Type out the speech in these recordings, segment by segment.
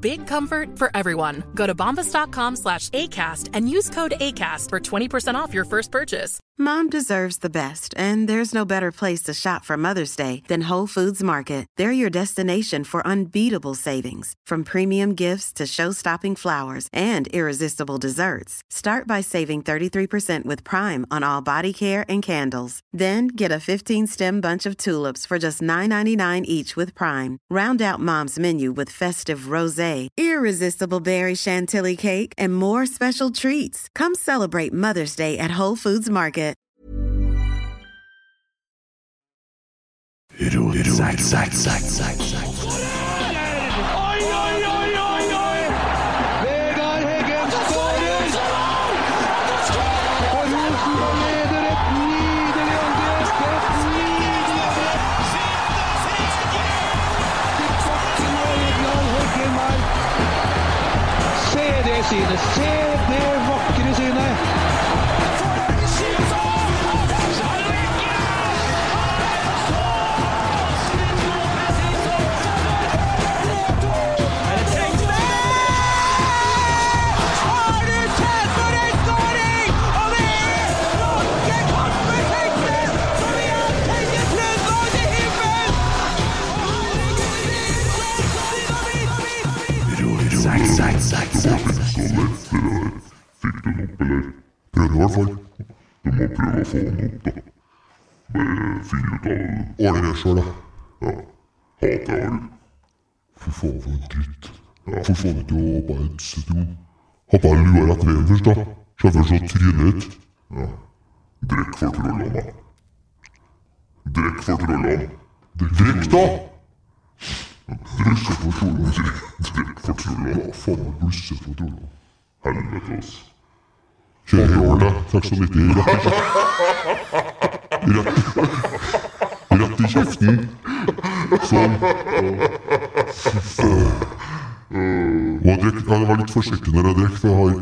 Big comfort for everyone. Go to bombas.com slash ACAST and use code ACAST for 20% off your first purchase. Mom deserves the best, and there's no better place to shop for Mother's Day than Whole Foods Market. They're your destination for unbeatable savings, from premium gifts to show-stopping flowers and irresistible desserts. Start by saving 33% with Prime on all body care and candles. Then get a 15-stem bunch of tulips for just $9.99 each with Prime. Round out Mom's menu with festive rosé, irresistible berry chantilly cake, and more special treats. Come celebrate Mother's Day at Whole Foods Market. Oi, oi, oi, oi, oi! Vegard Heggen skårer! Og Rosenborg leder et nydelig angrep! Et nydelig angrep! Til bakken og Egil Heggen her. Se det synet! Se det vakre synet! Prøvde i hvert fall. Du må prøve å få den opp, da. Bare finne ut av Ordne det sjøl, da. Ja. Hater jeg vel. Fy faen, for en dritt. Ja, for faen ikke å bare sitte og hoppe av lua rett veien først, da. Se først å tryne ut. Ja. Drikk for trollene, da. Drikk for trollene. Drikk, da! Drikk for trollene, sier jeg. Drikk for trollene. Faen, jeg blusser for trollene. Helvete, altså. Kjører i årene. 96 rett, rett, rett i kjeften. Sånn. Og jeg drekk, jeg var litt forsiktig når jeg drekk, for jeg har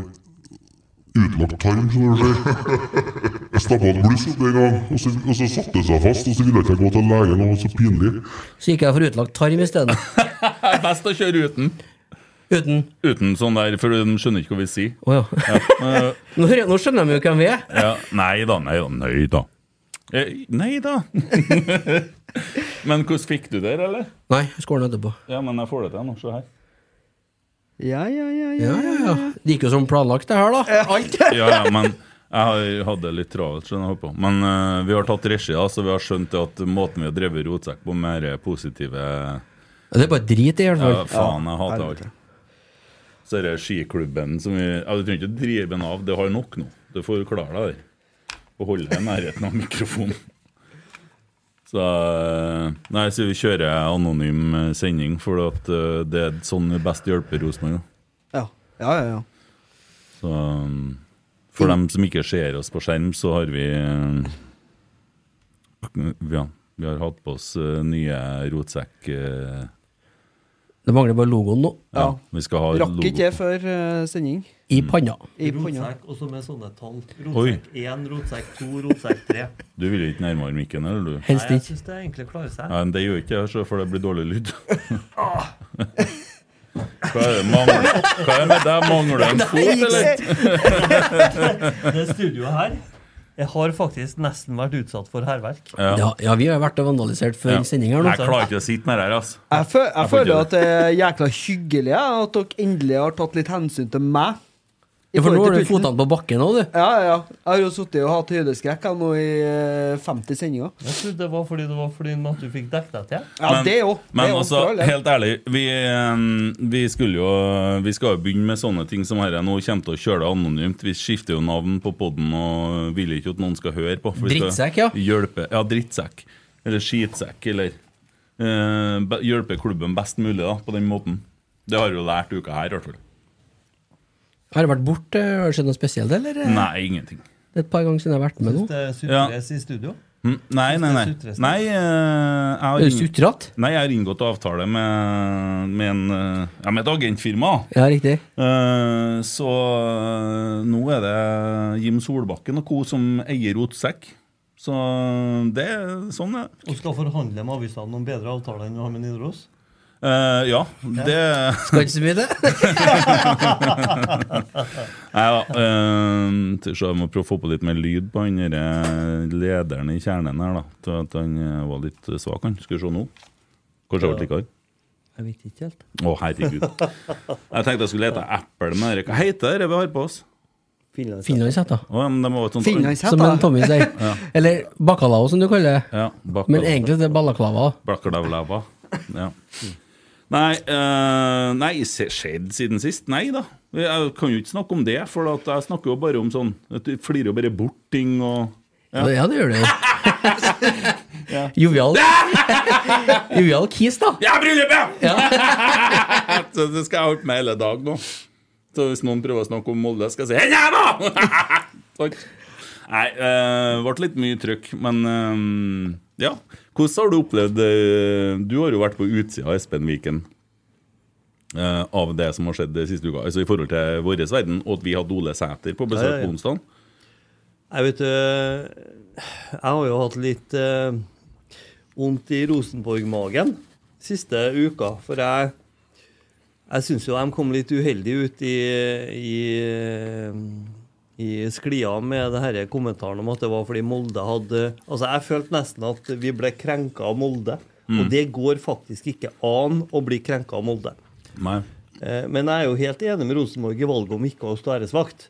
utlagt tarm, skjønner du. sier. Jeg stappa et bluss opp en gang, og så, og så satte det seg fast. Og så ville jeg ikke gå til legen, det var så pinlig. Så gikk jeg for utlagt tarm isteden. Det er best å kjøre uten. Uten Uten sånn der, for de skjønner ikke hva vi sier. Å ja. Eh, Nå, hører- nå skjønner de jo hvem vi er. ja. Nei da, nei da. Nei da. Eh, Nei da. Men hvordan fikk du det, eller? Nei, jeg skal ordne etterpå. Ja, men jeg får det til nå. Se her. Ja, ja, ja, ja. Ja, ja, ja. Det gikk jo som planlagt, det her, da. Alt. Ja, ja, men jeg har- hadde det litt travelt, skjønner jeg. holdt på. Men eh, vi har tatt regi, da, så vi har skjønt det at måten vi har drevet rotsekk på, mer eh, positive Det er bare drit i, i hvert Ja, fall. faen, jeg hater alt. helvete. Så er det skiklubben som vi ja, Du trenger ikke å drive den av, det har nok nå. Du får klare deg der. Og holde deg i nærheten av mikrofonen. Så eh, Nei, så vi kjører anonym eh, sending, for at eh, det er sånn vi best hjelper Rosenborg. da. Ja, ja, ja. ja. Så um, for dem som ikke ser oss på skjerm, så har vi eh, Ja, vi har hatt på oss eh, nye rotsekk... eh, Det mangler bare logoen nå. Ja, Ja. vi skal ha Rakk ikke det før eh, sending. I panna. I panna. Rotsekk, og så med sånne tall. Oi. Rotsekk 1, rotsekk 2, rotsekk 3. Du vil ikke nærmere mikken, eller du? Nei, Helst jeg ikke. syns det egentlig klarer seg. Ah. Nei, men det gjør ikke jeg, så- for det blir dårlig lyd. Hva er det mangler? Hva er det med deg? Mangler du en fot, eller? Det studioet her Jeg har faktisk nesten vært utsatt for hærverk. Ja, ja, vi har jo vært og vandalisert før Ja. sending her nå. Jeg klarer ikke å sitte med det her, altså. Jeg, fø jeg får ikke føler det. at det er jækla hyggelig jeg, at dere endelig har tatt litt hensyn til meg. Ja, for nå har du pulten. fotene på bakken òg, du. Ja, ja, ja. Jeg har jo sittet og hatt høydeskrekk jeg, nå i eh, 50 sendinger. Jeg trodde det var fordi det var fordi at du fikk dekket deg til. Ja, det òg. Men altså, helt ærlig, vi, eh, vi, skulle jo, vi skal jo begynne med sånne ting som dette. Nå kommer til å kjøre det anonymt. Vi skifter jo navn på poden og vil ikke at noen skal høre på. for vi skal Drittsekk, ja. Hjelpe. Ja, drittsekk. Eller skitsekk, eller eh, be- Hjelpe klubben best mulig da, på den måten. Det har vi jo lært uka her, i hvert fall. Har det vært borte? Har det skjedd noe spesielt, eller? Nei, ingenting. Det er et par ganger siden jeg har vært med nå. Det sutres i studio. Mm, Nei, nei, nei. Synes det er nei eh, jeg har Er du ing- Nei, jeg har inngått avtale med, med, en, eh, ja, med et agentfirma. Ja, riktig. Eh, Så eh, nå er det Jim Solbakken og co. som eier Otsekk. Så det er sånn, det. Og skal forhandle med avisene om bedre avtaler enn du har med Nidaros. Eh, ja, det Skal ikke så mye, det. Nei da. eh, Skal vi se, jeg må prøve å få på litt mer lyd på han derre lederen i kjernen her, da. Til at han eh, var litt svak, han. Skal vi se nå. Kanskje jeg ble litt hard. Jeg vet ikke helt. Å, herregud. Jeg tenkte jeg skulle lete eple med dere. Hva heter det vi har på oss? Finlandshetta. Å, ja, men det må være et sånt- Som en Tommy sier. Ja. Eller bacalao, som du kaller det. Ja, baklava. Men egentlig det er balaklava. Blakkedavlava. Ja. Nei, eh, nei, se- skjedd siden sist? Nei da. Jeg kan jo ikke snakke om det, for at jeg snakker jo bare om sånn at Du flirer jo bare bort ting og Ja, ja det gjør det jo. Ja. Jovial. Jovial kis, da. Ja, bryllupet! Så det skal jeg holde på med hele dag nå. Så hvis noen prøver å snakke om Molde, skal jeg si «Hei, ja da!» Takk. Nei, det ble litt mye trøkk, men eh, ja. Hvordan har du opplevd eh, Du har jo vært på utsida av Espen Viken eh, av det som har skjedd det siste uka, altså i forhold til vår verden, og at vi hadde Ole Sæter på Ja, besøk ja, ja. på onsdag. Jeg vet øh, Jeg har jo hatt litt øh, vondt i Rosenborg-magen siste uka. For jeg, jeg syns jo de kom litt uheldig ut i, i, øh, i sklia med det denne kommentaren om at det var fordi Molde hadde Altså, jeg følte nesten at vi ble krenka av Molde. Mm. Og det går faktisk ikke an å bli krenka av Molde. Nei. Eh, Men jeg er jo helt enig med Rosenborg i valget om ikke å stå æresvakt.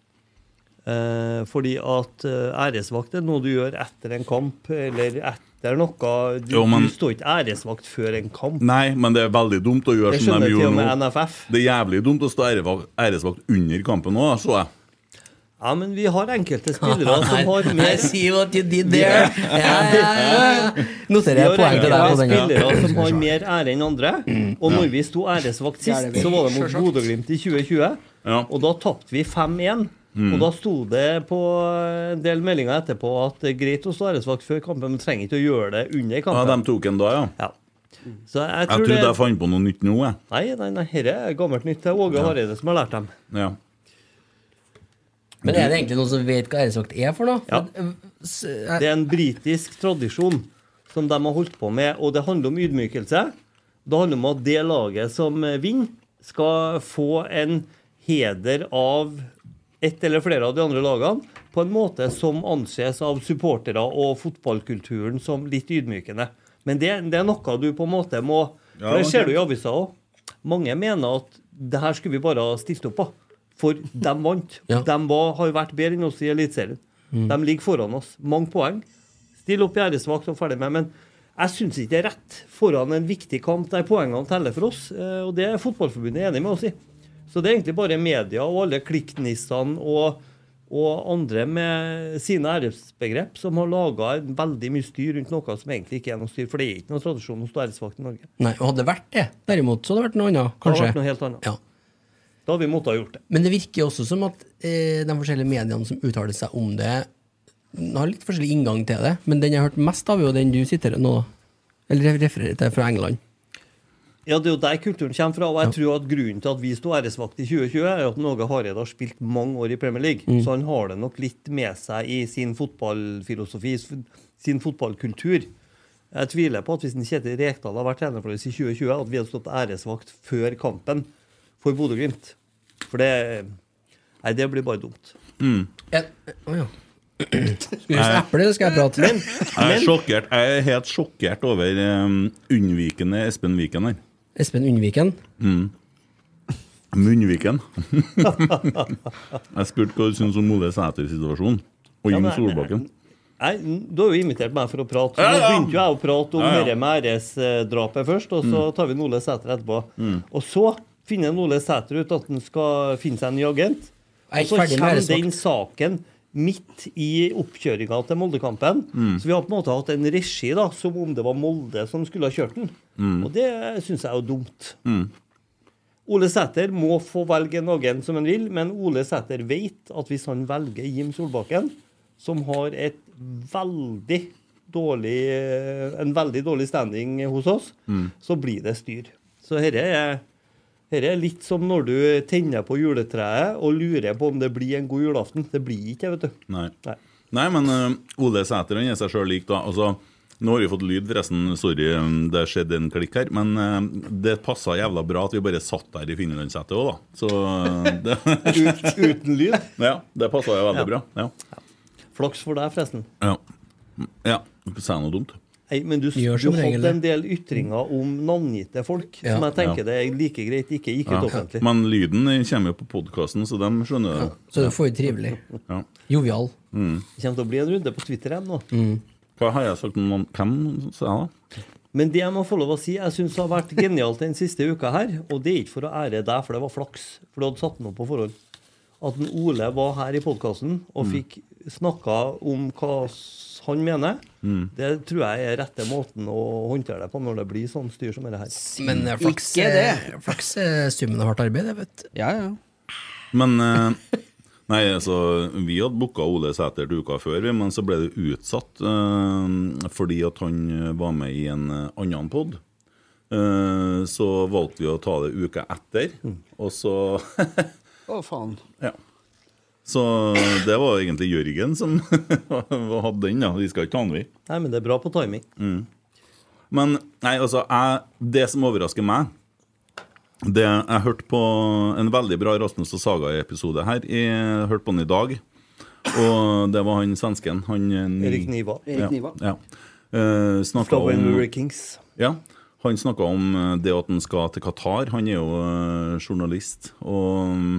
Eh, fordi at eh, æresvakt er noe du gjør etter en kamp eller etter noe. Du, Jo, men- du står ikke æresvakt før en kamp. Nei, men det er veldig dumt å gjøre Det som de skjønner til og gjorde med nå. NFF. Det er jævlig dumt å stå ærevak- æresvakt under kampen òg, så jeg. Ja, men vi har enkelte spillere som har I mer see what you did there. Ja, ja, ja. Noterer Vi jeg har poeng til deg på den. Mm. enkelte spillere som har mer ære enn andre. Og når vi sto æresvakt Det er det sist, vi. så var det mot Selvsagt. Bodø-Glimt i 2020. Og da tapte vi 5-1. Mm. Og da sto det på en del meldinger etterpå at det er greit å stå æresvakt før kampen, men trenger ikke å gjøre det under Ja, kampen. de tok en da, ja. Så jeg Jeg tror trodde det- jeg fant på noe nytt nå, jeg. Nei, nei, nei, dette er gammelt nytt. Det er Åge Ja. Hareide som har lært dem. Ja. Men er det egentlig noen som vet hva æresvakt er for noe? Ja. Eh, Det er en britisk tradisjon som de har holdt på med, og det handler om ydmykelse. Det handler om at det laget som eh, vinner, skal få en heder av ett eller flere av de andre lagene på en måte som anses av supportere og fotballkulturen som litt ydmykende. Men det, det er noe du på en måte må Ja, For det ser ok. du i avisa òg. Mange mener at det her skulle vi bare ha stilt opp på. For de vant. De var, har vært bedre enn oss i Eliteserien. Mm. De ligger foran oss. Mange poeng. Still opp i æresvakt og ferdig med. Men jeg syns ikke det er rett foran en viktig kamp der poengene teller for oss. eh, Og det er Fotballforbundet enig med oss i. Så det er egentlig bare media og alle klikknissene og, og andre med sine æresbegrep som har laga veldig mye styr rundt noe som egentlig ikke er noe styr. For det er ikke noen tradisjon å stå æresvakt i Norge. Nei, og hadde det vært det, derimot, så hadde det vært noe annet, Det har kanskje. vært noe helt annet. Da hadde vi måttet ha gjort det. Men det virker jo også som at eh, de forskjellige mediene som uttaler seg om det, har litt forskjellig inngang til det. Men den jeg har hørt mest av, er jo den du sitter nå, eller refererer til fra England. Ja, Det er jo der kulturen kommer fra. Og jeg tror at grunnen til at vi sto æresvakt i 2020, er at Norge Hareide har spilt mange år i Premier League. Mm. Så han har det nok litt med seg i sin fotballfilosofi, sin fotballkultur. Jeg tviler på at hvis en Kjetil Rekdal har vært trener for oss i 2020, at vi hadde stått æresvakt før kampen for Bodø-Glimt. For det Nei, det blir bare dumt. Mm. Ja. Å ja. Skal vi spise eple, eller skal jeg prate? Jeg er sjokkert. Jeg er helt sjokkert over um, unnvikende Espen Viken her. Espen Unnviken. Mm. Munnviken. jeg spurte hva du syns om Ole Sæter-situasjonen. Og Ja, Jon men- Solbakken. Nei, n- Du har jo invitert meg for å prate. så Ja, Nå ja. begynte jo jeg å prate om Ja, ja. dette med æresdrapet først, og så Mm. tar vi en Ole Sæter etterpå. Mm. Og så finner en Ole Sæter ut at han skal finne seg en ny agent. Og Jeg er ikke så ferdig med kommer æresvakt. den saken midt i oppkjøringa til Moldekampen. Mm. Så vi har på en måte hatt en regi da, som om det var Molde som skulle ha kjørt den. Mm. Og det syns jeg er jo dumt. Mm. Ole Sæter må få velge noen som han vil, men Ole Sæter vet at hvis han velger Jim Solbakken, som har et veldig dårlig, en veldig dårlig standing hos oss, Mm. så blir det styr. Så dette er, herre er litt som når du tenner på juletreet og lurer på om det blir en god julaften. Det blir ikke det, vet du. Nei. Nei. Nei, men ø, Ole Sæter han er seg sjøl lik, da. Altså, nå har vi fått lyd, forresten. Sorry, ø, det skjedde en klikk her. Men ø, det passa jævla bra at vi bare satt der i finlandssetet òg, da. Så ø, det, Uten lyd. Ja, det passa jo veldig Ja. bra. Flaks for deg, forresten. Ja. ja. ja. Sa jeg noe dumt? Nei, men du, du Gjør som hadde regel det. en del ytringer om navngitte folk Ja. som jeg tenker Ja. det er like greit ikke gikk ut Ja. offentlig. Men lyden ø, kommer jo på podkasten, så de skjønner det. Så du får jo trivelig. Ja. Jovial. Mm. Mm. Det kommer til å bli en runde på Twitter igjen nå. Hva har jeg sagt om noen- hvem, sa jeg da? Men det jeg må få lov å si, jeg syns har vært genialt den siste uka her, og det er ikke for å ære deg, for det var flaks, for du hadde satt den opp på forhånd, at en Ole var her i podkasten og Mm. fikk snakka om hva s- han mener. Mm. Det tror jeg er rette måten å håndtere det på når det blir sånn styr som dette her. Men eh, flaks, eh, flaks er summen av hardt arbeid, det, vet du. Men eh, Nei, altså, vi hadde booka Ole Sæter til uka før, vi, men så ble det utsatt eh, fordi at han var med i en eh, annen pod. Eh, så valgte vi å ta det uka etter, og så Å, faen. Ja. Så det var egentlig Jørgen som hadde den, da. Vi skal ikke ta den, vi. Nei, men det er bra på timing. Mm. Men nei, altså, jeg, det som overrasker meg det, Jeg hørte på en veldig bra Rasmus og Saga-episode her. Jeg hørte på den i dag. Og det var han svensken. Han, Erik Niva. Ja, Erik Niva. ja. Eh, snakket Fra Vancouver om, Kings. ja, han snakka om eh, det at han skal til Qatar. Han er jo eh, journalist. Og mm,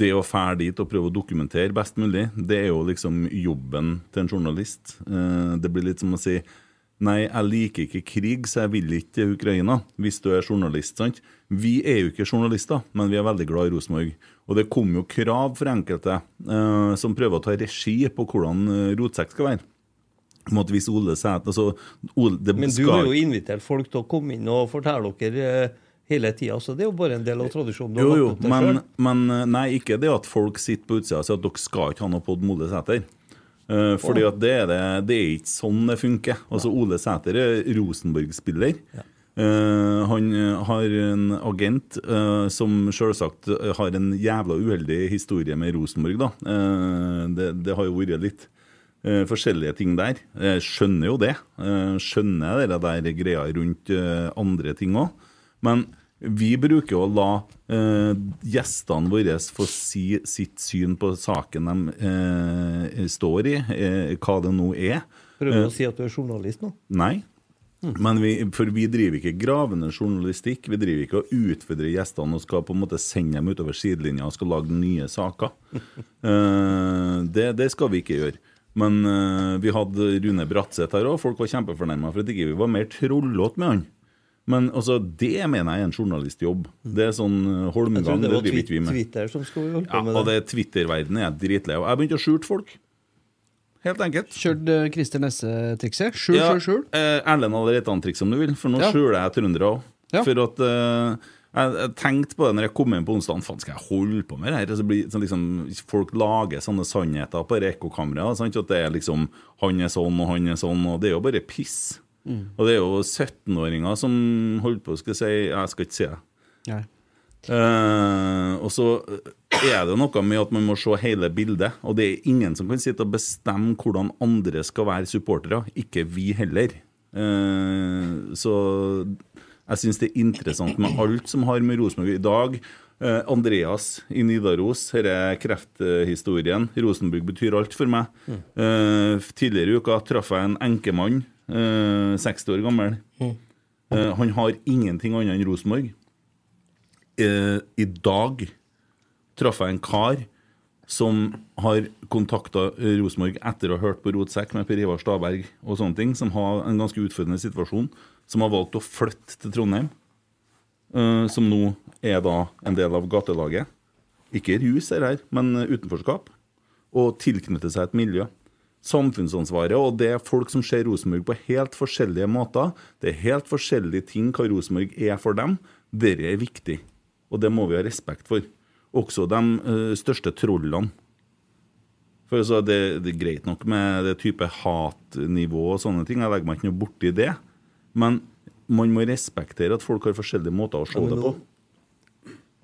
det å fære dit og prøve å dokumentere best mulig, det er jo liksom jobben til en journalist. Eh, Det blir litt som å si Nei, jeg liker ikke krig, så jeg vil ikke til Ukraina. Hvis du er journalist, sant. Vi er jo ikke journalister, men vi er veldig glad i Rosenborg. Og det kom jo krav for enkelte eh, som prøver å ta regi på hvordan eh, rotsekk skal være. Om at hvis Ole Sæter altså, Ole, det Men du skal- har jo invitert folk til å komme inn og fortelle dere eh, hele tida, så det er jo bare en del av tradisjonen. du har Jo, jo, lagt opp til men, selv. men eh, nei, ikke det at folk sitter på utsida og sier at dere skal ikke ha noe Pod Ole Sæter. Eh, fordi at det er, det, det er ikke sånn det funker. Altså, Ole Sæter er Rosenborg-spiller. Eh, han eh, har en agent eh, som selvsagt eh, har en jævla uheldig historie med Rosenborg, da. Eh, det, det har jo vært litt eh, forskjellige ting der. Jeg skjønner jo det. Eh, skjønner det der greia rundt eh, andre ting òg. Men vi bruker å la eh, gjestene våre få si sitt syn på saken de eh, står i, eh, hva det nå er. Prøver Eh, å si at du er journalist nå. Nei. Mm. Men vi, for vi driver ikke gravende journalistikk. Vi driver ikke og utfordrer gjestene og skal på en måte sende dem utover sidelinja og skal lage nye saker. Eh, det, det skal vi ikke gjøre. Men eh, vi hadde Rune Bratseth her òg. Folk var kjempefornærma for at ikke vi var mer trollete med han. Men altså, det mener jeg er en journalistjobb. Det er sånn eh, Mm. Jeg tror Holmgang, det det var driver ikke vi Twitter, med. Twitter som skulle holde på Ja, med og det Twitter-verdenen er jeg dritlei av. Jeg begynte å skjule folk. Helt enkelt. Kjørte eh, Christer Nesse-trikset. Skjul, Ja, skjul, skjul. eh, Erlend har et annet triks om du vil, for nå Ja. skjuler jeg trøndere òg. Ja. For at eh, jeg, jeg tenkte på det når jeg kom inn på onsdagen. Faen, skal jeg holde på med det her? Og Så blir, så liksom, folk lager sånne sannheter på ekkokameraet. sant? At det er liksom Han er sånn, og han er sånn, og det er jo bare piss. Mm. Og det er jo 17-åringer som holder på skal si Jeg skal ikke si det. Nei. Eh, og så er det noe med at man må se hele bildet, og det er ingen som kan sitte og bestemme hvordan andre skal være supportere. Ikke vi heller. Eh, så jeg syns det er interessant med alt som har med Rosenborg i dag. eh, Andreas i Nidaros, dette er krefthistorien. Rosenborg betyr alt for meg. Eh, tidligere i uka traff jeg en enkemann, eh, 60 år gammel. Mm. Eh, han har ingenting annet enn Rosenborg eh, i dag traff jeg en kar som har kontakta Rosenborg etter å ha hørt på Rotsekk med Per Ivar Staberg og sånne ting, som har en ganske utfordrende situasjon, som har valgt å flytte til Trondheim. eh, som nå er da en del av gatelaget. Ikke rus her, her, men utenforskap. Og tilknytte seg et miljø. Samfunnsansvaret og det er folk som ser Rosenborg på helt forskjellige måter. Det er helt forskjellige ting hva Rosenborg er for dem. Dette er viktig, og det må vi ha respekt for. Også de eh, største trollene. For altså, det, det er greit nok med det type hatnivå og sånne ting, jeg legger meg ikke noe borti det. Men man må respektere at folk har forskjellige måter å se Men det på. nå-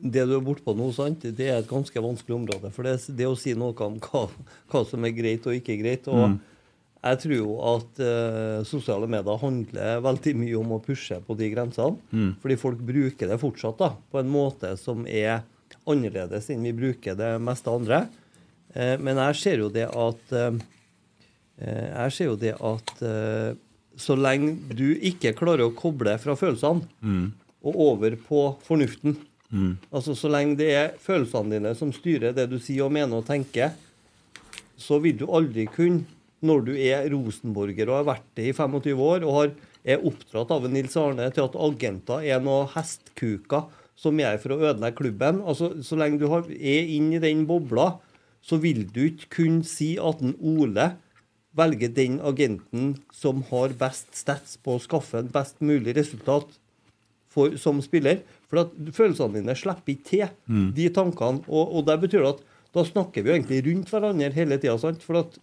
Det du er bortpå nå, sant, det er et ganske vanskelig område. For det, det å si noe om hva, hva som er greit og ikke greit og Mm. Jeg tror jo at eh, sosiale medier handler veldig mye om å pushe på de grensene. Mm. Fordi folk bruker det fortsatt da, på en måte som er annerledes enn vi bruker det meste andre. Eh, men jeg ser jo det at eh, eh, Jeg ser jo det at eh, så lenge du ikke klarer å koble fra følelsene Mm. og over på fornuften Mm. Altså Så lenge det er følelsene dine som styrer det du sier og mener og tenker, så vil du aldri kunne, når du er rosenborger og har vært det i 25 år og har, er oppdratt av en Nils Arne til at agenter er noe hestkuker som er her for å ødelegge klubben altså Så lenge du har, er inne i den bobla, så vil du ikke kunne si at en Ole velger den agenten som har best stats på å skaffe en best mulig resultat for, som spiller. For at følelsene dine slipper ikke til Mm. de tankene. Og, og det betyr at da snakker vi jo egentlig rundt hverandre hele tida. For at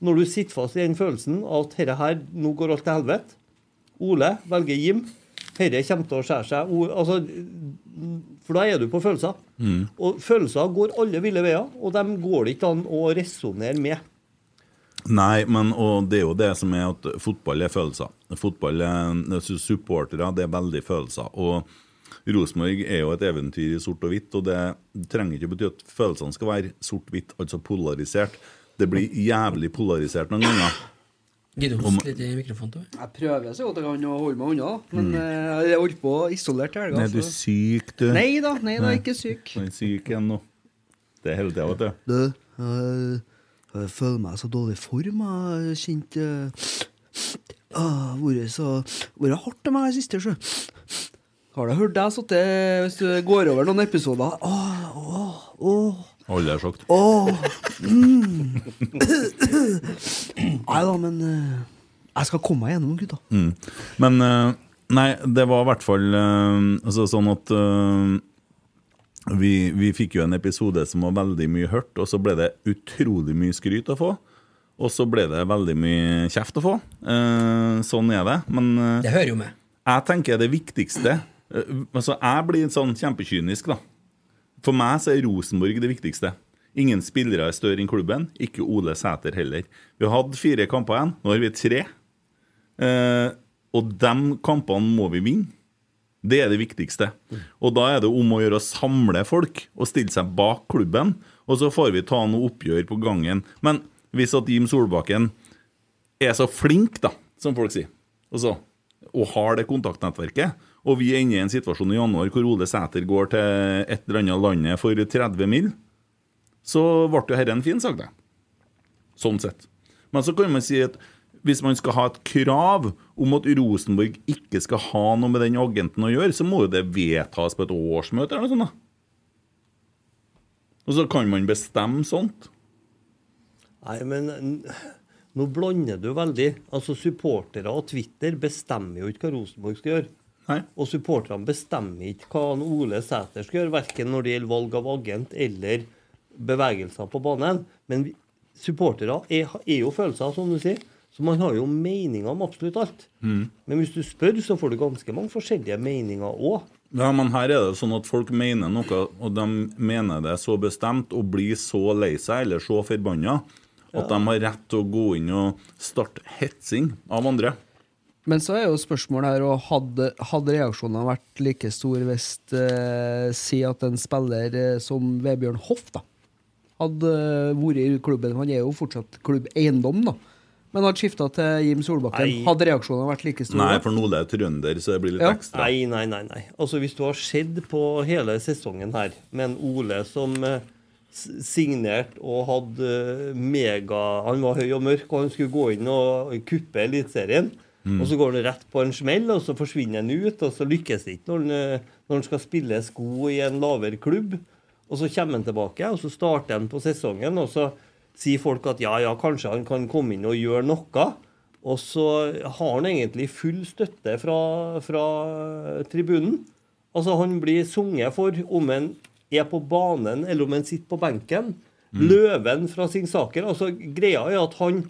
når du sitter fast i den følelsen at herre her, nå går alt til helvete Ole velger Jim. Herre kommer til å skjære seg. O- Altså, for da er du på følelser. Mm. Og følelser går alle ville veier, og dem går det ikke an å resonnere med. Nei, men og det er jo det som er at fotball er følelser. Fotball er det er supportere, det er veldig følelser. Og Rosenborg er jo et eventyr i sort og hvitt, og det trenger ikke bety at følelsene skal være sort-hvitt, altså polarisert. Det blir jævlig polarisert noen ganger. Gidder du å Om- hoste litt i mikrofonen? Tove? Jeg prøver så godt jeg kan å holde meg unna, men Mm. eh, jeg holdt på isolert i helga. Nei, du er så- syk, du. Nei da, nei da, ikke syk. Du er syk igjen nå. Det er hele tida, vet du. Du, jeg, jeg føler meg så dårlig i form. Jeg har kjent eh, ah, Vært så Vært hardt til meg i det siste, sjø. Har du hørt deg sitte eh, Hvis du går over noen episoder Åh, åh, åh, Alle er sjokt. Åh, mm. Nei da, men eh, jeg skal komme meg gjennom, gutta. Mm. Men eh, Nei, det var i hvert fall eh, altså, sånn at eh, vi, vi fikk jo en episode som var veldig mye hørt, og så ble det utrolig mye skryt å få. Og så ble det veldig mye kjeft å få. Eh, sånn er det. Men eh, Det hører jo med. jeg tenker det viktigste eh, Altså, jeg blir sånn kjempekynisk, da. For meg så er Rosenborg det viktigste. Ingen spillere er større enn klubben, ikke Ole Sæter heller. Vi har hatt fire kamper igjen, nå har vi tre. Eh, og de kampene må vi vinne. Det er det viktigste. Og da er det om å gjøre å samle folk og stille seg bak klubben, og så får vi ta noe oppgjør på gangen. Men hvis at Jim Solbakken er så flink, da, som folk sier, altså, og har det kontaktnettverket, og vi ender i en situasjon i januar hvor Ole Sæter går til et eller annet landet for 30 mil, så ble jo dette en fin sak, det. Sånn sett. Men så kan man si at hvis man skal ha et krav om at Rosenborg ikke skal ha noe med den agenten å gjøre, så må jo det vedtas på et årsmøte eller noe sånt. da. Og så kan man bestemme sånn. sånt. Nei, men n- nå blander du veldig. Altså, Supportere og Twitter bestemmer jo ikke hva Rosenborg skal gjøre. Og supporterne bestemmer ikke hva han Ole Sæter skal gjøre, verken når det gjelder valg av agent eller bevegelser på banen. Men vi- supportere er, er jo følelser, som du sier. Så man har jo meninger om absolutt alt. Mm. Men hvis du spør, så får du ganske mange forskjellige meninger òg. Ja, men her er det sånn at folk mener noe, og de mener det så bestemt og blir så lei seg eller så forbanna at de har rett til å gå inn og starte hetsing av andre. Men så er jo spørsmålet her, og hadde, hadde reaksjonene vært like stor hvis eh, si at en spiller eh, som Vebjørn Hoff da, hadde eh, vært i klubben, han er jo fortsatt klubbeiendom da, Men hadde skifta til Jim Solbakken, Nei. hadde reaksjonene vært like store? Nei, for Nole er trønder, så det blir litt ekstra. Nei, nei, nei, nei. Altså, hvis du har sett på hele sesongen her, med en Ole som eh, s- signerte og hadde eh, mega Han var høy og mørk, og han skulle gå inn og kuppe Eliteserien. Mm. Og så går han rett på en smell, og så forsvinner han ut, og så lykkes det ikke når han, eh, når han skal spille sko i en lavere klubb. Og så kommer han tilbake, og så starter han på sesongen, og så sier folk at ja, ja, kanskje han kan komme inn og gjøre noe. Og så har han egentlig full støtte fra, fra tribunen. Altså, han blir sunget for om han er på banen eller om han sitter på benken. Løven fra Singsaker. Altså, greia er at han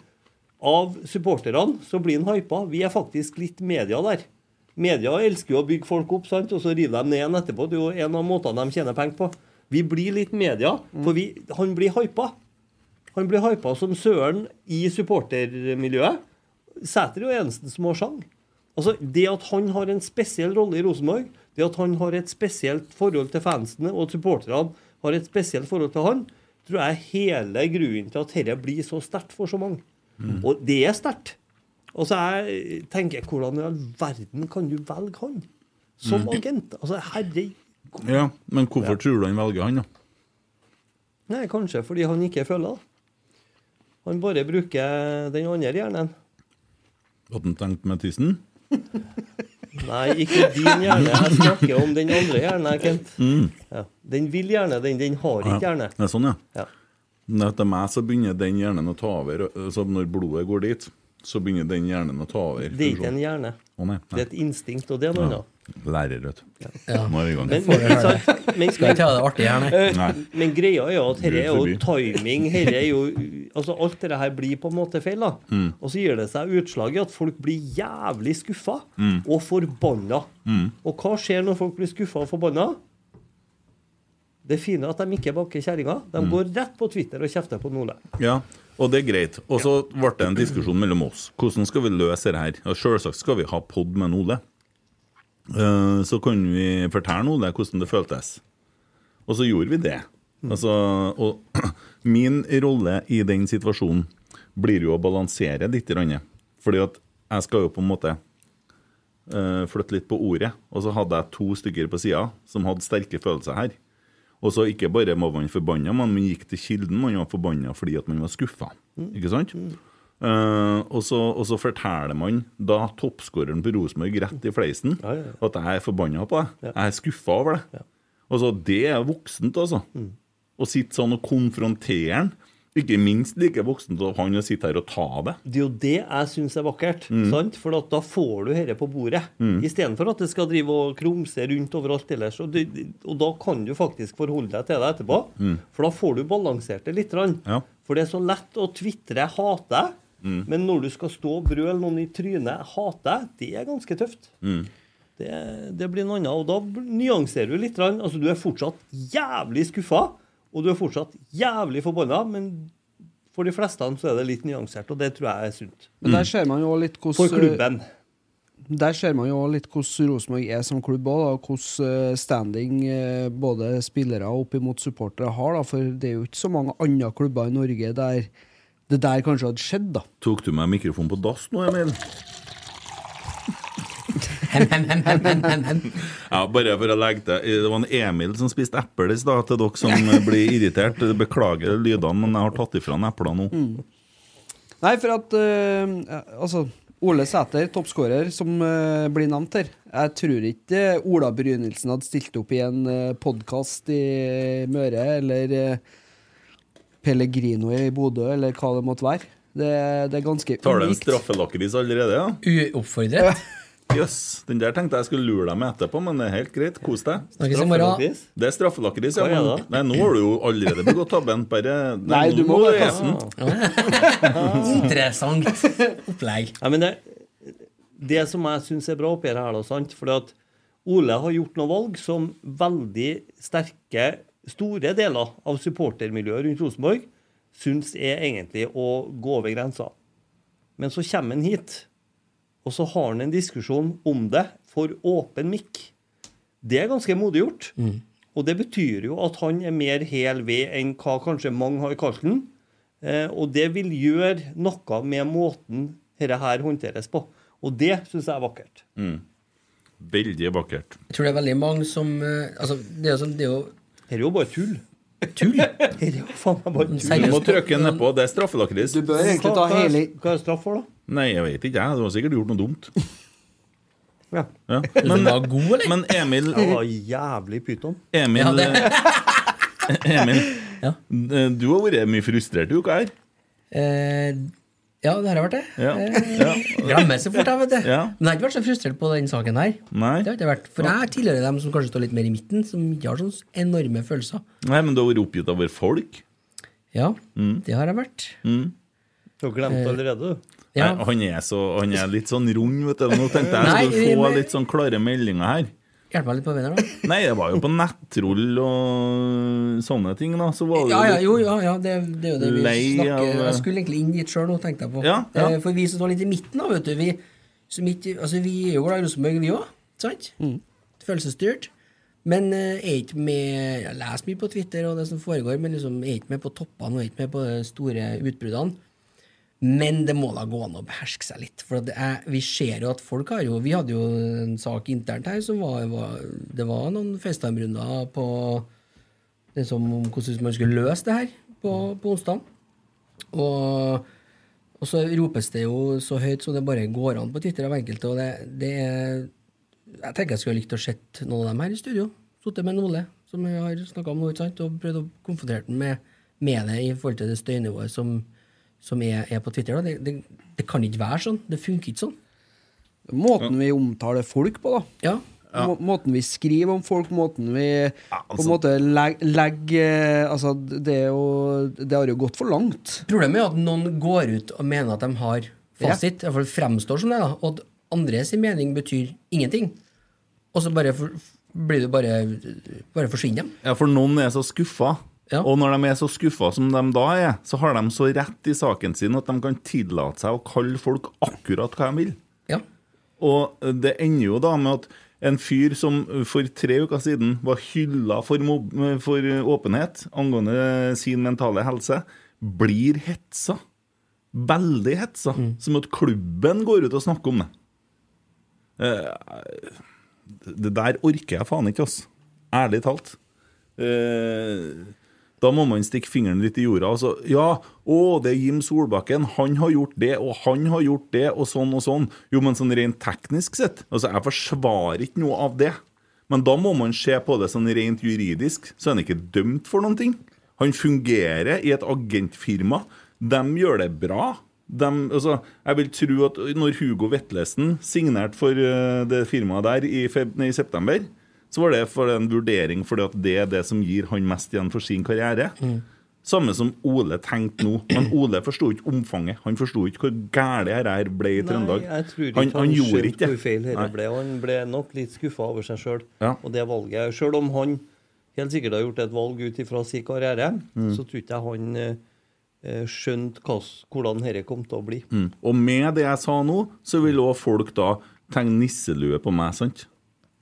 av supporterne så blir han hypa. Vi er faktisk litt media der. Media elsker jo å bygge folk opp, sant? og så river de ned igjen etterpå. Det er jo en av måtene de tjener penger på. Vi blir litt media, for vi, han blir hypa. Han blir hypa som søren i supportermiljøet. Sæter er jo eneste som har sang. Altså, Det at han har en spesiell rolle i Rosenborg, det at han har et spesielt forhold til fansene, og at supporterne har et spesielt forhold til han, tror jeg er hele grunnen til at dette blir så sterkt for så mange. Mm. Og det er sterkt. Og så jeg tenker hvordan i all verden kan du velge han som Mm. agent? Altså, herre Ja, Men hvorfor tror du han velger han, da? Nei, kanskje fordi han ikke føler det. Han bare bruker den andre hjernen. At han tenkte med tissen? Nei, ikke din hjerne. Jeg snakker om den andre hjernen, Kent. Mm. Ja. Den vil gjerne, den, den har ikke Ja, hjerne. Det er sånn, ja. Ja. Men Etter meg så begynner den hjernen å ta over. og- Så når blodet går dit, så begynner den hjernen å ta over. Det er ikke en hjerne. Å, nei, Det er et instinkt, og det er noe Ja. annet. Lærer, vet du. Ja. Nå er vi i gang. Men, men, ikke sant? men, Eh, Nei. men greia er jo at dette er jo Gud timing. Herre er jo, altså alt dette her blir på en måte feil. da. Mm. Og så gir det seg utslag i at folk blir jævlig skuffa Mm. og forbanna. Mm. Og hva skjer når folk blir skuffa og forbanna? Det er fine er at de ikke banker kjerringa. De Mm. går rett på Twitter og kjefter på Nordland. Ja, og det er greit. Og så ble det en diskusjon mellom oss. Hvordan skal vi løse det her? Og Selvsagt skal vi ha pod med en Ole. Eh, Så kan vi fortelle Ole hvordan det føltes. Og så gjorde vi det. Altså, og min rolle i den situasjonen blir jo å balansere litt. grann. Fordi at jeg skal jo på en måte eh, flytte litt på ordet. Og så hadde jeg to stykker på sida som hadde sterke følelser her. Og så ikke bare var man forbanna, men man gikk til kilden. Man var forbanna fordi at man var skuffa. Mm. Ikke sant? Eh, og, så, og så forteller man da toppskåreren på Rosenborg rett i fleisen at jeg er forbanna på deg. Jeg er skuffa over deg. Altså, det er voksent, altså. Mm. Å sitte sånn og konfrontere han. Ikke minst like voksent av han å sitte her og ta det. Det er jo det jeg syns er vakkert. Mm. sant? For at da får du dette på bordet. Mm. Istedenfor at det skal drive og krumse rundt overalt ellers. Og, det, og da kan du faktisk forholde deg til det etterpå. Mm. For da får du balansert det litt. grann. Ja. For det er så lett å tvitre 'hate deg', Mm. men når du skal stå og brøle noen i trynet 'hate deg', det er ganske tøft. Mm. Det, det blir noe annet. Og da bl- nyanserer du litt. grann. Altså, du er fortsatt jævlig skuffa, og du er fortsatt jævlig forbanna, men for de fleste så er det litt nyansert, og det tror jeg er sunt. Men der ser man jo litt hvordan eh, For klubben. Der ser man jo litt hvordan Rosenborg er som klubb òg, og hvordan eh, standing eh, både spillere og opp imot supportere har. da, For det er jo ikke så mange andre klubber i Norge der det der kanskje hadde skjedd, da. Tok du meg mikrofonen på dass nå, Emil? Ja, bare for å legge til Det var en Emil som spiste eple i stad, til dere som eh, blir irritert. Beklager lydene, men jeg har tatt ifra han eplene nå. Mm. Nei, for at eh, Altså, Ole Sæter, toppskårer, som eh, blir nevnt her. Jeg tror ikke Ola Brynildsen hadde stilt opp i en uh, podkast i Møre, eller eh, Pellegrino i Bodø, eller hva det måtte være. Det, Eh, det er ganske Tar du en unikt. straffelakris allerede, ja? Uoppfordret. Jøss. Den der tenkte jeg skulle lure deg med etterpå, men det er helt greit. Kos deg. Snakkes i morgen. Straffelakris? Det er straffelakris, ja. Hva er Men, det? nei, nå har du jo allerede begått tabben. Bare Nei, du må nå bare er passe. den. Interessant opplegg. Ja, men det, det som jeg syns er bra oppi det her, da, sant Fordi at Ole har gjort noen valg som veldig sterke, store deler av supportermiljøet rundt Rosenborg syns er egentlig å gå over grensa. Men så kommer han hit, og så har han en diskusjon om det for åpen mikk. Det er ganske modig gjort. Mm, Og det betyr jo at han er mer hel ved enn hva kanskje mange har kalt den. Eh, og det vil gjøre noe med måten dette her håndteres på. Og det syns jeg er vakkert. Mm. Veldig vakkert. Jeg tror det er veldig mange som eh, altså, det er jo som, det er jo Dette er jo bare tull. Tull? Dette er jo faen meg bare tull. Du må trykke den nedpå. Det er straffelakris. Du bør egentlig ta hele- Hva er straff for, da? Nei, jeg vet ikke. jeg. Du har sikkert gjort noe dumt. Ja. Men, var god, eller? men Emil Jeg var jævlig pyton. Emil, Ja, det- Emil eh, du har vært mye frustrert i uka her. eh, Ja, det her har vært det. Ja. Eh, Ja. Glemmer så fort, jeg, vet du. Ja. Men jeg har ikke vært så frustrert på den saken her. Nei. Det har ikke jeg vært, For jeg tilhører dem som kanskje står litt mer i midten, som ikke har sånne enorme følelser. Nei, men du har vært oppgitt over folk. Ja, Mm. det har jeg vært. Mm. Du har glemt allerede, du. Eh, Ja. Nei, han, er så, han er litt sånn rund, vet du. Nå tenkte jeg Nei, jeg skulle få men- litt sånn klare meldinger her. Hjelp meg litt på beina, da. Nei, det var jo på nettroll og sånne ting, da. Så var det jo Ja, ja, litt- jo, ja, ja det, det er jo det vi Lei snakker av- Jeg skulle egentlig inn dit sjøl nå, tenkte jeg på. Ja, ja. Eh, For vi som står litt i midten, da, vet du vi, som ikke, altså, vi er jo glad i Rosenborg, vi òg. Sant? Følelsesstyrt. Men eh, er ikke med Jeg leser mye på Twitter og det som foregår, men liksom er ikke med på toppene og er ikke med på de store utbruddene. Men det må da gå an å beherske seg litt. For at jeg, vi ser jo at folk har jo Vi hadde jo en sak internt her som var, var Det var noen FaceTime-runder på det som om hvordan man skulle løse det her på, på onsdag. Og, og så ropes det jo så høyt som det bare går an på Twitter av enkelte. Og det, det er Jeg tenker jeg skulle likt å sett noen av dem her i studio. Sittet med en Ole, som jeg har snakka om nå, ikke sant, og prøvd å konfrontere den med, med det i forhold til det støynivået som, som er, er på Twitter. Da. Det, det, det kan ikke være sånn. Det funker ikke sånn. Måten vi omtaler folk på, da. Må- Måten vi skriver om folk, måten vi på en måte legger Altså, det, er jo, det har jo gått for langt. Problemet er at noen går ut og mener at de har fasit, i hvert fall fremstår som det, da, og at andre sin mening betyr ingenting. Og så bare for, blir du bare, bare forsvinner dem. Ja, for noen er så skuffa. Og når de er så skuffa som de da er, så har de så rett i saken sin at de kan tillate seg å kalle folk akkurat hva de vil. Og eh, det ender jo da med at en fyr som for tre uker siden var hylla for, mob eh, for åpenhet angående sin mentale helse, blir hetsa. Veldig hetsa. Som at klubben går ut og snakker om det. Eh, Det der orker jeg faen ikke, ass. Ærlig talt. Eh, Da må man stikke fingeren litt i jorda. Altså, ja, å, det er Jim Solbakken. Han har gjort det, og han har gjort det, og sånn og sånn. Jo, men sånn rent teknisk sett Altså, jeg forsvarer ikke noe av det. Men da må man se på det sånn rent juridisk, så er han ikke dømt for noen ting. Han fungerer i et agentfirma. De gjør det bra. Dem- altså, jeg vil tro at når Hugo Vetlesen signerte for eh, det firmaet der i, feb nei, i september, så var det for en vurdering fordi at det er det som gir han mest igjen for sin karriere. Hmm. Samme som Ole tenkte nå. Men Ole forsto ikke omfanget. Han forsto ikke hvor gærent dette her ble i Trøndelag. Nei, jeg tror ikke han, han gjorde skjønte ikke hvor feil dette Nei. ble. og Han ble nok litt skuffa over seg sjøl Ja. og det valget. Sjøl om han helt sikkert har gjort et valg ut ifra sin karriere, Mm. så tror ikke jeg han eh, eh, skjønte hva, s- hvordan dette kom til å bli. Mm. Og med det jeg sa nå, så vil òg folk da tegne nisselue på meg, sant?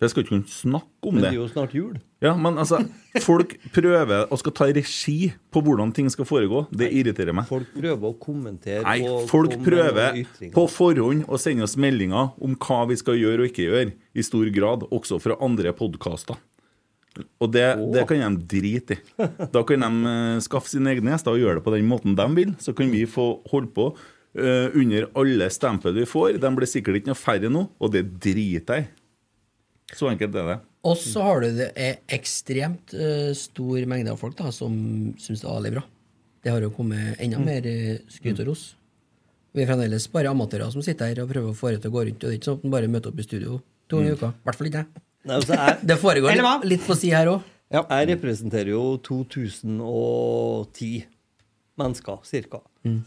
Jeg skal ikke kunne snakke om Men det det. er jo snart jul. Ja, men altså, folk prøver og skal ta regi på hvordan ting skal foregå. Det irriterer meg. Folk prøver å kommentere Nei, og folk komme med prøver noen ytringer. på forhånd å sende oss meldinger om hva vi skal gjøre og ikke gjøre, i stor grad, også fra andre podkaster. Og det, det kan de drite i. Da kan de eh, skaffe sine egne gjester og gjøre det på den måten de vil. Så kan vi få holde på eh, under alle stempel vi får. De blir sikkert ikke noe færre nå, og det driter jeg i. Så enkelt er det. Og så har du det er ekstremt eh, stor mengde av folk da, som syns det er veldig bra. Det har jo kommet enda Mm. mer eh, skryt og ros. Vi er fremdeles bare amatører som sitter her og prøver å få det til å gå rundt. Og det er ikke sånn at man bare møter opp i studio to ganger i Mm. uka. I hvert fall ikke jeg. Nei, altså, jeg- Det foregår litt- Eller hva? litt på si her òg. Jeg representerer jo 2010 mennesker, cirka. mm,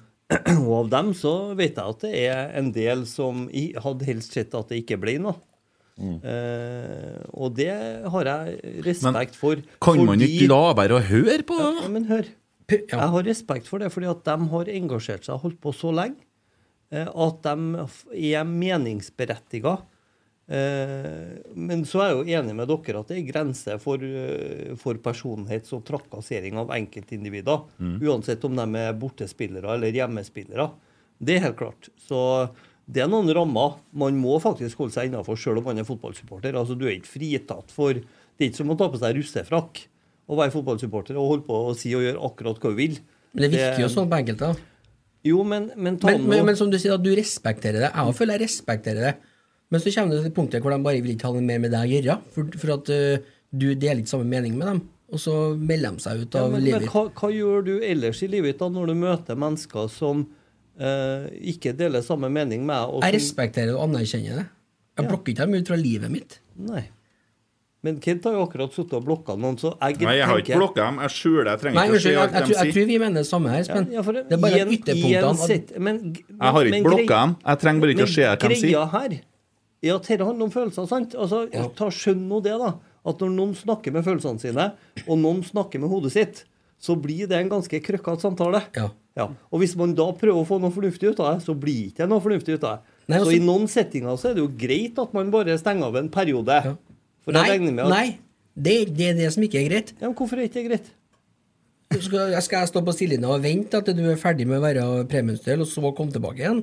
Og av dem så vet jeg at det er en del som i- hadde helst sett at det ikke ble noe. Eh, og det har jeg respekt for. Kan man ikke la være å høre på Ja, men hør. Jeg har respekt for det, fordi at de har engasjert seg og holdt på så lenge eh, at de f- er meningsberettiga Eh, Men så er jeg jo enig med dere at det er grenser for, eh, for personlighets- og trakassering av enkeltindivider. Mm. Uansett om de er bortespillere eller hjemmespillere. Det er helt klart. Så det er noen rammer man må faktisk holde seg innafor sjøl om man er fotballsupporter. Altså, du er ikke fritatt for Det er ikke som å ta på seg russefrakk og være fotballsupporter og holde på å si og gjøre akkurat hva du vil. Men det virker jo sånn på enkelte. da. Jo, men, men ta Men, nå- men, men som du sier, at du respekterer det. Jeg føler jeg respekterer det. Men så kommer det til punktet hvor de bare vil ikke ha noe mer med deg å gjøre. For, for at ø, du deler ikke samme mening med dem. Og så melder de seg ut Ja, av men, men livet. hva, hva gjør du ellers i livet ditt da, når du møter mennesker som eh, ikke deler samme mening med deg? og som- Jeg respekterer og anerkjenner det. Jeg blokker ikke dem ut fra livet mitt. Nei. Men Kent har jo akkurat sittet og blokka noen, så jeg Nei, jeg har ikke tenker- blokka dem. Jeg skjuler Jeg trenger Nei, ikke å si unnskyld, jeg, alt de jeg, tror- jeg sier. tror vi mener det samme her, Espen. Ja, for det er bare igjen- igjen ytterpunktene. sett- men, Jeg har ikke blokka dem. Jeg trenger bare ikke å se hva de Greia sier. her er at dette handler om følelser, sant? Altså, ta Skjønn nå det, da. At når noen snakker med følelsene sine, og noen snakker med hodet sitt, så blir det en ganske krøkkete samtale. Ja. Og hvis man da prøver å få noe fornuftig ut av det, så blir ikke det noe fornuftig ut av det. Nei, så altså- i noen settinger så er det jo greit at man bare stenger av en periode. For jeg Nei, regner med at nei. Det, det er det som ikke er greit. Ja, men Hvorfor er ikke det greit? Skal, skal jeg stå på sidelinja og vente til du er ferdig med å være premiumsdel, og så komme tilbake igjen?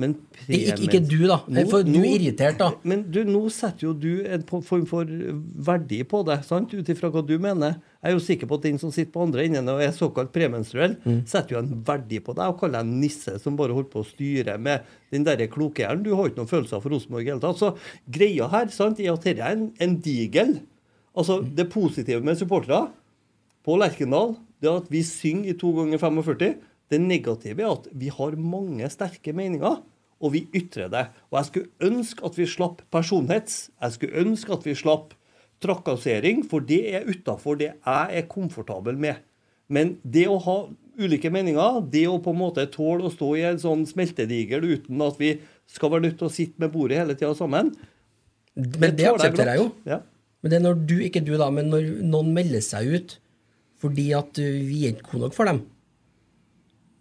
Men Ikke, ikke du, da. Nå- for du nå- er irritert, da. Men du, nå setter jo du en po- form for verdi på det, sant? ut ifra hva du mener. Jeg er jo sikker på at den som sitter på andre enden og er såkalt premenstruell, Mm. setter jo en verdi på deg og kaller deg en nisse som bare holder på å styre med den derre klokehjernen. Du har ikke noen følelser for Rosenborg i det hele tatt. Så greia her sant, er at dette er en, en digel. Altså, Mm. det positive med supportere på Lerkendal det er at vi synger i to ganger 45. Det negative er at vi har mange sterke meninger, og vi ytrer det. Og jeg skulle ønske at vi slapp personhets. Jeg skulle ønske at vi slapp trakassering, for det er utafor det jeg er komfortabel med. Men det å ha ulike meninger, det å på en måte tåle å stå i en sånn smeltedigel uten at vi skal være nødt til å sitte med bordet hele tida sammen Men det tåler aksepterer jeg jo. glatt. Ja. Men det er når du, ikke du da, men når noen melder seg ut fordi at ø, vi er ikke gode nok for dem.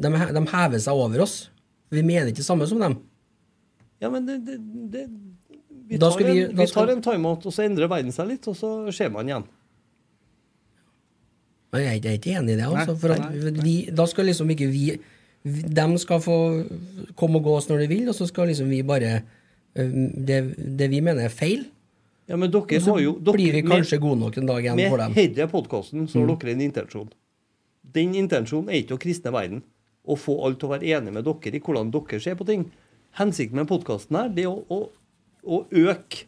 De, he- de hever seg over oss. Vi mener ikke det samme som dem. Ja, men det, det, det vi, Da tar skal vi- en, da vi skal- tar en timeout, og så endrer verden seg litt, og så ser man igjen. Men Jeg er ikke- jeg er ikke enig i det. Altså, Nei, for at nei, vi, da skal liksom ikke vi vi- De skal få komme og gå oss når de vil, og så skal liksom vi bare ø, Det, det vi mener er feil, Ja, men dere Og så har jo dere, blir vi kanskje gode nok en dag igjen med for dem. Med denne podkasten så har Mm. dere en intensjon. Den intensjonen er ikke å kristne verden. Å få alle til å være enige med dere i hvordan dere ser på ting. Hensikten med podkasten her det er å, å, å øke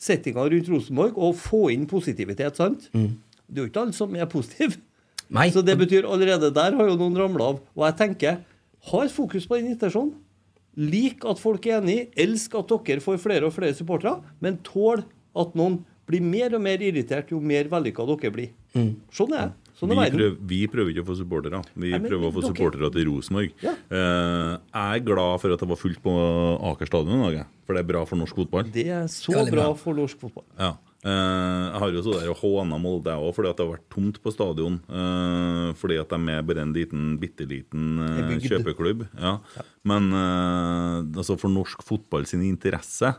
settinga rundt Rosenborg og få inn positivitet, sant? mm. Det er jo ikke alle som er positive. Så det betyr allerede der har jo noen ramla av. Og jeg tenker, ha et fokus på den intensjonen. Lik at folk er enig, elsk at dere får flere og flere supportere, men tål at noen blir mer og mer irritert jo mer vellykka dere blir. Sånn er jeg. Sånn Vi er verden. prøver, vi prøver ikke å få supportere. Vi Nei, men prøver å få dere- supportere til Rosenborg. Ja. Eh, jeg er glad for at det var fullt på Aker stadion i dag, jeg. for det er bra for norsk fotball. Det er så Veldig bra bra. for norsk fotball. Ja. Eh, jeg har jo så der og håna Molde òg, fordi at det har vært tomt på stadion. eh, fordi at de er bare en liten, bitte liten eh, En bygd. kjøpeklubb. Ja. Men eh, altså for norsk fotball sin interesse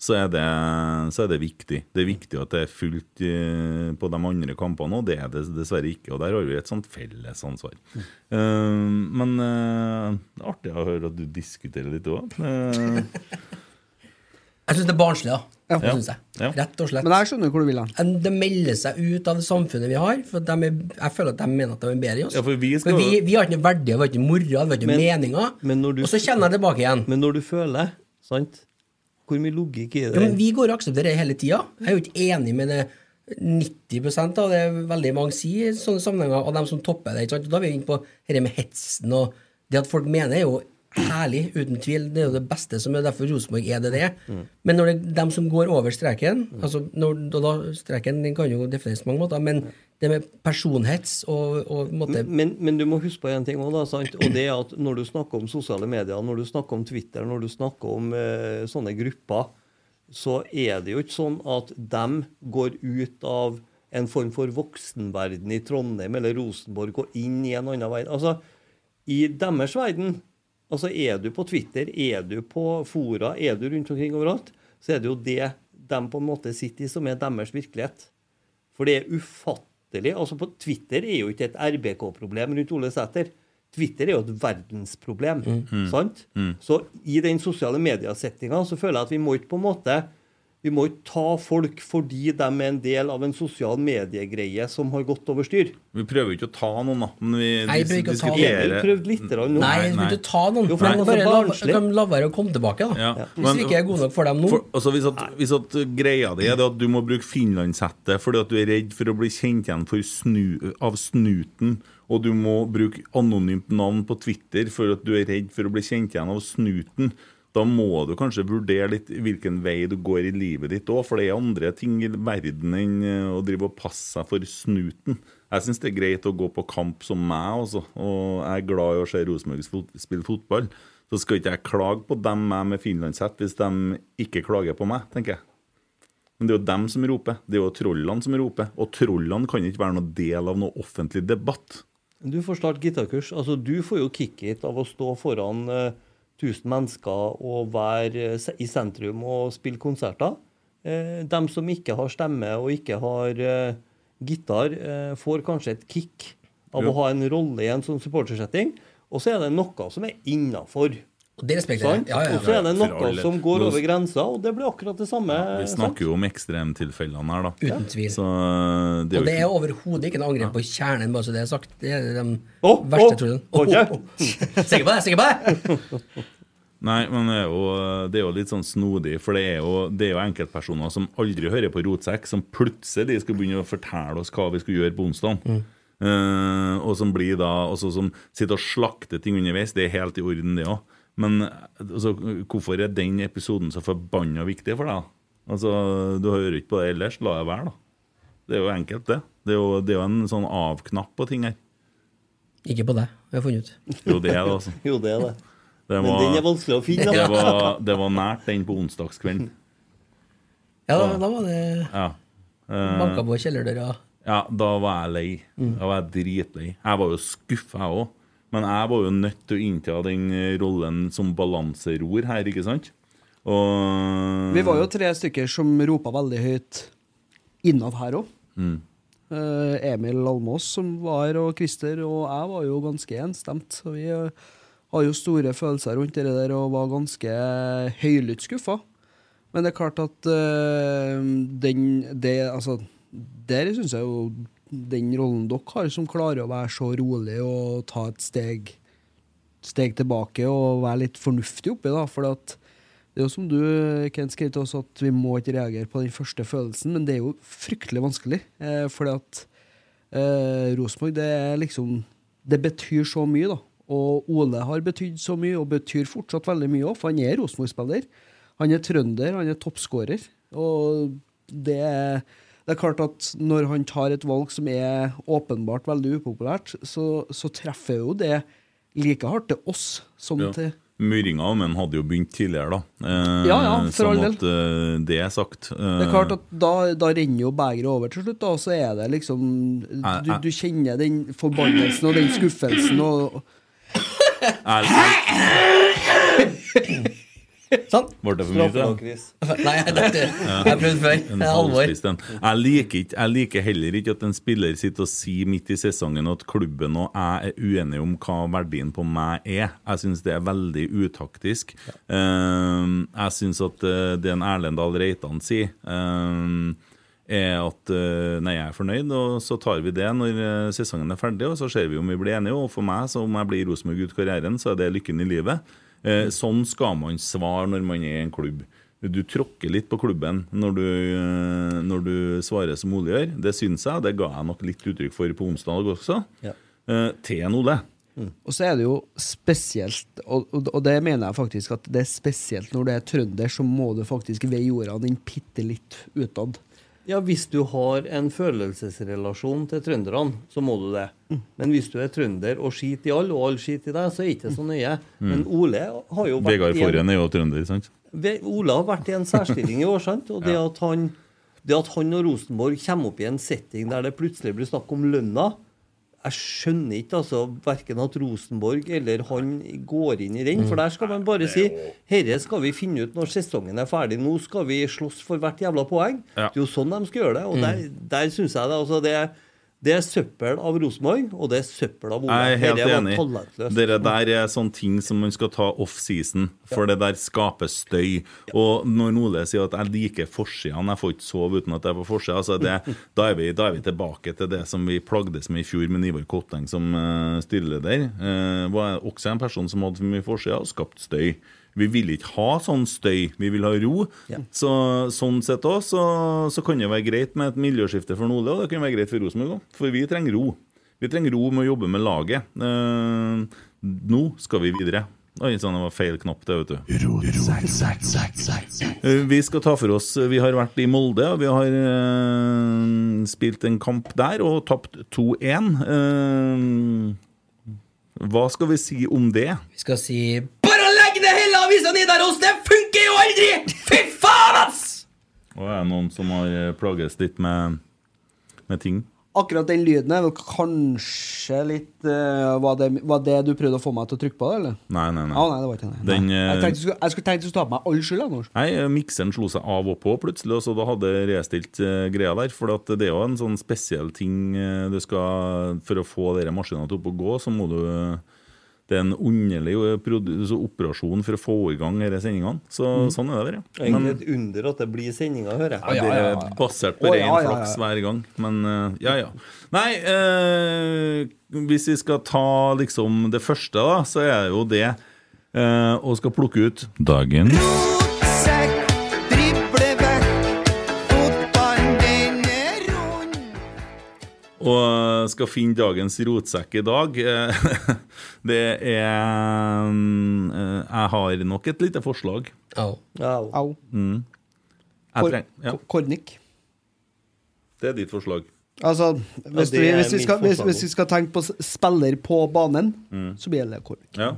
så er, det, så er det viktig. Det er viktig at det er fullt eh, på de andre kampene òg. Det er det dessverre ikke, og der har vi et sånt felles ansvar. Eh, men eh, det er artig å høre at du diskuterer litt òg. Jeg syns det er barnslig, da. Ja. Det synes jeg. Ja. Rett og slett. Men jeg skjønner hvor du vil hen. De melder seg ut av det samfunnet vi har. For at de er, jeg føler at de mener at de er bedre enn oss. Ja, for vi skal vi, jo- vi har ikke noe verdier, vi har ikke noe moro, vi har ikke noe Men- meninger. men når du- og så kjenner jeg tilbake igjen. Men når du føler, sant Hvor mye logikk er det? Ja, men vi går og aksepterer det hele tida. Jeg er jo ikke enig med det 90 av det veldig mange sier i sånne sammenhenger, og dem som topper det. ikke sant? Og Da er vi inne på dette med hetsen og Det at folk mener, er jo herlig, uten tvil. Det er jo det beste som er derfor Rosenborg er det det er. Mm. Men når det er dem som går over streken altså når, og da, Streken den kan jo defineres på mange måter, men det med personhets og, og på en måte, Men, men du må huske på en ting også, da, sant? og det er at når du snakker om sosiale medier, når du snakker om Twitter, når du snakker om eh, sånne grupper, så er det jo ikke sånn at dem går ut av en form for voksenverden i Trondheim eller Rosenborg og inn i en annen verden. Altså, i deres verden, altså er du på Twitter, er du på fora, er du rundt omkring overalt, så er det jo det de på en måte sitter i, som er deres virkelighet. For det er ufattelig. altså på Twitter er jo ikke et RBK-problem rundt Ole Sæter. Twitter er jo et verdensproblem. Mhm. sant? Mhm. Så i den sosiale mediesettinga så føler jeg at vi må ikke på en måte vi må ikke ta folk fordi de er en del av en sosial mediegreie som har gått over styr. Vi prøver jo ikke å ta noen, da. Men vi Nei, vi prøver ikke å ta noen. Vi har prøvd litt nå. Nei, jeg skulle ikke ta noen. Jo, for for det de var bare så la, barnslig. kan la være å komme tilbake, da. Ja. Hvis vi ikke er gode nok for dem nå. For, altså hvis, at, hvis at greia di er det at du må bruke finlandshette fordi at du er redd for å bli kjent igjen for snu, av snuten, og du må bruke anonymt navn på Twitter for at du er redd for å bli kjent igjen av snuten, da må du kanskje vurdere litt hvilken vei du går i livet ditt òg, for det er andre ting i verden enn eh, å drive og passe seg for snuten. Jeg syns det er greit å gå på kamp som meg, altså, og jeg er glad i å se Rosenborg fot spille fotball. Så skal ikke jeg klage på dem jeg med finlandshett hvis de ikke klager på meg, tenker jeg. Men det er jo dem som roper. Det er jo trollene som roper. Og trollene kan ikke være noen del av noe offentlig debatt. Du får starte gitarkurs. Altså, du får jo kick-it av å stå foran eh, 1000 mennesker og være eh, se- i sentrum og spille konserter. Eh, dem som ikke har stemme og ikke har eh, gitar, eh, får kanskje et kick av Jo. å ha en rolle i en sånn supportersetting. Og så er det noe som er innafor. Og det respekterer jeg. Ja, ja, ja. Og så er det For all noe del. som går Nå- over grensa, og det blir akkurat det samme. Vi sant? snakker jo om ekstremtilfellene her, da. Uten tvil. Så eh, det er jo Og det er ikke overhodet ikke noe angrep på kjernen, bare så det er sagt. Det er de Å, verste å, trollene. å, ja. Sikker på det? Sikker på det? Nei, men det er, jo, det er jo litt sånn snodig, for det er, jo, det er jo enkeltpersoner som aldri hører på Rotsekk, som plutselig skal begynne å fortelle oss hva vi skal gjøre på onsdag. Eh, og som blir da også som sitter og slakter ting underveis. Det er helt i orden, det òg. Men altså, hvorfor er den episoden så forbanna viktig for deg? da? Altså, Du hører ikke på det ellers. La det være, da. Det er jo enkelt, det. Det er jo, det er jo en sånn av-knapp på ting her. Ikke på deg, har jeg funnet ut. Jo, det er det, altså. Jo, det er det. Det Men den er vanskelig å finne, da. Det var, det var nært den på onsdagskvelden. Ja, da, da var det Ja. Eh, banka på kjellerdøra. Ja, da var jeg lei. Mm. Da var jeg dritlei. Jeg var jo skuffa, jeg òg. Men jeg var jo nødt til å innta den eh, rollen som balanseror her, ikke sant? Og Vi var jo tre stykker som ropa veldig høyt innad her òg. mm. Emil Almås som var her, og Christer og jeg var jo ganske enstemt. Så vi eh, har jo store følelser rundt det der og var ganske høylytt skuffa. Men det er klart at eh, den det, altså, Der syns jeg jo den rollen dere har, som klarer å være så rolig og ta et steg steg tilbake og være litt fornuftig oppi, da. For at det er jo som du, Kent, skrev til oss, at vi må ikke reagere på den første følelsen, men det er jo fryktelig vanskelig. Eh, fordi at eh, Rosenborg, det er liksom Det betyr så mye, da. Og Ole har betydd så mye, og betyr fortsatt veldig mye òg, for han er Rosenborg-spiller. Han er trønder, han er toppskårer. Og det er det er klart at når han tar et valg som er åpenbart veldig upopulært, så, så treffer jo det like hardt til oss som Ja. til Myringa og menn hadde jo begynt tidligere, da. Eh, Ja, ja, for sånn all at eh, det er sagt. Det er klart at Eh. da, da renner jo begeret over til slutt, da, og så er det liksom Eh, Du, du kjenner den forbannelsen og den skuffelsen og Sånn. Ble det for Straff mye? nå, til? Chris. Nei, jeg, dette, Ja. jeg har prøvd før. En Det er alvor. halvspist en. Jeg liker, ikke, jeg liker heller ikke at en spiller sitter og sier midt i sesongen at klubben og jeg er uenige om hva verdien på meg er. Jeg syns det er veldig utaktisk. Ehm, jeg syns at eh, det en Erlend Dahl Reitan sier ehm, er at eh, nei, jeg er fornøyd, og så tar vi det når eh, sesongen er ferdig, og så ser vi om vi blir enige. Og for meg, så om jeg blir Rosenborg ut karrieren, så er det lykken i livet. Eh, Sånn skal man svare når man er i en klubb. Du tråkker litt på klubben når du, eh, når du svarer som Ole gjør. Det syns jeg, og det ga jeg nok litt uttrykk for på onsdag også. Ja. Eh, Til en Ole. Og så er det jo spesielt, og, og, og det mener jeg faktisk at det er spesielt når det er trønder, så må du faktisk veie ordene inn bitte litt utad. Ja, hvis du har en følelsesrelasjon til trønderne, så må du det. Mm. Men hvis du er trønder og skiter i alle, og alle skiter i deg, så er ikke det så nøye. Mm. Men Ole har jo vært Vegard i en- Forhen er jo trønder, sant? Ve- Ole har vært i en særstilling i år, sant? Og det at han, det at han og Rosenborg kommer opp i en setting der det plutselig blir snakk om lønna jeg skjønner ikke altså, verken at Rosenborg eller han går inn i den. Mm. For der skal man bare si herre skal vi finne ut når sesongen er ferdig. Nå skal vi slåss for hvert jævla poeng. Det er jo sånn de skal gjøre det. Og der, Mm. der syns jeg det, altså, det er det er søppel av Rosenborg, og det er søppel av Ole. Jeg er helt Dette var enig. talentløst. Dere der er eh, sånne ting som man skal ta off-season, for det der skaper støy. Og når Ole sier at 'jeg liker forsidene, jeg får ikke sove uten at jeg er på forsida', altså det- da, er vi- da er vi tilbake til det som vi plagdes med i fjor med Ivar Kotteng som uh, styreleder. Eh, var også en person som hadde for mye forsida og skapte støy. Vi vil ikke ha sånn støy, vi vil ha ro. Så, sånn sett òg så, så kan det være greit med et miljøskifte for Ole, og det kan være greit for Rosenborg òg, for vi trenger ro. Vi trenger ro med å jobbe med laget. Eh, nå skal vi videre. Oi, sånn, det var feil knapp, det, vet du. Eh, Vi skal ta for oss eh, Vi har vært i Molde, og vi har eh, spilt en kamp der og tapt 2-1. Eh, hva skal vi si om det? Vi skal si Bare legg ned hele avisa Nidaros! Det funker jo aldri! Fy faen, ass! Og er det noen som har eh, plages litt med, med ting? Akkurat den lyden er vel kanskje litt eh, var, det, var det du prøvde å få meg til å trykke på, eller? Nei, nei, nei. Ah, nei, det var ikke det. Nei. Den, eh, jeg, tenkte, du skulle- jeg skulle tenkt du skulle ta på meg all skylda nå. Nei, eh, mikseren slo seg av og på plutselig, og så da hadde jeg restilt eh, greia der. For at det er jo en sånn spesiell ting eh, du skal For å få dere maskinene til opp å gå, så må du eh, Det er en underlig eh, produ- så operasjon for å få i gang disse sendingene. Så Mm. sånn er det bare. Det er egentlig et under at det blir sendinger, hører jeg. Ja, det er basert på Å, ren ja, ja, ja. flaks hver gang. Men eh, ja, ja. Nei, eh, hvis vi skal ta liksom det første, da, så er det jo det eh, og skal plukke ut dagen. Sekk, drible vekk, fotballen din er Og skal finne dagens rotsekk i dag. Eh, Det er mm, eh, Jeg har nok et lite forslag. Au. Au. Mm. Jeg Kor- treng, ja, Kornik. det er ditt forslag. Altså, hvis, det vi, er hvis, vi mitt skal, hvis, forslag hvis vi skal tenke på s- spiller på banen, Mm. så blir det Kornik. Ja.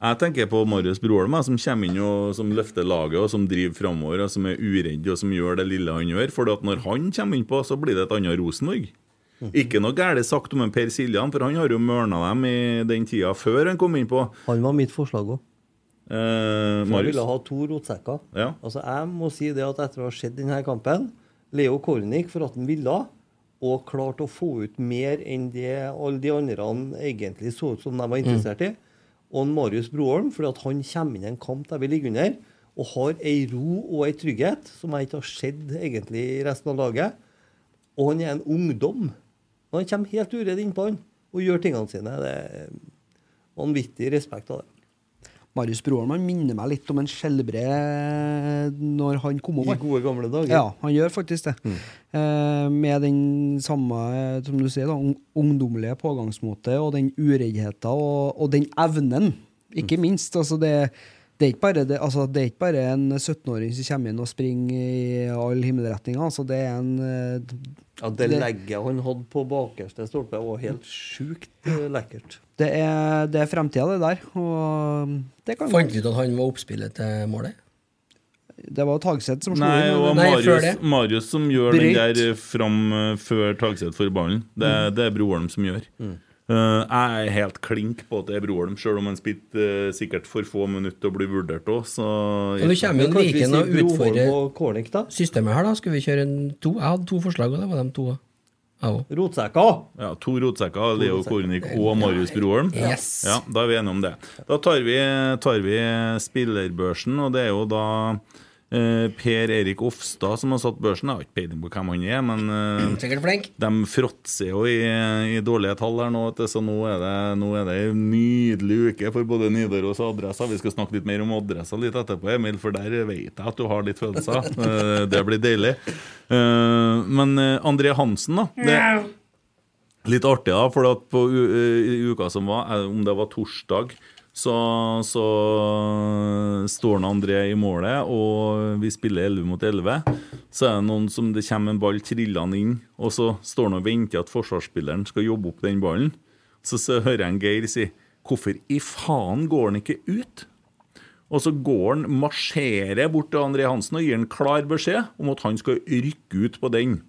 Jeg tenker på Marius Broholm, jeg, som kommer inn og som løfter laget, og som driver framover, og som er uredd, og som gjør det lille han gjør. For at når han kommer innpå, så blir det et annet Rosenborg. Mm. Ikke noe galt sagt om en Per Siljan, for han har jo mørna dem i den tida før han kom innpå. Han var mitt forslag òg. Eh, Jeg Marius. ville ha to rotsekker. Ja. Altså, jeg må si det at etter å ha sett denne kampen Leo Kornik for at han ville, og klarte å få ut mer enn det alle de andre han egentlig så ut som de Mm. var interessert i. Og en Marius Broholm, fordi at han kommer inn i en kamp der vi ligger under, og har ei ro og ei trygghet som jeg ikke har sett egentlig i resten av laget. Og han er en ungdom. Og han kommer helt uredd innpå han og gjør tingene sine. Det er vanvittig respekt av det. Marius Broholm han minner meg litt om en skjelbre når han kom opp. I gode gamle dager. Ja, han gjør faktisk det. Eh, med den samme eh, som du sier, da, ung- ungdommelige pågangsmåte og den ureddheten og, og den evnen, ikke minst. Altså det, det, er ikke bare det, altså det er ikke bare en 17-åring som kommer inn og springer i alle himmelretninger. Altså det er en eh, Ja, det legget han hadde på bakerste stolpe, var helt sjukt eh, lekkert. det er, det er fremtida, det der. Og det kan Fant du ut at han var oppspillet til målet? Det var Tagseth som slo inn. Nei, det var men- Marius, Marius som gjør den Bryt. der fram eh, før Tagseth får ballen. Det, er- det er Broholm som gjør. Mm. Eh, jeg er helt klink på at det er Broholm, sjøl om han spilte eh, sikkert for få minutter og blir vurdert òg, så Og Nå kommer jo Viken og utfordrer systemet her, da. Skal vi kjøre en to? Jeg hadde to forslag, og det var de to. Rotsekker! Ja, to rotsekker, Leo rotsekker. Kornik og Marius Broholm. Yes. Ja, da er vi enige om det. Da tar vi, tar vi spillerbørsen, og det er jo da eh, Per Erik Ofstad som har satt børsen. Jeg har ikke peiling på hvem han er, men eh, Sikkert flink. de fråtser jo i, i dårlige tall her nå, vet du, så nå er, det, nå er det en nydelig uke for både Nidaros og Adressa. Vi skal snakke litt mer om Adressa litt etterpå, Emil, for der vet jeg at du har litt følelser. Eh, Det blir deilig. Eh, Men eh, André Hansen, da. Det, Litt artig, da, for at på u i uka som var, eh, om det var torsdag, så, så står han André i målet, og vi spiller 11 mot 11. Så er det noen som det kommer en ball trillende inn, og så står han og venter at forsvarsspilleren skal jobbe opp den ballen. Så, så hører jeg en Geir si 'Hvorfor i faen går han ikke ut?' Og så går han, marsjerer bort til André Hansen og gir han klar beskjed om at han skal rykke ut på den.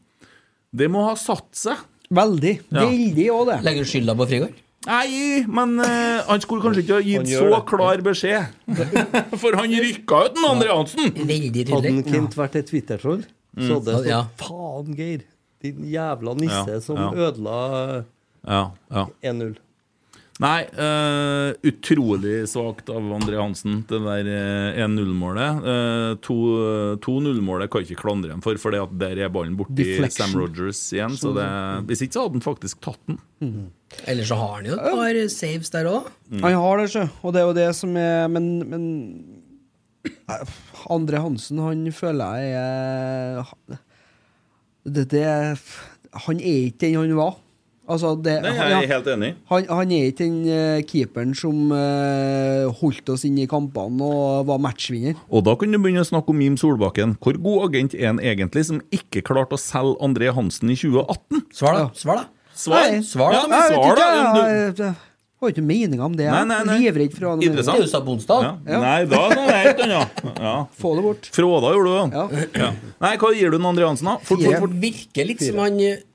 Det må ha satt seg. Veldig. Ja. Veldig òg, det. Legger du skylda på Frigård? Nei, men eh, han skulle kanskje ikke ha Han gitt gjør så det. klar beskjed. For han rykka ut den Andre Hansen! Veldig Hadde tydelig. han Kent vært et Twitter-troll, Mm. så hadde det stått Ja. Faen, Geir! Din jævla nisse Ja, som ja. ødela Ja, ja. 1-0. Nei, eh, utrolig svakt av André Hansen, det der eh, 1-0-målet. Eh, to- 2-0-målet kan jeg ikke klandre ham for, for det at der er ballen borti Deflection. Sam Rogers igjen. Så det, hvis ikke så hadde han faktisk tatt den. Eller så har han jo et par saves der òg. Mm. Han har det, sjø. Og det er jo det som er Men, men eh, Andre Hansen, han føler jeg er det, det, Han er ikke den han var. Altså, det, Nei, jeg er han, helt enig. Han, han er ikke den eh, keeperen som eh, holdt oss inne i kampene og var matchvinner. Og da kan du begynne å snakke om Mim Solbakken. Hvor god agent er han egentlig, som ikke klarte å selge André Hansen i 2018? Svar, da. Svar, da. Nei. Nei, Ja, jeg vet svar, ikke, da. Du, jeg- jeg har ikke meninga om det. Jeg Nei, nei, nei. er livredd for å ha noe mening. Interessant. Ja. Nei, da er det noe helt annet. Ja. Få det bort. Fråda gjorde du, ja. ja. Nei, hva gir du den André Hansen, da? Fort, fort, fort. Det virker litt som han eh,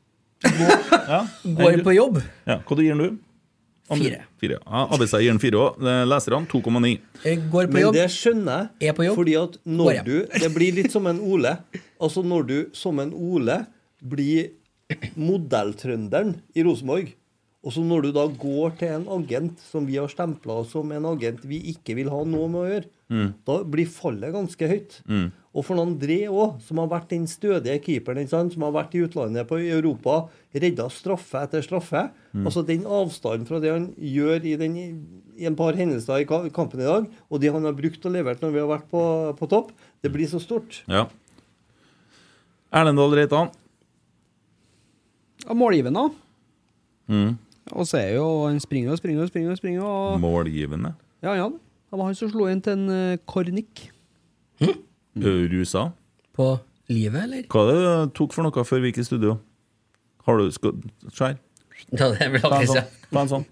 Går på jobb. Ja. Hva gir den du? Fire. Fire. Ja, ABC gir den fire Eh, òg. Leserne 2,9. går på Men jobb. det skjønner jeg, Er på jobb. fordi at Går når hjem. du Det blir litt som en Ole. Altså når du som en Ole blir modelltrønderen i Rosenborg, og så når du da går til en agent som vi har stempla som en agent vi ikke vil ha noe med å gjøre, Mm. da blir fallet ganske høyt. Mm. Og for André òg, som har vært den stødige keeperen, ikke sant, som har vært i utlandet, på i Europa, redda straffe etter straffe. Mm. Altså den avstanden fra det han gjør i, den, i en par hendelser i ka- kampen i dag, og det han har brukt og levert når vi har vært på, på topp, det blir så stort. Ja. Erlendal Reitan. Ja, Målgivende. Mm. Og så er jo han springer og springer og springer. og springer og, Målgivende. ja, ja. Det var han som slo inn til en eh, Kornik. Ø, Rusa. På livet, eller? Hva er det du tok for noe før vi gikk i studio? Har du skal, Skjær? Ja, det blir Ta en alltid sånn. Ta en sånn.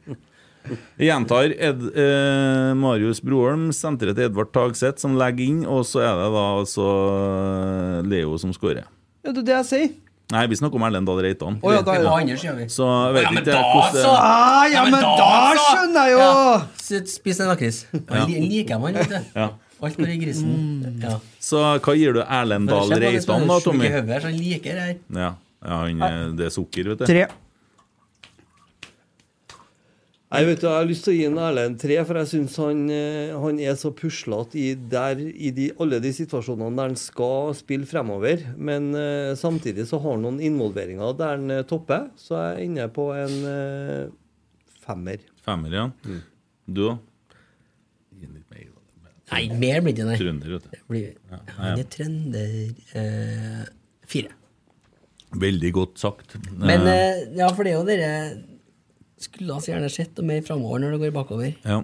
Jeg gjentar Ed, eh, Marius Broholm, senteret til Edvard Tagseth, som legger inn, og så er det da altså Leo som skårer. Ja, det er det jeg sier. Nei, vi snakker om Erlend Dahl Reitan. Å ja, da- Det var andre siden vi. Så jeg vet Ja, men ikke da hvordan så! Ah, ja, men da så! skjønner jeg jo! Ja, s- Spis en lakris. Ja. Ja. Liker man, vet du. Ja. Alt bare i grisen. Ja. Så hva gir du Erlend Dahl Bare kjenn på det Reitan, da, sjuke Tommy? hodet her, så han liker det her. Ja, ja han, eh, det er sukker, vet du. Tre. Jeg, vet, du, jeg har lyst til å gi en Erlend tre, for jeg syns han, eh, han er så puslete i, der, i de, alle de situasjonene der han skal spille fremover. Men eh, samtidig så har han noen involveringer der han eh, topper, så jeg er inne på en eh, femmer. Femmer, ja. Mm. Du da? Nei, mer blir det ikke, nei. Trønder, vet du. Blir- Ja, Han ja. er trønder eh, fire. Veldig godt sagt. Men Eh, eh, ja, for det er jo dere skulle så gjerne sett noe mer framover når det går bakover. ja.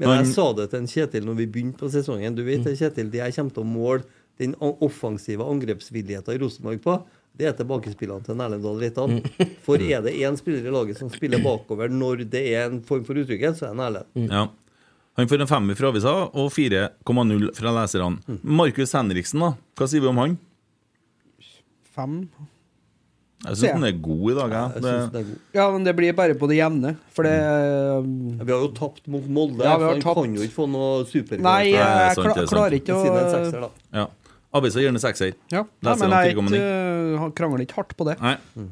Men jeg Han- sa det til en Kjetil når vi begynte på sesongen. Du vet, det, Kjetil, det jeg kommer til å måle den an- offensive angrepsvilligheten i Rosenborg på, det er tilbakespillene til Erlend Dahl Reitan. For er det én spiller i laget som spiller bakover når det er en form for utrygghet, så er det en Erlend. Mm. Ja. Han får en femmer fra avisa og 4,0 fra Mm. leserne. Markus Henriksen, da. Hva sier vi om han? Fem. Jeg Se. syns han er god i dag. Jeg. synes Det, Ja, men det blir bare på det jevne, for det Vi har jo tapt mot Molde, Ja, vi så har han tapt. kan jo ikke få noe superkraft. Nei, jeg Nei, det er sant, kla det er sant. klarer ikke Siden en å sekser, da. ja. Avisa gir den en sekser. Ja, Nei, eh, men Leserne jeg er 4,9. ikke- han krangler ikke hardt på det. Nei. Mm.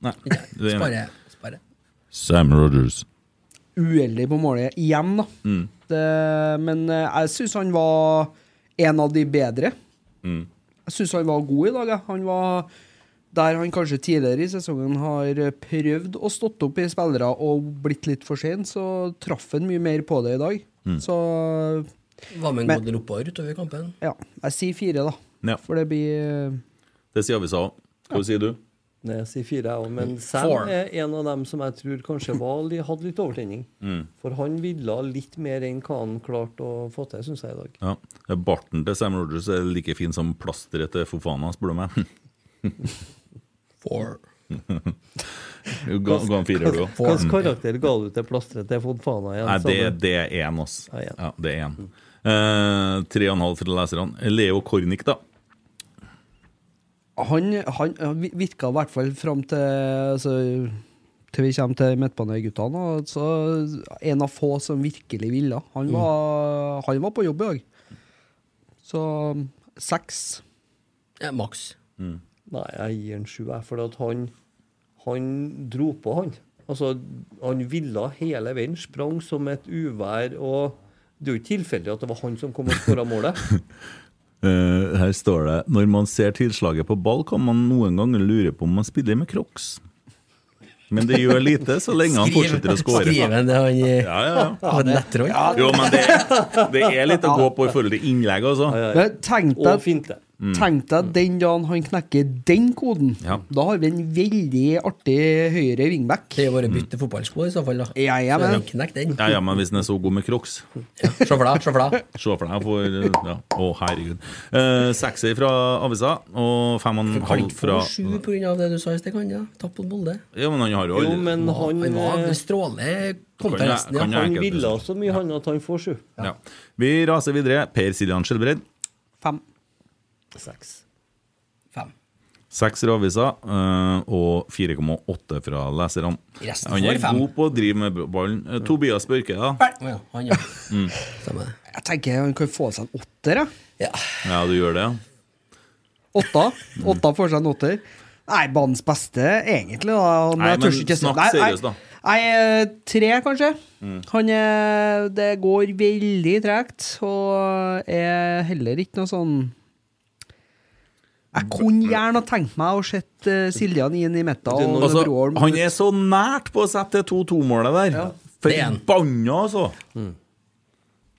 Nei. Du er enig. Spare. spare. Sam Rogers. Uheldig på målet igjen, da. Mm. Det, men eh, jeg syns han var en av de bedre. Mm. Jeg syns han var god i dag. jeg. Han var der han kanskje tidligere i sesongen har prøvd å stått opp i spillere og blitt litt for sen, så traff han mye mer på det i dag. Mm. Så Var med en Men- god del oppover utover kampen. ja, jeg sier fire, da. Ja. For det blir Det sier avisa òg. Hva sier du? Nei, jeg sier eh, fire, jeg òg. Men Sam Mm. Four. er en av dem som jeg tror kanskje var, li- hadde litt overtenning. Mm. For han ville litt mer enn hva han klarte å få til, syns jeg, i dag. Ja. Barten til Sam Rogers er like fin som plasteret til Fofana, spør du meg. Four. Ga ga han firer, du Hva slags òg. karakter ga du til plasteret til Fonfana igjen? Nei, det, Samme. det er én, altså. Ja, Ja, det er én. Eh, Tre og en halv fra leserne. Leo Kornik, da. Han, han han virka i hvert fall fram til altså, Til vi kommer til midtbaneguttene. og Så en av få som virkelig ville. Mm. Han var, han var på jobb i dag. Så um, seks. Ja, maks. Nei, jeg gir en sju, jeg. For at han, han dro på, han. Altså, han ville hele veien. Sprang som et uvær. Og det er jo ikke tilfeldig at det var han som kom og skåra målet. Eh, her står det Når man ser tilslaget på ball, kan man noen ganger lure på om man spiller med crocs. Men det gjør lite så lenge han Skriv- fortsetter å score. Skriven, det han Ja, ja, ja. Han nettroll. Jo, men det, det er litt å gå på i forhold til innlegg, altså. Eh, Men tenk deg, Mm. tenk deg den dagen han knekker den koden. Da har vi en veldig artig høyre wingback. Det er bare Mm. å bytte fotballsko, i så fall. da Ja, ja, men Knekk den. Ja, ja, men hvis den er så god med crocs Se for deg, se for deg. Se for deg for ja. Å, herregud. Eh, Sekser fra avisa og fem og en Kan halv ikke få fra sju på grunn av det du sa i sted, kan jeg? Tapp på en bolle. Ja, men han har jo aldri Han var strålende Kan jeg- kontrasten, kan jeg ja. enkelt- ville så mye han at han får sju. ja. Vi raser videre. Per Siljan Skjelbred. Fem. Seks. Seks fra avisa eh, og 4,8 fra leserne. Resten Han er får fem. god på å drive med ballen. Eh, Tobias Børke, da. Å ja, han, ja. Mm. Jeg tenker han kan få seg en åtter. jeg. Ja, du gjør det, ja. Åtta. Åtta får seg en åtter. Nei, banens beste, egentlig. Da. Nei, jeg men tør ikke si- snakk Nei, nei. seriøst, da. Nei, eh, tre, kanskje. Mm. Han er Det går veldig tregt, og er heller ikke noe sånn Jeg kunne gjerne ha tenkt meg å sett eh, Siljan inn i midten og Altså, Broholm han er så nært på å sette det 2-2-målet der. Forbanna, altså! Mm.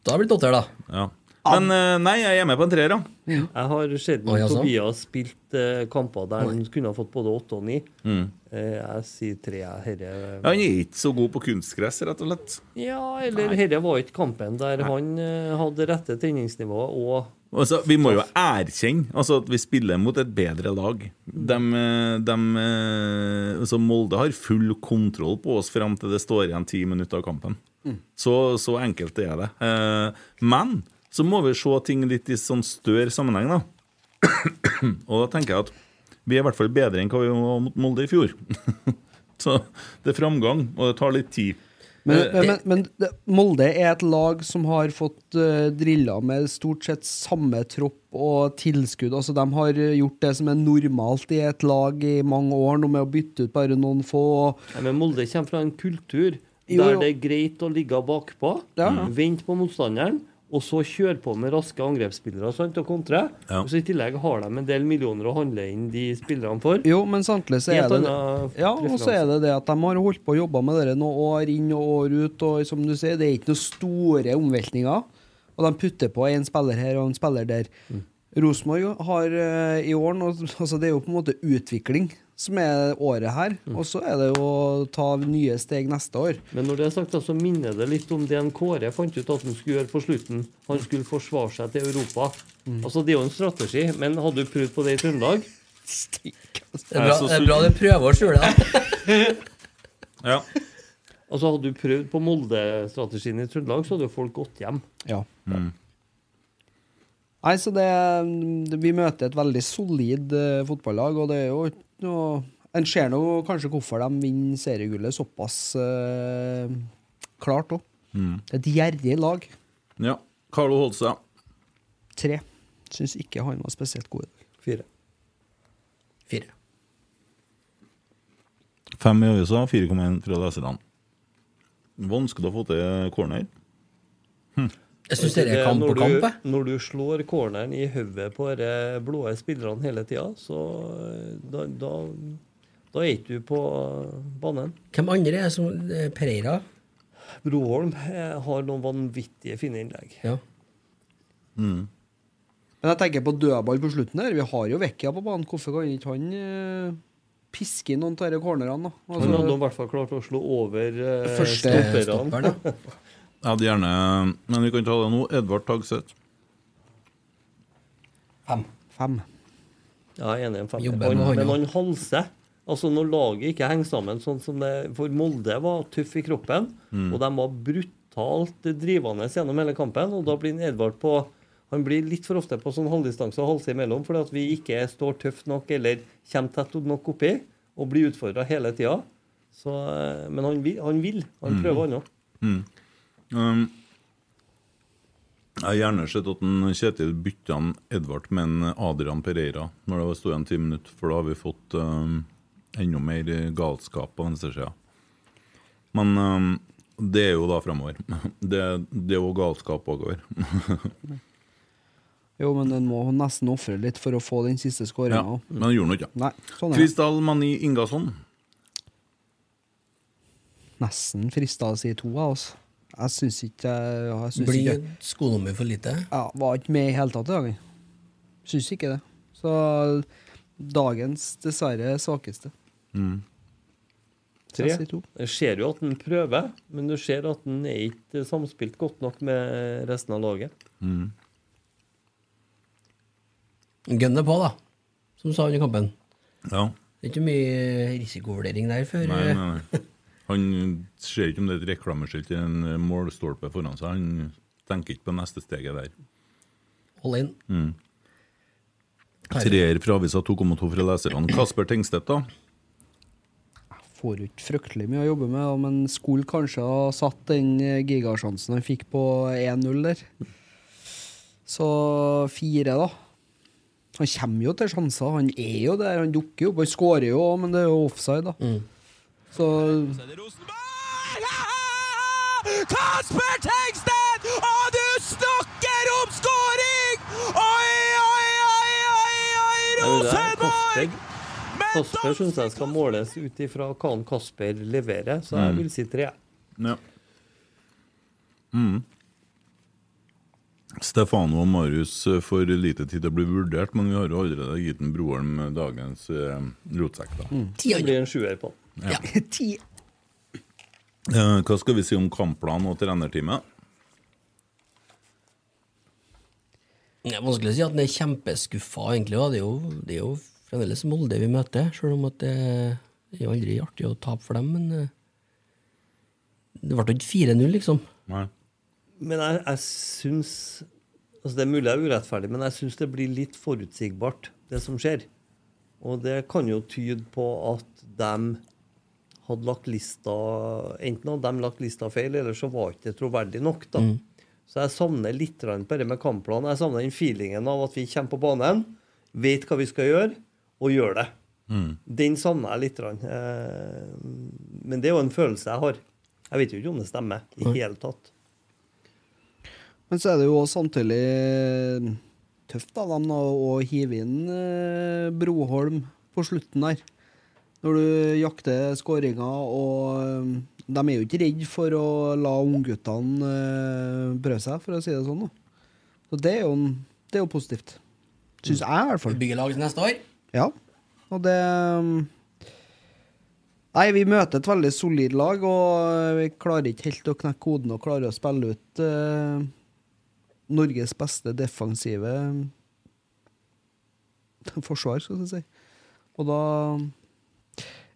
Da blir det åtter, da. Ja. Men eh, nei, jeg er med på en treer, ja. Jeg har sett Oi, altså. Tobias spilt eh, kamper der han kunne ha fått både åtte og ni. Mm. Eh, jeg sier tre. jeg. Herre Ja, Han er ikke så god på kunstgress, rett og slett. Ja, eller Nei. herre var ikke kampen der han eh, hadde rette tenningsnivået og Altså, vi må jo erkjenne altså, at vi spiller mot et bedre lag. De, eh, de, eh, altså, Molde har full kontroll på oss frem til det står igjen ti minutter av kampen. Mm. Så, så enkelt er det. Eh, Men så må vi se ting litt i sånn større sammenheng, da. Og da tenker jeg at vi er i hvert fall bedre enn hva vi var mot Molde i fjor. så det er framgang, og det tar litt tid. Men, Eh, men, men, men det- Molde er et lag som har fått eh, drilla med stort sett samme tropp og tilskudd. Altså, de har eh, gjort det som er normalt i et lag i mange år, nå med å bytte ut bare noen få. Nei, men Molde kommer fra en kultur Jo, der jo. det er greit å ligge bakpå, Ja, ja. vente på motstanderen, og så kjøre på med raske angrepsspillere sant, og kontre. Ja. Og så I tillegg har de en del millioner å handle inn de spillerne for. Jo, men samtidig så er Helt det annen Ja, og så preferanse. er det det at de har holdt på å jobbe med dere noen år inn og år ut, og som du sier, det er ikke noen store omveltninger. Og de putter på en spiller her og en spiller der. Rosenborg har eh, i år nå altså Det er jo på en måte utvikling som er året her, og så er det jo å ta nye steg neste år. Men når det er sagt, da, så minner det litt om det en Kåre fant ut at han skulle gjøre på slutten. Han skulle forsvare seg til Europa. Altså, Det er jo en strategi, men hadde du prøvd på det i Trøndelag? Det er bra, det er bra du prøver å skjule det. Ja. Altså, Hadde du prøvd på Molde-strategien i Trøndelag, så hadde jo folk gått hjem. Ja. Nei, så det, det Vi møter et veldig solid eh, fotballag, og det er jo ikke noe En ser nå kanskje hvorfor de vinner seriegullet såpass eh, klart òg. Mm. Det er et gjerrig lag. Ja. Carlo Holse. Tre. Syns ikke han var spesielt god i dag. Fire. Fem i avisa, 4,1 fra leserne. Vanskelig å få til corner. Hm. Jeg syns dere er kamp på når, kamp. jeg. du, når du slår corneren i hodet på de blå spillerne hele tida, så eh, da, da, da er ikke du på banen. Hvem andre er som eh, Pereira? Broholm eh, har noen vanvittige fine innlegg. Ja. Mm. Men jeg tenker på dødball på slutten her. Vi har jo Vekkia på banen. Hvorfor kan ikke han eh, piske inn noen av disse cornerne, da? Altså- Han hadde i hvert fall klart å slå over eh, Første stopperne. Jeg hadde gjerne Men vi kan ta det nå. Edvard Tagseth. Fem. Ja, jeg er enig i en femmer. Jobber Han, med han, men ja. han halser. Altså Når laget ikke henger sammen sånn som det For Molde var tøff i kroppen, Mm. og de var brutalt drivende gjennom hele kampen. Og da blir en Edvard på Han blir litt for ofte på sånn halvdistanse og halse imellom fordi at vi ikke står tøft nok eller kommer tett nok oppi og blir utfordra hele tida. Så, eh, Men han vil. Han, vil. han Mm. prøver, han òg. Mm. Um, jeg har gjerne sett at en Kjetil bytta en Edvard med en Adrian Pereira når det sto igjen ti minutter, for da har vi fått um, enda mer galskap på venstresida. Men um, det er jo da framover. Det, det er jo galskap bakover. Jo, men den må nesten ofre litt for å få den siste skåringa. ja, men det gjorde han ikke. Nei, sånn er det. Kristal Mani Ingasson. Nesten frista å si to, jeg, altså. Jeg syns ikke jeg- jeg syns Blir ikke- skonummer for lite? Ja, var ikke med i hele tatt i dag. jeg. Syns ikke det. Så dagens dessverre svakeste. Mm. Tre. Jeg sier to. Jeg ser jo at han prøver, men du ser at han er ikke samspilt godt nok med resten av laget. Mm. Gunner på, da, som sa under kampen. Ja. Det er ikke mye risikovurdering der før. eh, Nei, nei, nei. Han ser ikke om det er et reklameskilt i en målstolpe foran seg. Han tenker ikke på neste steget der. Hold inn. Mm. Treer fra avisa 2,2 fra leserne. Kasper Tengstedt, da? Får jo ikke fryktelig mye å jobbe med, da, men skulle kanskje ha satt den eh, gigasjansen han fikk på 1-0 der. Så fire, da. Han kommer jo til sjanser. Han er jo der, han dukker jo opp. Han skårer jo òg, men det er jo offside, da. Så Kasper Tengstedt! Og du snakker om scoring! Oi, oi, oi, oi, oi, Rosenborg! Kasper syns jeg skal måles ut ifra hva han Kasper leverer, så jeg Mm. vil si tre. Ja. Mm. Stefano og Marius eh, får lite tid til å bli vurdert, men vi har jo allerede gitt en Broholm dagens eh, rotsekk, da. Det blir en sjuer på han. Mm. Ja. Eh, Hva skal vi si om kampplanen og trenerteamet? Det er vanskelig å si at den er kjempeskuffa, egentlig. Da. Det, er jo, det er jo fremdeles Molde vi møter, sjøl om at det er jo aldri artig å tape for dem. Men eh, det ble jo ikke 4-0, liksom. Nei. Men jeg, jeg syns altså Det er mulig jeg er urettferdig, men jeg syns det blir litt forutsigbart, det som skjer. Og det kan jo tyde på at de hadde lagt lista Enten hadde de lagt lista feil, eller så var ikke det troverdig nok, da. Mm. Så jeg savner litt grann på det med kampplanen. Jeg savner den feelingen av at vi kommer på banen, vet hva vi skal gjøre, og gjør det. Mm. Den savner jeg litt. grann. Eh, Men det er jo en følelse jeg har. Jeg vet jo ikke om det stemmer i Nei. hele tatt. Men så er det jo også samtidig tøft av dem da, å hive inn eh, Broholm på slutten der. Når du jakter skåringer, og eh, de er jo ikke redd for å la ungguttene eh, prøve seg, for å si det sånn. Da. Så det er jo, en- det er jo positivt. Syns jeg, i hvert fall. Bygge lag til neste år. Ja, og det um, Nei, vi møter et veldig solid lag, og eh, vi klarer ikke helt å knekke koden og klarer å spille ut eh, Norges beste defensive forsvar, skal jeg si. Og da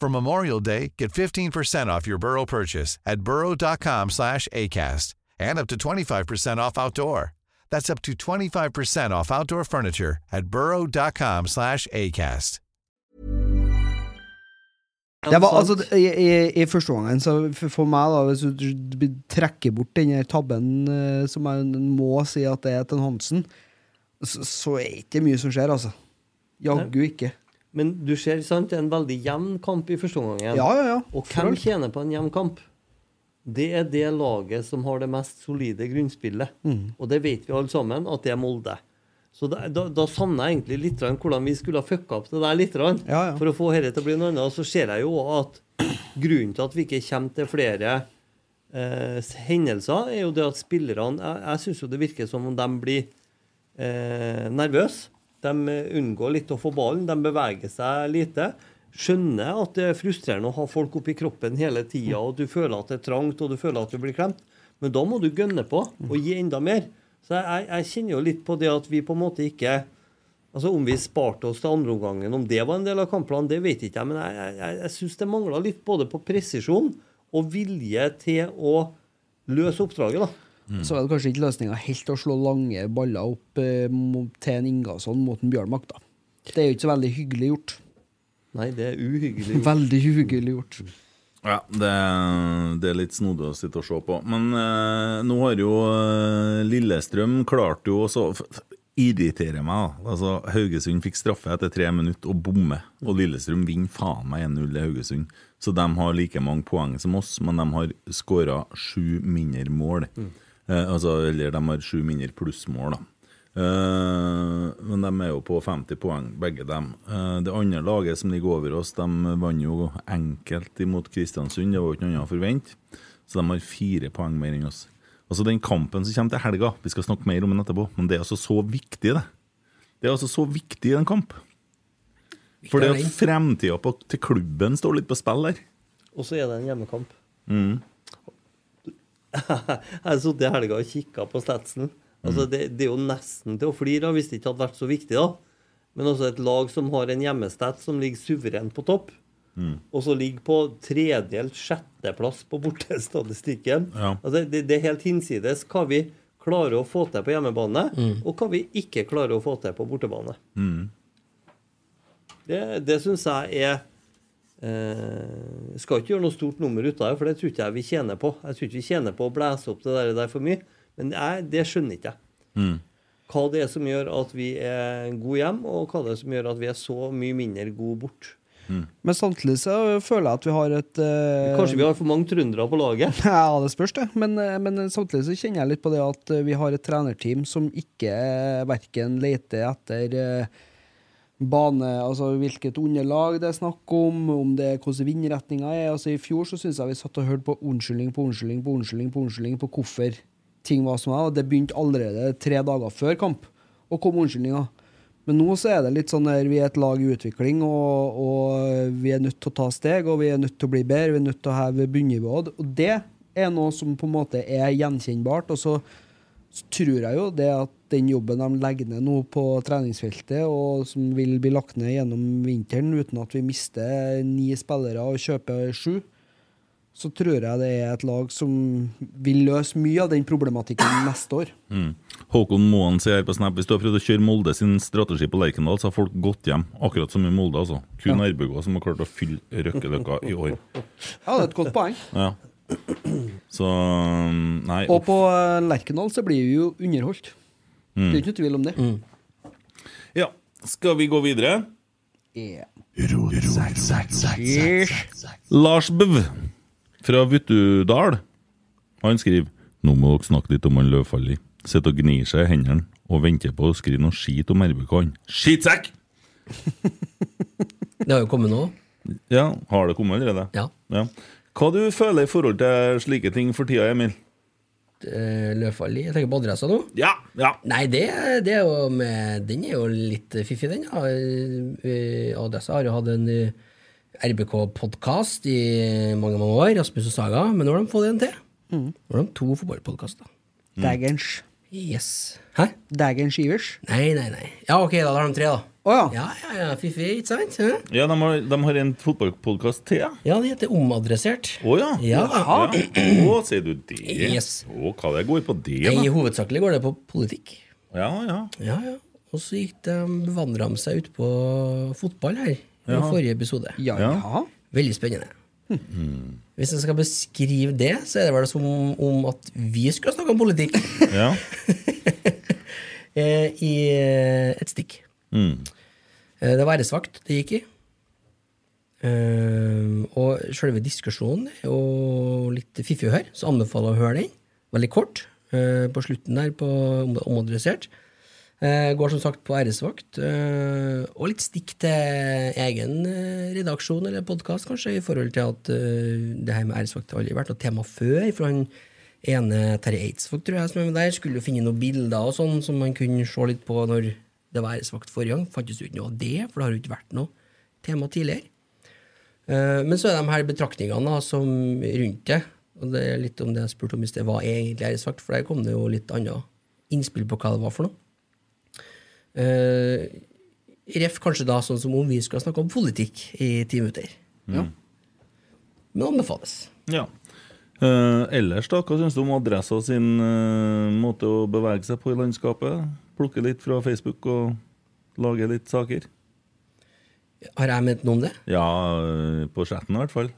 For Memorial Day, get 15% off your Burrow purchase at burrow.com/acast and up to 25% off outdoor. That's up to 25% off outdoor furniture at burrow.com/acast. Det var, altså, i, i, I første omgang, så for, for meg, da, hvis du d- trekker bort den her tabben eh, som jeg må si at det er til Hansen, så, så er ikke mye som skjer, altså. Jaggu ikke. Men du ser, sant, det er en veldig jevn kamp i første Ja, omgang. ja, ja. Og hvem Selvfølgelig. tjener på en jevn kamp? Det er det laget som har det mest solide grunnspillet. Mhm. Og det vet vi alle sammen, at det er Molde. Så da, da, da savner jeg egentlig litt grann hvordan vi skulle ha fucka opp det der litt grann, for å få dette til å bli noe annet. Og så ser jeg jo at grunnen til at vi ikke kommer til flere eh, hendelser, er jo det at spillerne Jeg, jeg syns jo det virker som om de blir eh, nervøse. De unngår litt å få ballen, de beveger seg lite. Skjønner at det er frustrerende å ha folk oppi kroppen hele tida, og du føler at det er trangt, og du føler at du blir klemt. Men da må du gønne på og gi enda mer. Så jeg, jeg, jeg kjenner jo litt på det at vi på en måte ikke Altså Om vi sparte oss til andreomgangen, om det var en del av kampplanen, det vet ikke jeg. Men jeg, jeg- jeg, jeg syns det mangla litt både på presisjon og vilje til å løse oppdraget, da. Så er det kanskje ikke løsninga helt å slå lange baller opp eh, mot- til en Ingasson mot en Bjørnbakk, da. Det er jo ikke så veldig hyggelig gjort. Nei, det er uhyggelig. gjort. Veldig uhyggelig gjort. Ja, det, det er litt snodig å sitte og se på. Men eh, nå har jo eh, Lillestrøm klart jo også f- f- Irriterer meg, da. Altså, Haugesund fikk straffe etter tre minutter og bommer. Og Lillestrøm vinner faen meg 1-0 til Haugesund. Så de har like mange poeng som oss, men de har skåra sju mindre mål. Mm. Eh, altså, eller de har sju mindre plussmål, da. Eh, men de er jo på 50 poeng, begge dem. Eh, det andre laget som ligger over oss, de vant jo enkelt imot Kristiansund. Det var jo ikke noe annet å forvente. Så de har fire poeng mer enn oss. Altså Den kampen som kommer til helga, vi skal snakke mer om den etterpå, men det er altså så viktig, det. Det er altså så viktig i en kamp. For det er at det. fremtida på- til klubben står litt på spill der. Og så er det en hjemmekamp. Mm. Jeg har sittet i helga og kikka på statsen. Altså, det, det er jo nesten til å flire av hvis det ikke hadde vært så viktig, da. Men altså et lag som har en hjemmestat som ligger suverent på topp, Mm. og så ligger på tredje eller sjetteplass på bortestatistikken Ja. altså, det, det er helt hinsides hva vi klarer å få til på hjemmebane, Mm. og hva vi ikke klarer å få til på bortebane. Mm. Det, det syns jeg er eh, Skal ikke gjøre noe stort nummer ut av det, for det tror ikke jeg vi tjener på. Jeg tror ikke vi tjener på å blæse opp det der, der for mye. Men jeg, det skjønner ikke jeg. Mm. Hva det er som gjør at vi er gode hjem, og hva det er som gjør at vi er så mye mindre gode bort. Men samtidig så føler jeg at vi har et eh, Kanskje vi har for mange trøndere på laget? Ja, det spørs, det. Men, eh, men samtidig så kjenner jeg litt på det at eh, vi har et trenerteam som ikke verken leter etter eh, bane, altså hvilket underlag det er snakk om, om det er hvordan vindretninga er. Altså I fjor så syns jeg vi satt og hørte på unnskyldning på unnskyldning på unnskyldning på unnskyldning på hvorfor ting var som det var. og Det begynte allerede tre dager før kamp og kom unnskyldninga. Men nå så er det litt sånn der vi er et lag i utvikling, og, og vi er nødt til å ta steg, og vi er nødt til å bli bedre, vi er nødt til å heve bunnivået. Og det er noe som på en måte er gjenkjennbart. Og så så tror jeg jo det at den jobben de legger ned nå på treningsfeltet, og som vil bli lagt ned gjennom vinteren uten at vi mister ni spillere og kjøper sju, så tror jeg det er et lag som vil løse mye av den problematikken neste år. Mm. Håkon Moen sier her på Snap hvis du har prøvd å kjøre Molde sin strategi på Lerkendal, så har folk gått hjem. Akkurat som i Molde, altså. Kun Ærbøgå som har klart å fylle Røkkeløkka i år. Ja, det er et godt poeng. Ja. Så mm, Nei. Og på eh, Lerkendal så blir vi jo underholdt. Det er Mm. ikke noe tvil om det. Ja. Skal vi gå videre? Ja. mm. Lars Bøv fra Vuttudal Han skriver Nå må dere snakke litt om han Løvfalli. Sitter og gnir seg i hendene og venter på å skrive noe skit om RBK. han. Skitsekk! Det har jo kommet nå. Ja, har det kommet allerede? Ja. Hva du føler i forhold til slike ting for tida, Emil? Eh, Løvfalli. Jeg tenker på adressa nå. Ja, ja. Nei, det, det er jo med, den er jo litt fiffig, den. Ja. Eh, Adressa har jo hatt en eh, RBK-podkast i mange mange år, Rasmus og Saga, men nå har de fått en til. Nå har de to fotballpodkaster. Mm. Dagens. Yes. Hæ? Dagens Ivers. Nei, nei, nei. Ja, ok, da, da har de tre, da. ja. ja, ja, fiffig, ikke sant? Hæ? Ja, De har, de har en fotballpodkast til, ja? Ja, det heter Omadressert. Å ja. Ja. Å, sier du det? Yes. Å, hva det går på det, da? Nei, hovedsakelig går det på politikk. Ja, ja. Ja, ja. Og så gikk de, vandra de seg ut på fotball her i Ja. forrige episode. Ja, ja. Veldig spennende. Mm. Hvis jeg skal beskrive det, så er det vel som om at vi skulle snakke om politikk Ja. eh, i eh, et stikk. Mm. Eh, Det var æresvakt det gikk i. Eh, og selve diskusjonen er jo litt fiffig å høre, så anbefaler jeg å høre den. Veldig kort. eh, på slutten der, på om- omadressert. Eh, går som sagt på æresvakt. eh, og litt stikk til egen eh, redaksjon eller podkast, kanskje, i forhold til at eh, det her med æresvakt har aldri vært noe tema før. For han ene Terje Eidsvåg, tror jeg, som er med der, skulle jo finne noen bilder og sånn som man kunne se litt på når det var æresvakt forrige gang. Fantes jo ikke noe av det, for det har jo ikke vært noe tema tidligere. Eh, Men så er de her betraktningene da, som rundt det. Og det er litt om det jeg spurte om i sted. Hva er egentlig æresvakt? For der kom det jo litt annet innspill på hva det var for noe. Eh, ref kanskje da sånn som om vi skal snakke om politikk i ti minutter. Ja. Men anbefales. ja. Eh, ellers, da? Hva syns du om adressa sin eh, måte å bevege seg på i landskapet? Plukke litt fra Facebook og lage litt saker? Har jeg ment noe om det? Ja, eh, på chatten i hvert fall.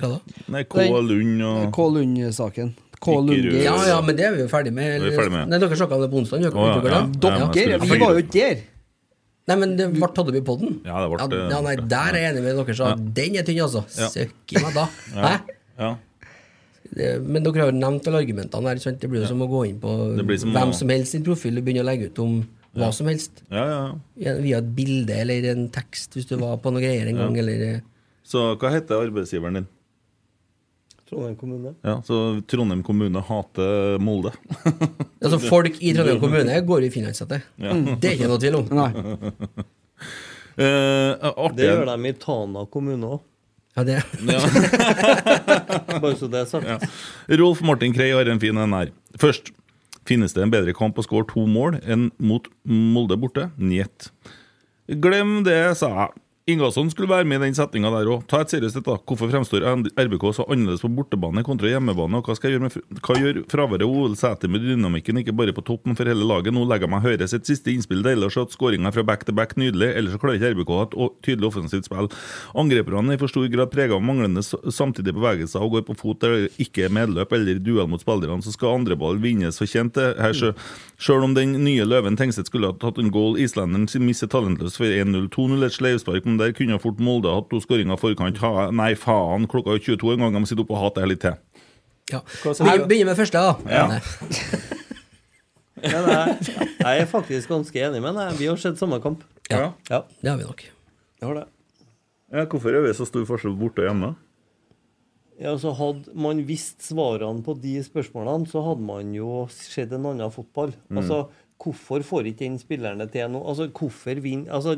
Hva da? Nei, K. Lund og Eh, K. Lund-saken. K. Ikke Lund. rør. Ja, ja, men det er vi jo ferdig med. Vi er ferdig med. Nei, Dere snakka om det på onsdag. Dere, Å, ja, vet dere ja. det? Dere, Ja, men jeg skulle vi fyre. var jo ikke der! Nei, men det ble tatt opp i poden. Ja, det ble det. ja, nei, der er jeg enig med dere. Så eh, Ja. Den er tynn, altså. Ja. Søkki meg da. Ja. Hæ? Ja. Det- Men dere har jo nevnt alle argumentene her. ikke Sant? Det blir jo som å gå inn på Det blir som hvem å- som helst sin profil og begynne å legge ut om hva som helst. Ja, ja, ja. Via et bilde eller en tekst, hvis du var på noe greier en Ja. gang. Eller, eh, Så hva heter arbeidsgiveren din? Trondheim kommune. Ja, så Trondheim kommune hater Molde. altså Folk i Trondheim kommune går i finlandshette. Ja. Det er ikke noe tvil om. Eh, artig. Det gjør de i Tana kommune òg. Ja, det. Bare så det er sagt. Ja. Rolf Martin Krei har en fin en her. Først. Finnes det en bedre kamp å skåre to mål enn mot Molde borte? Njet. Glem det, sa jeg. Ingasson skulle være med i den setninga der òg. Ta et seriøst et, da. Hvorfor fremstår RBK så annerledes på bortebane kontra hjemmebane? Og hva, skal jeg gjøre med, fr- hva gjør fraværet av Ole Sæter med dynamikken, ikke bare på toppen for hele laget? Nå legger jeg meg høre sitt siste innspill. Det gjelder at skåringa fra back to back nydelig, ellers så klarer ikke RBK å ha et o- tydelig offensivt spill. Angriperne er i for stor grad prega av manglende s- samtidige bevegelser og går på fot der det ikke er medløp eller duell mot spillerne, så skal andreball vinnes fortjent. det Her sjø- Sjøl om den nye løven Tengseth skulle ha tatt en goal, islenderen sin misser talentløst for 1-0. 2-0 et sleivspark, men der kunne fort Molde hatt to skåringer i forkant. Ha, nei, faen, klokka er 22 en gang, jeg må sitte oppe og hate det her litt til. Ja. sa du? Vi begynner med første, da. Ja. Nei. Men jeg, jeg er faktisk ganske enig med deg. Vi har sett samme kamp. Ja. Det har vi nok. Jeg har det. Ja, hvorfor er det så stor forskjell borte og hjemme? Ja, så Hadde man visst svarene på de spørsmålene, så hadde man jo sett en annen fotball. Mm. Altså, Hvorfor får ikke den spilleren det til nå? Altså, hvorfor vinner altså,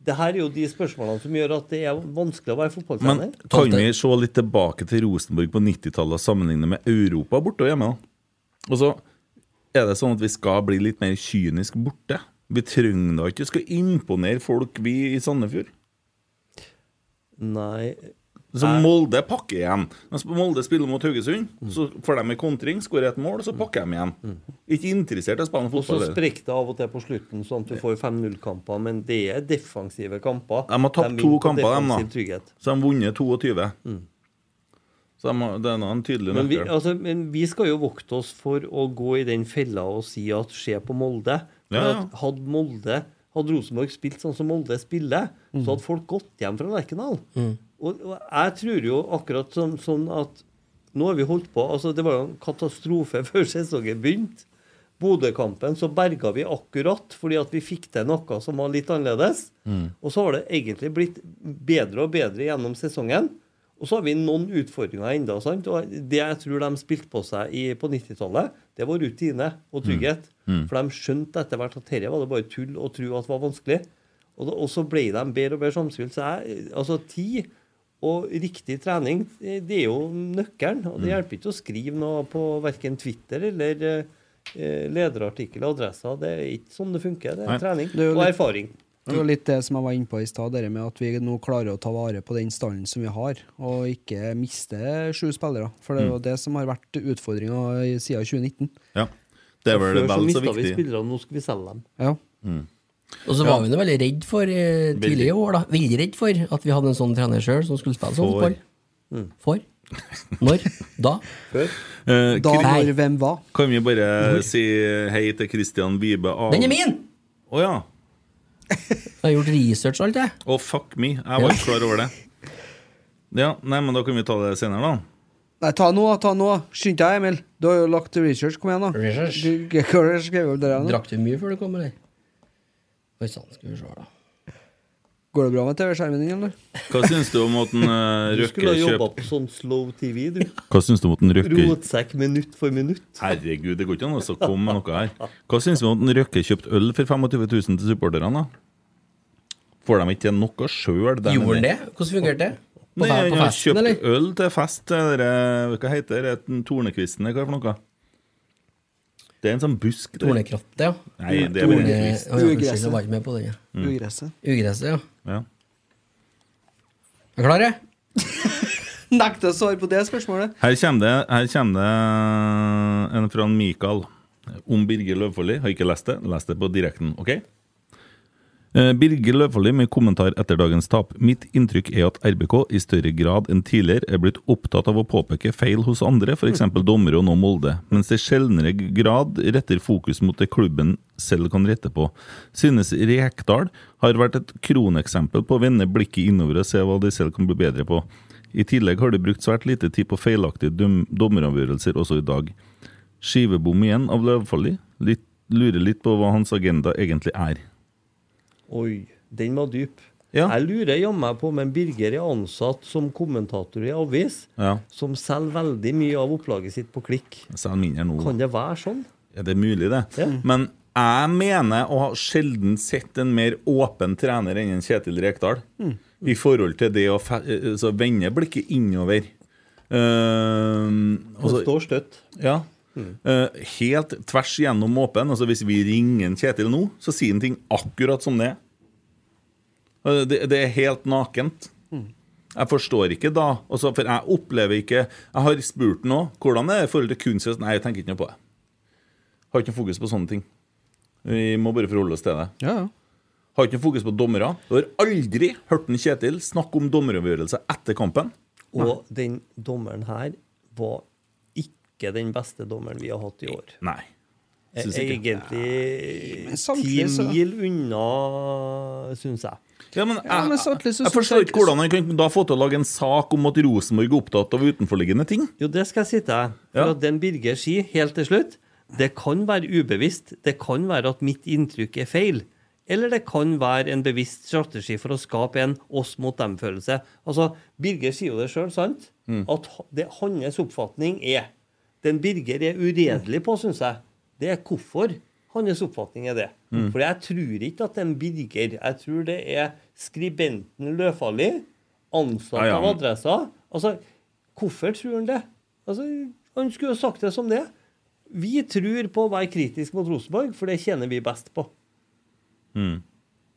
Det her er jo de spørsmålene som gjør at det er vanskelig å være Men fotballtrener. kan vi se litt tilbake til Rosenborg på 90-tallet og sammenligne med Europa borte og hjemme? da? Og så er det sånn at vi skal bli litt mer kynisk borte. Vi trenger da ikke skal imponere folk, vi i Sandefjord. Nei Så Molde pakker igjen. Mens Molde spiller mot Haugesund, så får de en kontring, skårer et mål, så pakker de igjen. Ikke interessert i å spille Mm. Og så fotball. eller? sprekker det av og til på slutten, sånn at du får 5-0-kamper. Men det er defensive kamper. De har tapt to vinner på kamper, dem, defensiv da. trygghet. Mm. Så de har vunnet 22. Så de har, det er nå en tydelig Men vi, nøkkel. altså, men vi skal jo vokte oss for å gå i den fella og si at se på Molde. For Ja, ja. At hadde Molde Hadde Rosenborg spilt sånn som Molde spiller, Mm. så hadde folk gått hjem fra Lerkendal. Mm. Og, og jeg tror jo akkurat sånn, sånn at nå har vi holdt på altså Det var jo en katastrofe før sesongen begynte. Bodø-kampen så berga vi akkurat fordi at vi fikk til noe som var litt annerledes. Mm. Og så har det egentlig blitt bedre og bedre gjennom sesongen. Og så har vi noen utfordringer ennå. Og det jeg tror de spilte på seg i, på 90-tallet, det var rutine og trygghet. Mm. Mm. For de skjønte etter hvert at dette var det bare tull å tro at var vanskelig. Og, da, og så ble de bedre og bedre samspill. Så jeg, altså tid og riktig trening, eh, det er jo nøkkelen. Og det Mm. hjelper ikke å skrive noe på verken Twitter eller eh, eh, lederartikkel og adresser. Det er ikke sånn det funker. Det Nei. er trening er jo og litt- erfaring. Det var litt det som jeg var inne på i stad, det med at vi nå klarer å ta vare på den stallen som vi har, og ikke miste sju spillere. For det er Mm. jo det som har vært utfordringa i- siden 2019. Ja. Det er vel Før så vel så mista vi viktig. spillerne, nå skal vi selge dem. Ja. Mm. Og så Ja. var vi nå veldig redd for eh, Veldig. tidligere år, da. Veldig redd for at vi hadde en sånn trener sjøl som skulle spille sånn For. fotball. Mm. For? Når? Da? Eh, Da, Kri- når, hvem, hva? Kan vi bare si hei til Christian Vibe Av... Den er min! Å ja. Jeg har gjort research og alt, jeg. Å, fuck me. Jeg var ikke klar over det. Ja, nei, men da kan vi ta det senere, da. Nei, ta nå, ta nå. Skynd deg, Emil. Du har jo lagt research. Kom igjen, da. Research. Du, hva har du skrevet opp der, da? Drakk du mye før du kom, eller? Oi sann, skal vi se, da. Går det bra med TV-skjermen din, eller? Hva syns du om at en, eh, Du Røkke skulle ha jobba kjøper på sånn slow TV, du. Hva syns du om at en Røkke Rotsekk minutt for minutt. Herregud, det går ikke an å komme med noe her. Hva syns du om at en Røkke kjøpte øl for 25 000 til supporterne, da? Får de ikke til noe sjøl? Gjorde han det? Hvordan fungerte det? På, Nei, fe- på han har festen, kjøpt eller? øl til fest til dere- Hva heter det? Den Tornekvisten, eller hva er det for noe? Det er en sånn busk der. Tornekrattet, ja. Nei, det er bare en Torne- kvist. Å, ja, unnskyld, jeg var ikke med på den, ja. Mm. Ugresset. Ugresset, ja. Ja. Er du klar, jeg? Nekter å svare på det spørsmålet. Her kommer det, her kommer det eh, en fra en Mikael om Birger Løvfoldi. Har ikke lest det. Les det på direkten, OK? Eh, Birger Løvfoldi med kommentar etter dagens tap. Mitt inntrykk er at RBK i større grad enn tidligere er blitt opptatt av å påpeke feil hos andre, f.eks. dommere og nå Molde, mens det sjeldnere grad retter fokus mot det klubben selv kan rette på. Synes Rekdal har vært et kroneksempel på å vende blikket innover og se hva de selv kan bli bedre på. I tillegg har de brukt svært lite tid på feilaktige dom dommeravgjørelser også i dag. Skivebom igjen av Løvfalli. Litt, lurer litt på hva hans agenda egentlig er. Oi, den var dyp. Jeg lurer jammen på om en Birger er ansatt som kommentator i avis, Ja. som selger veldig mye av opplaget sitt på klikk. Selv mindre nå. Kan det være sånn? Er det mulig, det? Men jeg mener å ha sjelden sett en mer åpen trener enn en Kjetil Rekdal. Mm. I forhold til det å fe- altså, vende blikket innover. Uh, Han står støtt. Mm. Ja. Eh, helt tvers gjennom åpen. Altså Hvis vi ringer en Kjetil nå, så sier han ting akkurat som det er. Eh, Det, det er helt nakent. Jeg forstår ikke da altså, For jeg opplever ikke Jeg har spurt nå hvordan er det i forhold til kunst. Nei, jeg tenker ikke noe på det. Har ikke noe fokus på sånne ting. Vi må bare forholde oss til det. Har ikke noe fokus på dommere. Du har aldri hørt en Kjetil snakke om dommeravgjørelse etter kampen. Og den dommeren her var ikke den beste dommeren vi har hatt i år. Eh, Nei. Er Syns ikke. Egentlig ti samtidig så- mil unna, syns jeg. Ja, men jeg, Ja, men samtidig så jeg, synes forstår jeg- ikke hvordan han kan da få til å lage en sak om at Rosenborg er opptatt av utenforliggende ting. Jo, det skal jeg si til deg. For at den Birger sier helt til slutt, det kan være ubevisst. Det kan være at mitt inntrykk er feil. Eller det kan være en bevisst strategi for å skape en oss mot dem-følelse. Altså, Birger sier jo det sjøl, sant? Mm. At h- det hans oppfatning er Den Birger er uredelig på, syns jeg. Det er hvorfor hans oppfatning er det. Mm. For jeg tror ikke at den Birger Jeg tror det er skribenten Løfali, ansatt Ja, ja, av men- adressa. Altså, hvorfor tror han det? Altså, han skulle jo sagt det som det. Vi tror på å være kritisk mot Rosenborg, for det tjener vi best på.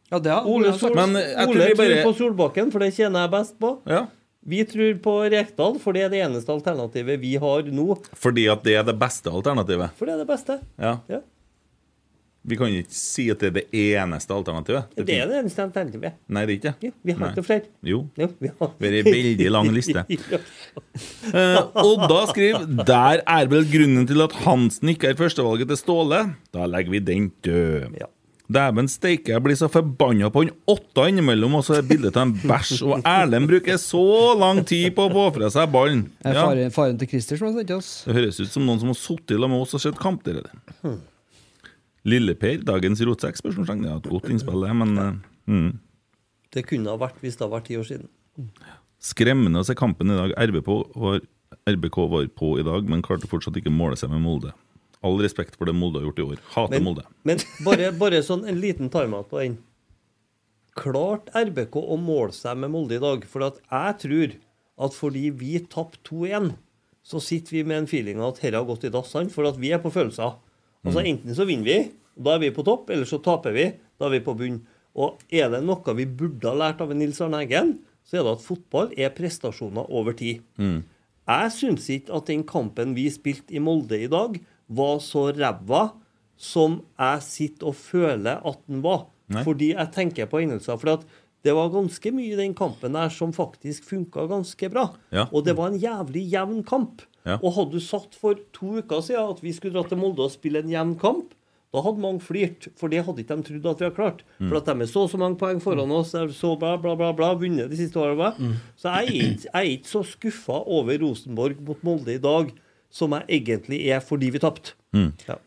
Ja, det har Ole, Sol Men jeg tror Ole vi bare- tror på Solbakken, for det tjener jeg best på. Ja. Vi tror på Rekdal, for det er det eneste alternativet vi har nå. Fordi at det er det beste alternativet. For det er det beste. Ja. Ja. Vi kan ikke si at det er det eneste alternativet. Det, er det eneste alternativet. Nei, det er ikke det. Vi har Nei. ikke flere. Jo. Jo, vi har Det er en veldig lang liste. Eh, Odda skriver Der er vel grunnen til at Hansen ikke er førstevalget til Ståle. Da legger vi den død. Dæven steike, jeg blir så forbanna på han åtta innimellom, og så er bildet av en bæsj. Og Erlend bruker så lang tid på å få fra seg ballen. Det er Ja, faren, faren til Christer som har sendt oss. det høres ut som noen som har sittet sammen med oss og sett kamp. Dere. Hmm. Lille-Per, dagens rotsekk? Spørsmålstegn. Det er et godt innspill, det, men eh, mm. Det kunne ha vært hvis det hadde vært ti år siden. Skremmende å se kampen i dag. RBK var, RBK var på i dag, men klarte fortsatt ikke å måle seg med Molde. All respekt for det Molde har gjort i år. Hater Men, Molde. men bare, bare sånn en liten timeout på den. Klart RBK å måle seg med Molde i dag. For at jeg tror at fordi vi tapte 2-1, så sitter vi med en feeling av at dette har gått i dass. sant? For at vi er på følelser. Altså Mm. Enten så vinner vi, da er vi på topp, eller så taper vi, da er vi på bunn. Og er det noe vi burde ha lært av en Nils Arne Eggen, så er det at fotball er prestasjoner over tid. Mm. Jeg syns ikke at den kampen vi spilte i Molde i dag, var så ræva som jeg sitter og føler at den var. Nei. Fordi jeg tenker på hendelser. For at det var ganske mye i den kampen der som faktisk funka ganske bra. Ja. Og det var en jævlig jevn kamp. Ja. Og hadde du sagt for to uker siden at vi skulle dra til Molde og spille en jevn kamp, da hadde mange flirt, for det hadde ikke de trodd at vi hadde klart. Mm. For at de er så og så mange poeng foran oss, de er så bla, bla, bla, bla vunnet de siste årene. Mm. Så jeg er, ikke, jeg er ikke så skuffa over Rosenborg mot Molde i dag som jeg egentlig er fordi vi tapte. Mm. Ja.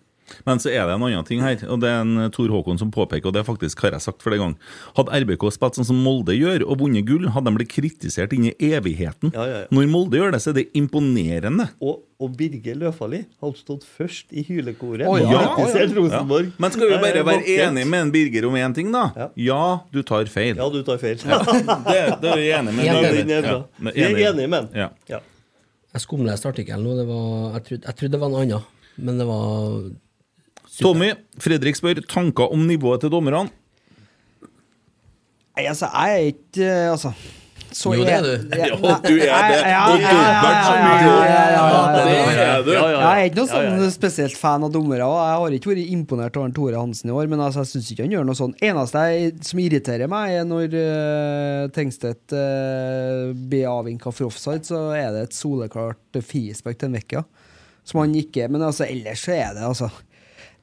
Men så er det en annen ting her, og det er en eh, Tor Håkon som påpeker, og det faktisk har jeg sagt flere ganger. Hadde RBK spilt sånn som Molde gjør, og vunnet gull, hadde de blitt kritisert inn i evigheten. Når Molde gjør det, så er det imponerende. Og, og Birger Løfali hadde stått først i hylekoret. Å, og ja. kritisert Rosenborg. Ja. Men skal vi Jeg bare er være vakkert. enige med en Birger om én ting, da? Ja. du tar feil. Ja, du tar feil. Ja. Det, det er vi enige med. Helt Birger. enig. Ja, Vi er enige med Ja. Jeg skumleste artikkelen nå. Det var, jeg, trodde, jeg trodde det var noe annet, men det var Tommy, Fredrik spør tanker om nivået til dommerne. Nei, altså, jeg er ikke eh, Altså. så Jo, det er jeg- du. jeg- Jo, du er det. Ja, ja, ja, Du er dobbelt så mye. ja, ja, ja, ja, ja, ja, Det er du. ja, ja, ja. Jeg er ikke noe Ja, ja, ja. sånn spesielt fan av dommere. og Jeg har ikke vært imponert over Tore Hansen i år, men altså, jeg syns ikke han gjør noe sånn. Eneste jeg, som irriterer meg, er når eh, Tengstedt eh, blir avvinka for offside, så er det et soleklart frispark til en vekker. Som han ikke Men altså, ellers så er det, altså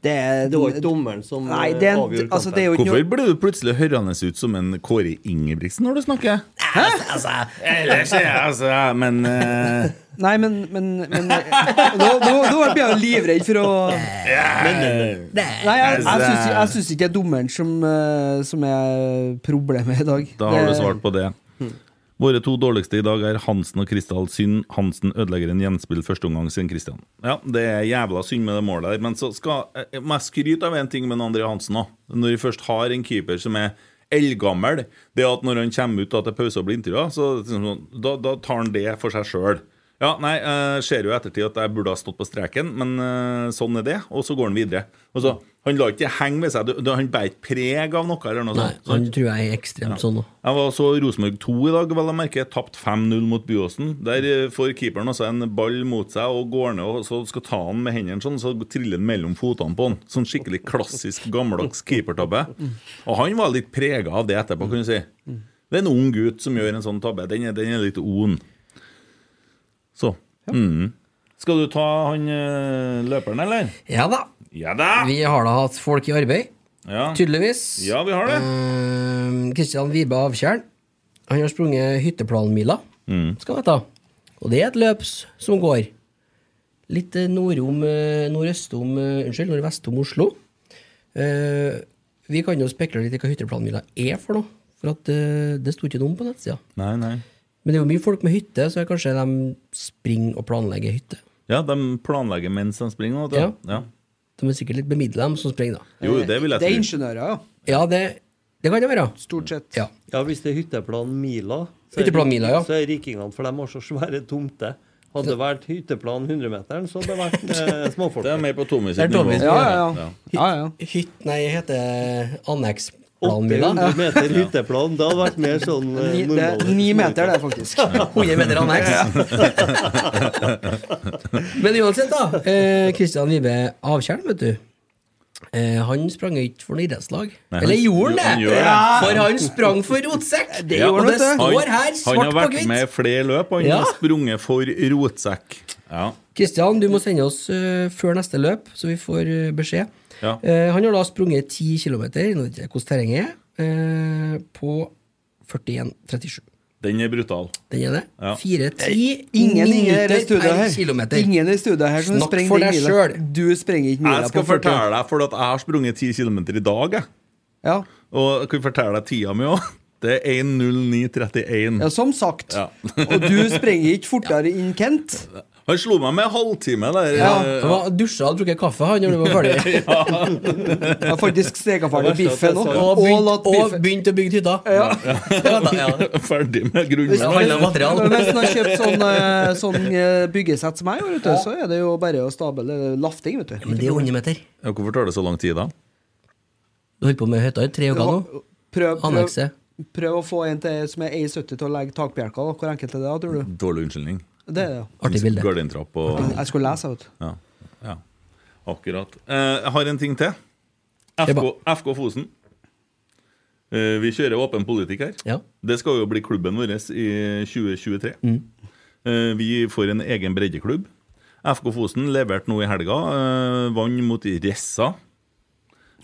Det, er, Det var ikke dommeren som, eh, Nei, det er, en- avgjorde altså, det er jo ikke noe- Hvorfor ble du plutselig hørende ut som en Kåre Ingebrigtsen når du snakker? Hæ? Altså, ellers er jeg altså Men eh, Nei, men, men, men eh, Nå, nå, nå blir jeg jo livredd for å Eh, Nei, jeg, jeg, syns, jeg syns ikke det er dommeren som, eh, som er problemet i dag. Da har Det- du svart på det. Våre to dårligste i dag er Hansen og Kristall. Synd Hansen ødelegger en gjenspill første omgang siden Kristian. Ja, det er jævla synd med det målet der. Men så skal eh, må jeg skryte av en ting med André Hansen òg. Når vi først har en keeper som er eldgammel, det at når han kommer ut da til pause og blir intervjua, så liksom, da, da tar han det for seg sjøl. Ja, nei, eh, ser jo i ettertid at jeg burde ha stått på streken, men eh, sånn er det. Og så går han videre. Og så, Han lar ikke det henge med seg. Du- du- Han bærer ikke preg av noe. eller noe Nei, sånt. han tror jeg er ekstremt Ja. sånn nå. Jeg var så Rosenborg 2 i dag, vel å merke. Tapt 5-0 mot Byåsen. Der eh, får keeperen altså en ball mot seg og går ned, og så skal ta han med hendene sånn, så triller han mellom fotene på han. Sånn skikkelig klassisk gammeldags keepertabbe. Og han var litt prega av det etterpå, kan du si. Det er en ung gutt som gjør en sånn tabbe. Den er, den er litt on. Så. Mm. Skal du ta han eh, løperen, eller? Ja da. Ja da. Vi har da hatt folk i arbeid, Ja. tydeligvis. Ja, vi har det. Kristian Vibe Avtjern. Han har sprunget Hytteplanmila, skal han hete. Og det er et løp s- som går litt eh, nordom, eh, nordøst om eh, Unnskyld, nordvest om Oslo. Eh, vi kan jo spekulere litt i hva Hytteplanmila er for noe, for at eh, det sto ikke noe om på nettsida. Nei, nei. Men det er jo mye folk med hytte, så kanskje de springer og planlegger hytte. Ja, de planlegger mens de springer. vet du. Ja. De er sikkert litt bemidla, de som springer, da. Jo, det vil jeg Det er tro. ingeniører, ja. Ja, det, det kan det være. Stort sett. Ja. Ja, hvis det er hytteplan Mila, så er, Hytteplan Mila, ja. så er rikingene, for de har så svære tomter. Hadde det vært hytteplan 100-meteren, så hadde det vært eh, småfolk. Det er mer på Tommy Det er Tommy som gjør det. ja. Hytt, hytt Nei, heter anneksplanmila. 800 meter hytteplan, det hadde vært mer sånn eh, Ni, det normal. er ni meter, det, faktisk. 100 meter anneks. Men uansett, da. Kristian Vibe Avtjern, vet du. Eh, han sprang ikke for noe idrettslag. Nei, han- Eller gjorde han han det? gjorde det. Ja, For han sprang for rotsekk! Ja, og det han- står her, Han svart har på vært hvitt. med i flere løp, og han Ja. har sprunget for rotsekk. Kristian, du må sende oss eh, før neste løp, så vi får eh, beskjed. Ja. Eh, han har da sprunget 10 km, nå vet jeg ikke hvordan terrenget er, eh, på 41,37. Den er brutal. Den er det. Ja. 4,10 Ingen i minutter dette studioet per her. kilometer. Ingen i studioet her som Snakk sprenger for den deg mila. selv. Du sprenger ikke mila Jeg skal på 40. fortelle deg, for at jeg har sprunget 10 km i dag. Jeg. Og jeg kan fortelle deg tida mi òg. Det er 1.09,31. Ja, som sagt. Ja. Og du sprenger ikke fortere enn Kent. Han slo meg med halvtime der. eh. Ja, Han var dusja og drukket kaffe han når du var ferdig. Jeg har faktisk steka ferdig biffen òg. Og begynt, og begynt å bygge hytta. Ferdig med grunnen. Hvis han har kjøpt sånn, eh, sånn eh, byggesett som jeg gjorde, vet du, så er det jo bare å stable det er lafting, vet du. meter. Ja, hvorfor tar det så lang tid, da? Du holdt på med hytta i tre uker nå. Prøv, prøv, Annekse. prøv å få en til som er 1,70 til å legge takbjelker. da. Hvor enkelt er det, da, tror du? Dårlig unnskyldning. Det er det. Artig bilde. Gardintrapp og Jeg skulle lese, vet du. Ja. ja. Akkurat. Eh, jeg har en ting til. FK, FK Fosen. Eh, vi kjører åpen politikk her. Det skal jo bli klubben vår i 2023. Eh, vi får en egen breddeklubb. FK Fosen leverte nå i helga. Eh, vant mot Ressa.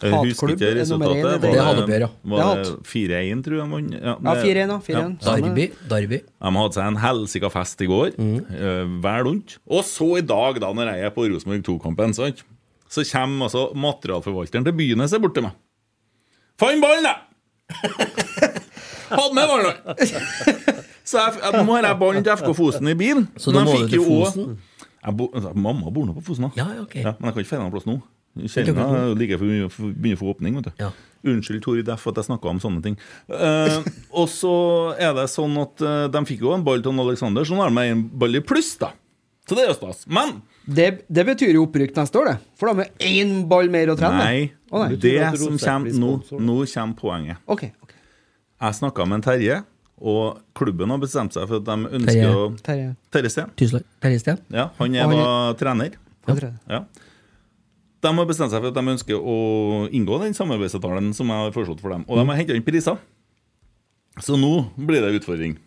Jeg husker Hatklubb ikke er nummer én i resultatet. det. Det er hatoppgjør, ja. Var Det det er 4-1, tror jeg de vant? Ja, det- 4-1, da, 4-1. Samme det. Derby. De hadde seg en helsika fest i går. Mm. Vel lunt. Og så i dag, da, når jeg er på Rosenborg 2-kampen, sant, så kommer altså materialforvalteren til Bynes er borte meg. Fant ballen, jeg! Hadde med ballen! Så jeg, jeg, nå har jeg ballen til FK Fosen i bilen. Så da Men jeg må du fikk til jo også- Fosen? Jeg bo, altså, mamma bor nå på Fosen, da. Ja, men jeg kan ikke finne noen plass nå. Ikke akkurat Kjenner jeg like før vi begynner å få åpning. vet du Unnskyld, Tori Deff, at jeg snakka om sånne ting. Eh, og så er det sånn at eh, de fikk jo en ball til Aleksander, så nå har de en ball i pluss, da. Så det er jo stas. Men Det, det betyr jo opprykk neste år, det. For da med én ball mer å trene. nei, Å, nei. det som kommer nå, nå kommer poenget. Ok, Jeg snakka med en Terje, og klubben har bestemt seg for at de ønsker Terje. å Terje. Terje Steen. Tusen takk. Terje Steen. Ja, han er Og da han trener. Ja. Ja. De har bestemt seg for at de ønsker å inngå den samarbeidsavtalen som jeg har foreslått for dem. Og de har henta inn priser. Så nå blir det utfordring.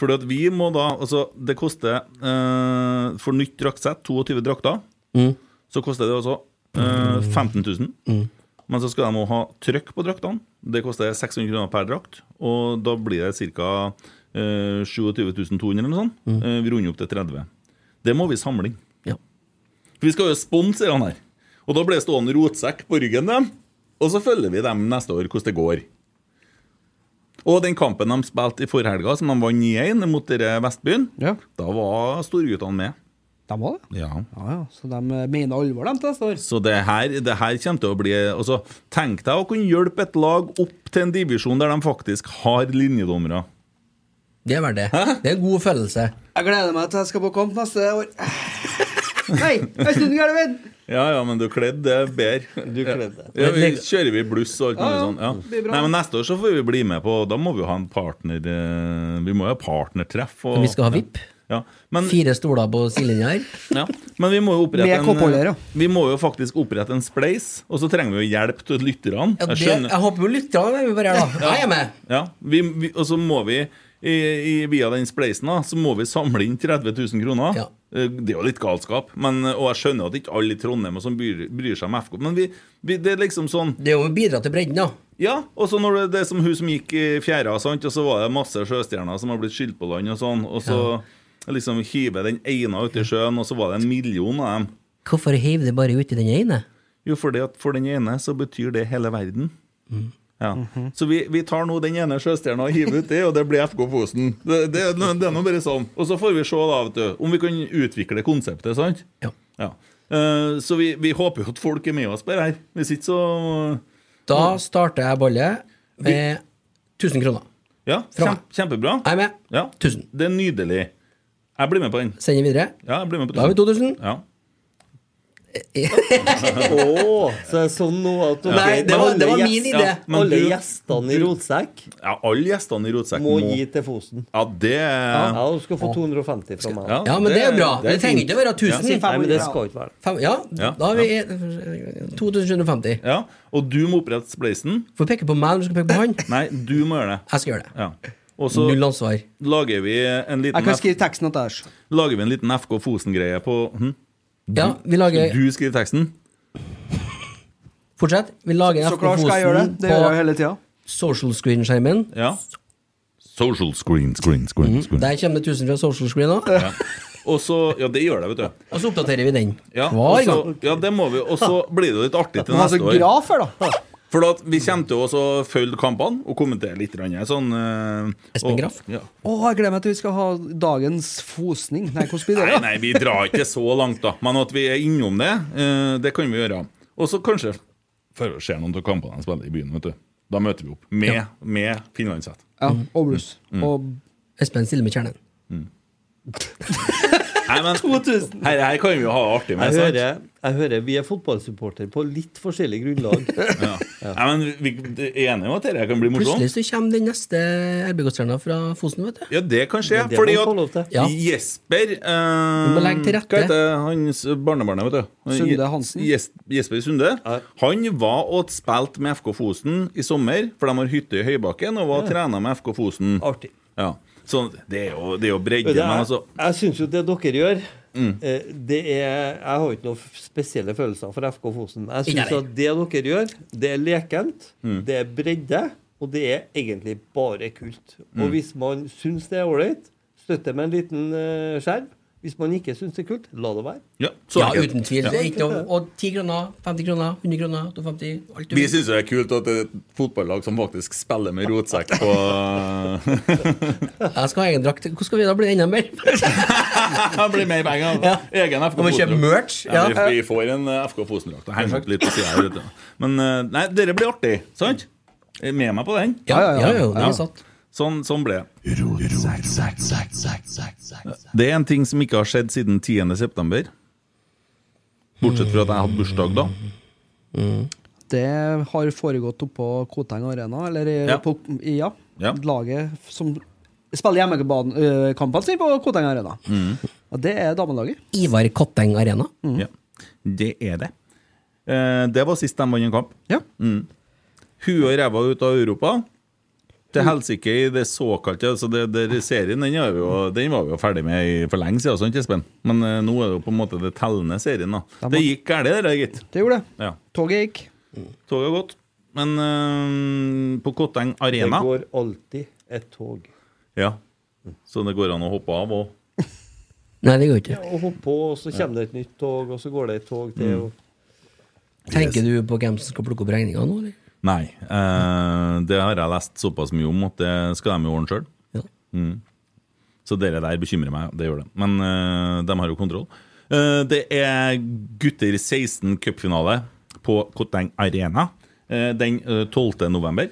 Fordi at vi må da Altså, det koster eh, For nytt draktsett, 22 drakter, Mm. så koster det altså eh, 15 000. Men så skal de òg ha trykk på draktene. Det koster 600 kroner per drakt. Og da blir det ca. Eh, 27 200 eller noe sånt. Mm. Eh, vi runder opp til 30 Det må vi samle inn. Ja. For vi skal jo sponse han her. Og da blir det stående rotsekk på ryggen dem. Og så følger vi dem neste år hvordan det går. Og den kampen de spilte i forrige helga, som de vant 9-1 mot dere Vestbyen, da var storguttene med. De var det? Ja. Ja, ja. Så de eh, mener alvor, de, til neste år. Så det her, det her kommer til å bli altså, Tenk deg å kunne hjelpe et lag opp til en divisjon der de faktisk har linjedommere. Det er verdt det. Det er en god følelse. Jeg gleder meg til jeg skal på kamp neste år. Nei, Øystein Gjelven! Ja, ja, men du kledd det er bedre. Du kledd det. Ja, vi kjører vi bluss og alt Ja, mulig ja, sånn. det Ja. blir bra. Nei, men neste år så får vi bli med på Da må vi jo ha en partner eh, Vi må jo ha partnertreff. og- Vi skal ha VIP. Ja. Men, Fire stoler på sidelinja her. ja. men vi må jo Med opprette koppholder, ja. en, vi må jo faktisk opprette en spleis, og så trenger vi jo hjelp til lytterne. Ja, Jeg det, skjønner- jeg håper jo lytterne er med bare her, da. Jeg er med! Ja, vi, vi, og så må vi i, i, Via den spleisen da Så må vi samle inn 30 000 kroner Eh, Det er jo litt galskap men, Og jeg skjønner at ikke alle i Trondheim og sånn bryr, bryr seg om FK Men vi, vi, det er liksom sånn Det er jo å bidra til bredden da Ja, og så når det, det er som hun som gikk i fjæra sant? Og så var det masse sjøstjerner som har blitt skyld på land og sånn Og så liksom hiver den ene ut i sjøen Og så var det en million av dem Hvorfor heiv det bare uti den ene? Jo, fordi at for den ene så betyr det hele verden Mm. ja. Så vi, vi tar nå den ene sjøstjerna og hiver ut det, og det blir FK Fosen. Det, det, det er nå bare sånn. Og så får vi se da, vet du, om vi kan utvikle konseptet, sant? Ja. Eh, så vi, vi håper jo at folk er med oss på det her. Hvis ikke så Da starter jeg ballet med 1000 kroner. Ja, Fra kjem, kjempebra. Jeg er med. Ja. Det er nydelig. Jeg blir med på den. Send den videre. Ja, jeg blir med på Da har vi 2000. Ja. Åh, så det er sånn nå at Ja. Ok, men alle gjest- Ja, men alle du- gjestene i du- rotsekk Ja, alle gjestene i rotsekk må gi til Fosen. Ja, det Ja, ja, du skal få 250 fra meg. Ja, Ja, men det er bra. det er Det trenger fint. ikke å være 1000. Ja. Nei, men det skal ikke være Fem, ja, Ja, da har vi 2750. Ja, Og du må opprette spleisen. Får peke på meg når du skal peke på han. Nei, du må gjøre det. Jeg skal gjøre det. Ja. Og så Null ansvar. lager vi en liten Jeg kan F- skrive teksten at jeg er Lager vi en liten FK Fosen-greie på hm? Ja, vi lager- Du skriver teksten? Fortsett. Vi lager en Så klart skal jeg gjøre det. Det gjør jeg hele tida. social screen-skjermen. Ja. Social screen, screen, screen. screen. Der kommer det 1000 fra social screen òg. Ja. Og så Ja, det gjør det, vet du. Og så oppdaterer vi den. Ja, Hver og så- gang. ja det må vi. Og så blir det jo litt artig til Men altså, neste år. graf her, da. For at vi kommer til å også følge kampene og kommentere litt. grann, Sånn, eh, og- Ja. Å, jeg gleder meg til vi skal ha dagens fosning. Nei, hvordan blir det? Nei, da? nei, vi drar ikke så langt, da. Men at vi er innom det, eh, det kan vi gjøre. Og så kanskje før det skjer noen av kampene de spiller i byen, vet du. Da møter vi opp med, Ja. med finlandshett. Ja, og blues. Mm. Og Espen stiller med kjernen. Nei, men her, her kan vi jo ha det artig med. Jeg sant? hører, jeg hører vi er fotballsupporter på litt forskjellig grunnlag. Ja. Nei, men vi vi er enige om at dette kan bli morsomt? Plutselig så kommer den neste RBK-stjerna fra Fosen, vet du. Ja, det kan skje. Men det må fordi vi få lov at til. Ja. Jesper eh, Vi må legge til rette. Hva heter hans barnebarnet, vet du? Han- Sunde Hansen. Jes Jesper Sunde. Han var og spilte med FK Fosen i sommer, for de har hytte i Høybakken, og var Ja. trener med FK Fosen. Artig. Ja. Så det er jo, det er jo bredde, Det er- men altså Mm. Jeg syns jo det dere gjør eh, det er, Jeg har jo ikke noen f- spesielle følelser for FK Fosen. Jeg Ikke syns heller. at det dere gjør, det er lekent, Mm. det er bredde, og det er egentlig bare kult. Mm. Og hvis man syns det er ålreit, støtter med en liten eh, skjerv. Hvis man ikke syns det er kult, la det være. Ja, Ja, enkelt. uten tvil. Ja. Det er ikke noe, og 10 kroner, 50 kroner, 100 kroner, 250 alt du Vi vil. syns det er kult at det er et fotballag som faktisk spiller med rotsekk på Jeg skal ha egen drakt. Hvordan skal vi da bli enda mer? Det blir mer penger. altså. Egen FK Om å kjøpe Fosen-drakt. merch, Ja, ja. vi, vi får en eh, FK Fosen-drakt. Det henger opp litt på siden her, vet du. Men eh, nei, dere blir artig, sant? Er Med meg på den? Ja, ja, ja, ja, det er sant. Sånn, sånn ble det. Det er en ting som ikke har skjedd siden 10. september. Bortsett fra at jeg hadde bursdag da. Mm. Det har foregått oppå Koteng Arena, eller i- Ja. på IA. Ja. Laget som spiller hjemmekampene sine på Koteng Arena. Og det er damelaget. Ivar Kotteng Arena. Mm. Ja. Det er det. Eh, det var sist de vant en kamp. Ja. Mm. Huet og ræva ut av Europa. Mm. Til helsike i det såkalte altså det, det Serien den, er vi jo, den var vi jo ferdig med i, for lenge siden, sant, Espen? Men eh, nå er det jo på en måte det tellende serien. da Det gikk galt, det der, gitt. Det gjorde det. Ja. Toget gikk. Mm. Toget har gått. Men eh, på Kotteng Arena Det går alltid et tog. Ja. Så det går an å hoppe av òg. Nei, det går ikke. Ja, og hopp på, og så kommer det et nytt tog, og så går det et tog til. Mm. og- Tenker du på hvem som skal plukke opp regninga nå, eller? Nei. Eh, det har jeg lest såpass mye om at det skal de jo ordne sjøl. Mm. Så dere der bekymrer meg, det gjør det. Men eh, de har jo kontroll. Eh, det er gutter 16 cupfinale på Koteng Arena eh, den eh, 12. november.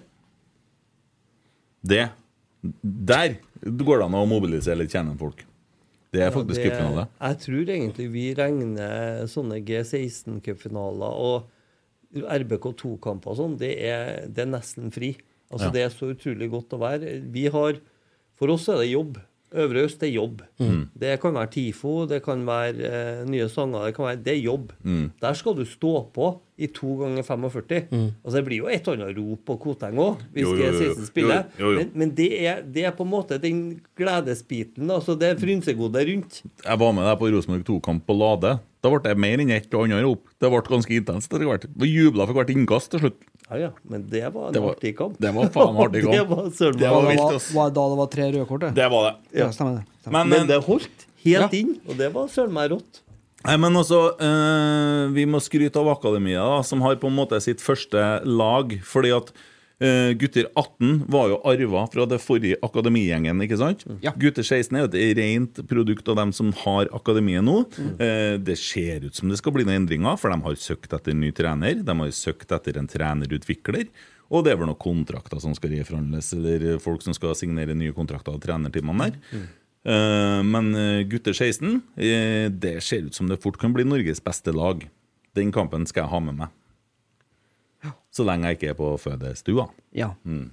Det Der går det an å mobilisere litt kjernefolk. Det er faktisk det- cupfinale. Jeg tror egentlig vi regner sånne G16-cupfinaler og RBK2-kamper og sånn, det er, det er nesten fri. Altså Ja. Det er så utrolig godt å være. Vi har, For oss er det jobb. Øvre Øst er jobb. Mm. Det kan være TIFO, det kan være eh, nye sanger, det kan være Det er jobb. Mm. Der skal du stå på i to ganger 45. Mm. Altså Det blir jo et annet rop på Koteng òg, hvis Jo, jo, jo, jo. G16 spiller. Jo, jo, jo. Men, men det, er, det er på en måte den gledesbiten. Altså det er frynsegodet rundt. Jeg var med deg på Rosenborg 2-kamp på Lade. Da ble det mer enn ett og annet rop. Det ble ganske intenst etter hvert. Vi jubla for hvert innkast til slutt. Ja, ja, men det var en Det var- artig kamp. det var faen artig kamp. det var søren Det var meg- vilt, Da, ass. var, da det var tre røde kort, det. Det eh, var det. Ja, stemmer det. Stemmer. Men, det holdt helt inn, og det var søren meg rått. Nei, men også, eh, vi må skryte av akademia, da, som har på en måte sitt første lag. Fordi at eh, gutter 18 var jo arva fra det forrige akademigjengen, ikke sant? Mm. Gutter 16 er jo et rent produkt av dem som har akademiet nå. Mm. Eh, det ser ut som det skal bli noen endringer, for de har søkt etter ny trener. De har søkt etter en trenerutvikler. Og det er vel noen kontrakter som skal reforhandles, eller folk som skal signere nye kontrakter av trenertimene der. Eh, Men eh, gutter 16, eh, det ser ut som det fort kan bli Norges beste lag. Den kampen skal jeg ha med meg. Så lenge jeg ikke er på fødestua. Ja. Mm.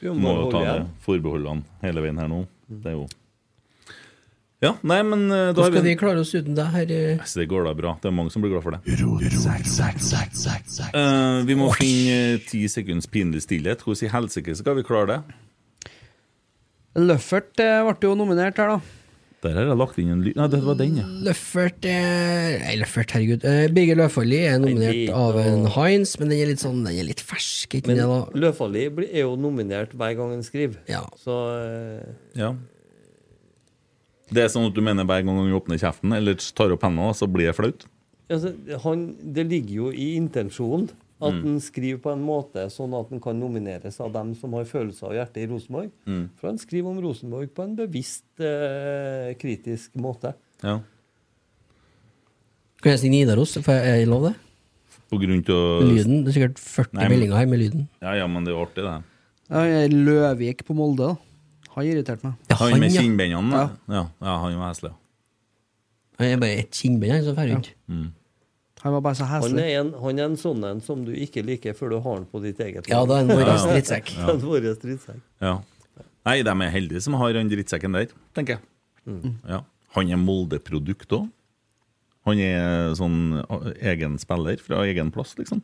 Du Må jo ta ned forbeholdene hele veien her nå. Det er jo Ja, nei, men eh, da Hvordan har skal vi vi klare oss uten deg her? eh? Så det går da bra. Det er mange som blir glad for det. Eh, vi må finne eh, ti sekunds pinlig stillhet. Hvordan i helsike skal vi klare det? Løffert eh, ble jo nominert her, da. Der har jeg lagt inn en lyd Nei, det var den, ja. Løffert eh, Nei, Løffert, herregud. Eh, Birger Løfaldli er nominert av en Heinz, men den er litt sånn Den er litt fersk. Ikke Men det, da? Løfaldli blir- er jo nominert hver gang han skriver. Så eh, ja. Det er sånn at du mener hver gang du åpner kjeften eller tar opp hendene, så blir det flaut? altså, han, det ligger jo i intensjonen at Mm. han skriver på en måte sånn at han kan nomineres av dem som har følelser og hjerte i Rosenborg. Mm. For han skriver om Rosenborg på en bevisst, eh, kritisk måte. Ja. Kan jeg synge Nidaros? Får jeg jeg lov det? På grunn til Lyden. Det er sikkert 40 Nei, men- meldinger her med lyden. Ja, ja, men det er jo artig, det. Ja, jeg er Løvik på Molde, da. Han irriterte meg. Han, med kinnbindene? Ja. Ja. ja, han var heslig. Han er bare et kinnbein han som fer rundt. Mm. Han var bare så Han heslig. er, en, han er en sånn en som du ikke liker før du har han på ditt eget Ja, da er han vår Ja, ja. drittsekk. Da er han vår drittsekk. Ja. Nei, de er heldige som har han drittsekken der, tenker jeg. Mm. Ja. Han er Molde-produkt òg. Han er sånn eh, egen spiller fra egen plass, liksom.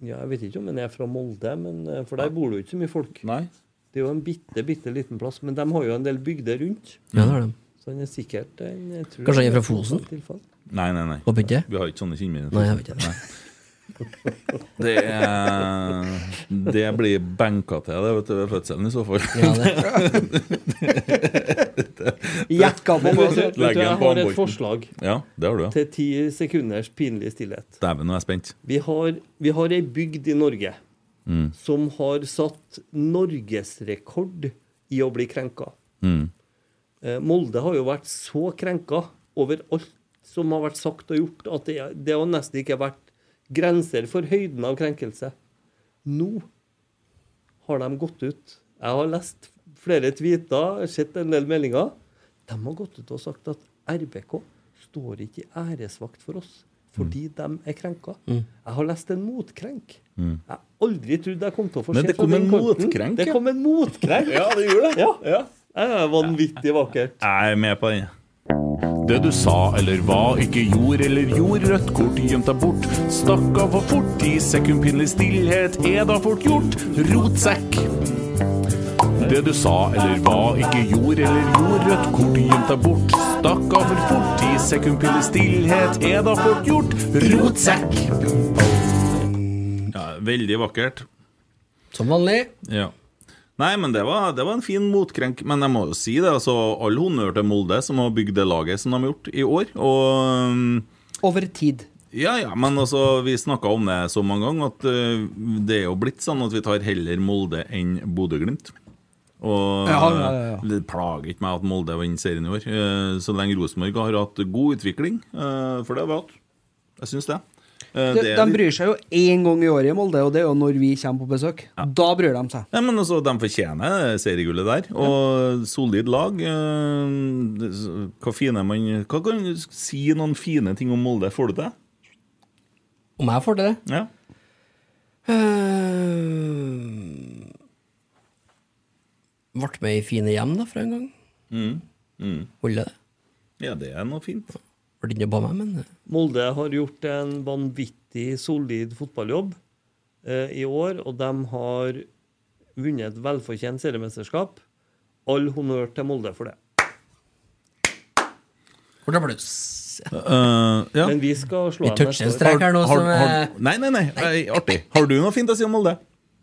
Ja, jeg vet ikke om han er fra Molde, men, eh, for der bor det jo ikke så mye folk. Det er jo en bitte, bitte liten plass, men de har jo en del bygder rundt. Ja, det har de. Så han er sikkert en, jeg tror Kanskje han er fra et Fosen? tilfelle. Nei, nei, nei. Håper ikke. Vi har ikke sånne kinnbein. Nei, jeg vet ikke. Det, er, det blir benka til det vet du, ved fødselen i så fall. Ja, Jakka på Men vet du- vet du, Legg Jeg den på har et håndbolten. forslag Ja, det har du, ja. til ti sekunders pinlig stillhet. Dæven, nå er jeg spent. Vi har, vi har ei bygd i Norge Mm. som har satt norgesrekord i å bli krenka. Mm. Eh, Molde har jo vært så krenka over alt som har vært sagt og gjort, at det, er- det har nesten ikke vært grenser for høyden av krenkelse. Nå har de gått ut. Jeg har lest flere tweeter, sett en del meldinger. De har gått ut og sagt at RBK står ikke i æresvakt for oss fordi de er krenka. Mm. Jeg har lest en motkrenk. Mm. Jeg aldri trodde jeg kom til å få Men se det fra kom den en kanten. motkrenk, Det ja. kom en motkrenk. Ja, det gjorde det. Ja. Det er vanvittig vakkert. Jeg er med på den. Det du sa eller hva, ikke gjorde eller gjorde, rødt kort gjemt deg bort. Stakk av for fort, ti sekund pinlig stillhet er da fort gjort. Rotsekk. Det du sa eller hva, ikke gjorde eller gjorde, rødt kort gjemt deg bort. Stakk av for fort, ti sekund pinlig stillhet er da fort gjort. Rotsekk. Ja, veldig vakkert. Som vanlig. Ja. Nei, men det var, det var en fin motkrenk. Men jeg må jo si det, altså, all honnør til Molde, som har bygd det laget som de har gjort i år. Og um, Over tid. Ja, ja, men altså, vi snakka om det så mange ganger at uh, det er jo blitt sånn at vi tar heller Molde enn Bodø-Glimt. Og uh, Ja, ja, ja, ja. det plager ikke meg at Molde vinner serien i år, eh, så lenge Rosenborg har hatt god utvikling. eh, For det har vi hatt. Jeg syns det. Eh, De, det er de litt- bryr seg jo én gang i året i Molde, og det er jo når vi kommer på besøk. Da bryr de seg. Ja, men altså, De fortjener seriegullet der. Og solid lag. eh, det- så- Hva, fine man, hva kan du si noen fine ting om Molde? Får du til? Om jeg får til det? Ja. Eh, Ble med i fine hjem da, for en gang. Mm. Mm. Holder det? Ja, det er noe fint. Ble ikke noe på meg, men eh, Molde har gjort en vanvittig solid fotballjobb eh, i år, og de har vunnet et velfortjent seriemesterskap. All honnør til Molde for det. Fort applaus. Eh, ja. Men vi skal slå Vi dem neste toucher en år. strek her nå Har- som har- eh, Nei, nei, nei, eh, artig. Har du noe fint å si om Molde?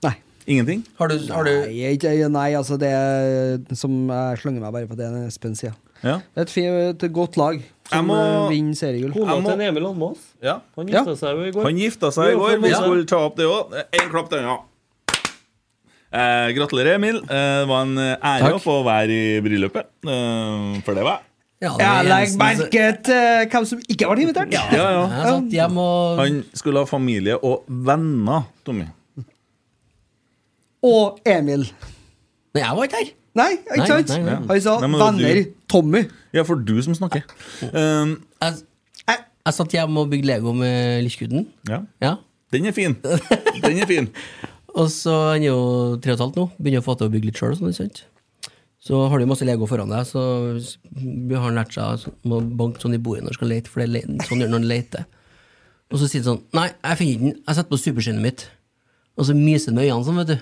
Nei. Ingenting? Har du, Nei, jeg- jeg- nei, altså det er som Jeg slenger meg bare på det Espen sier. Ja. Det er et, fi- et godt lag som Jeg må- eh, vinner seriegull. Kona til Emil Almås. Ja. Han gifta seg jo i går. Han gifta seg i Jo, går. for Vi Molde. skulle ta opp det òg. Én klapp til øynene. Eh, gratulerer, Emil. Eh, det var en ære å få være i bryllupet. Eh, for det var jeg jeg. altså. legger merke til hvem som ikke har vært invitert. Ja, ja. Jeg satt hjemme og Han skulle ha familie og venner, Tommy. Og Emil. Nei, jeg var ikke her. Nei, ikke sant? Han sa Nei, men det var du. venner. Tommy. Ja, for du som snakker. Ehm, jeg, jeg satt hjemme og bygde Lego med lillekuden. Ja. Ja. Den er fin. Den er fin. og så han er jo tre og et halvt nå. Begynner å få til å bygge litt sjøl. Så har du masse Lego foran deg, så har han lært seg så- må banke sånn i bordet når han skal lete. For det er le- sånn gjør han når han leter. Og så sier han sånn Nei, jeg finner ikke den. Jeg setter på superskinnet mitt. Og så myser han med øynene sånn, vet du.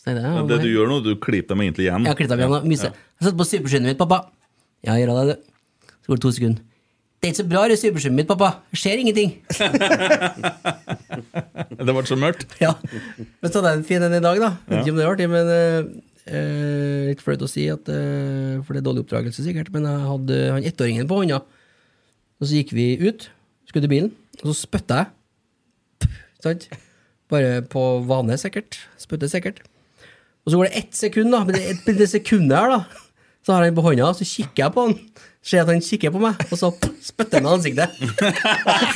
Så tenkte jeg, ja, Ja, det du gjør nå, du klipper dem egentlig igjen. Jeg har klippet meg igjen og myse. Jeg satt på superskyndet mitt, pappa. Ja, gjør det, du. Så går det to sekunder. Det er ikke så bra, det superskyndet mitt, pappa. Det skjer ingenting. Det ble så mørkt. Ja. Men så hadde jeg en fin en i dag, da. Jeg vet Ja. ikke om det var artig, men eh, eh, litt flaut å si, at, eh, for det er dårlig oppdragelse sikkert, men jeg hadde han ettåringen på hånda. Og så gikk vi ut, skulle til bilen, og så spytta jeg. Pff, Sant? Bare på vane, sikkert. Spytte sikkert. Og så går det ett sekund, da. Men det, men det sekundet her, da, så har jeg den på hånda, så kikker jeg på han. Ser at han kikker på meg, og så pff, spytter han i ansiktet.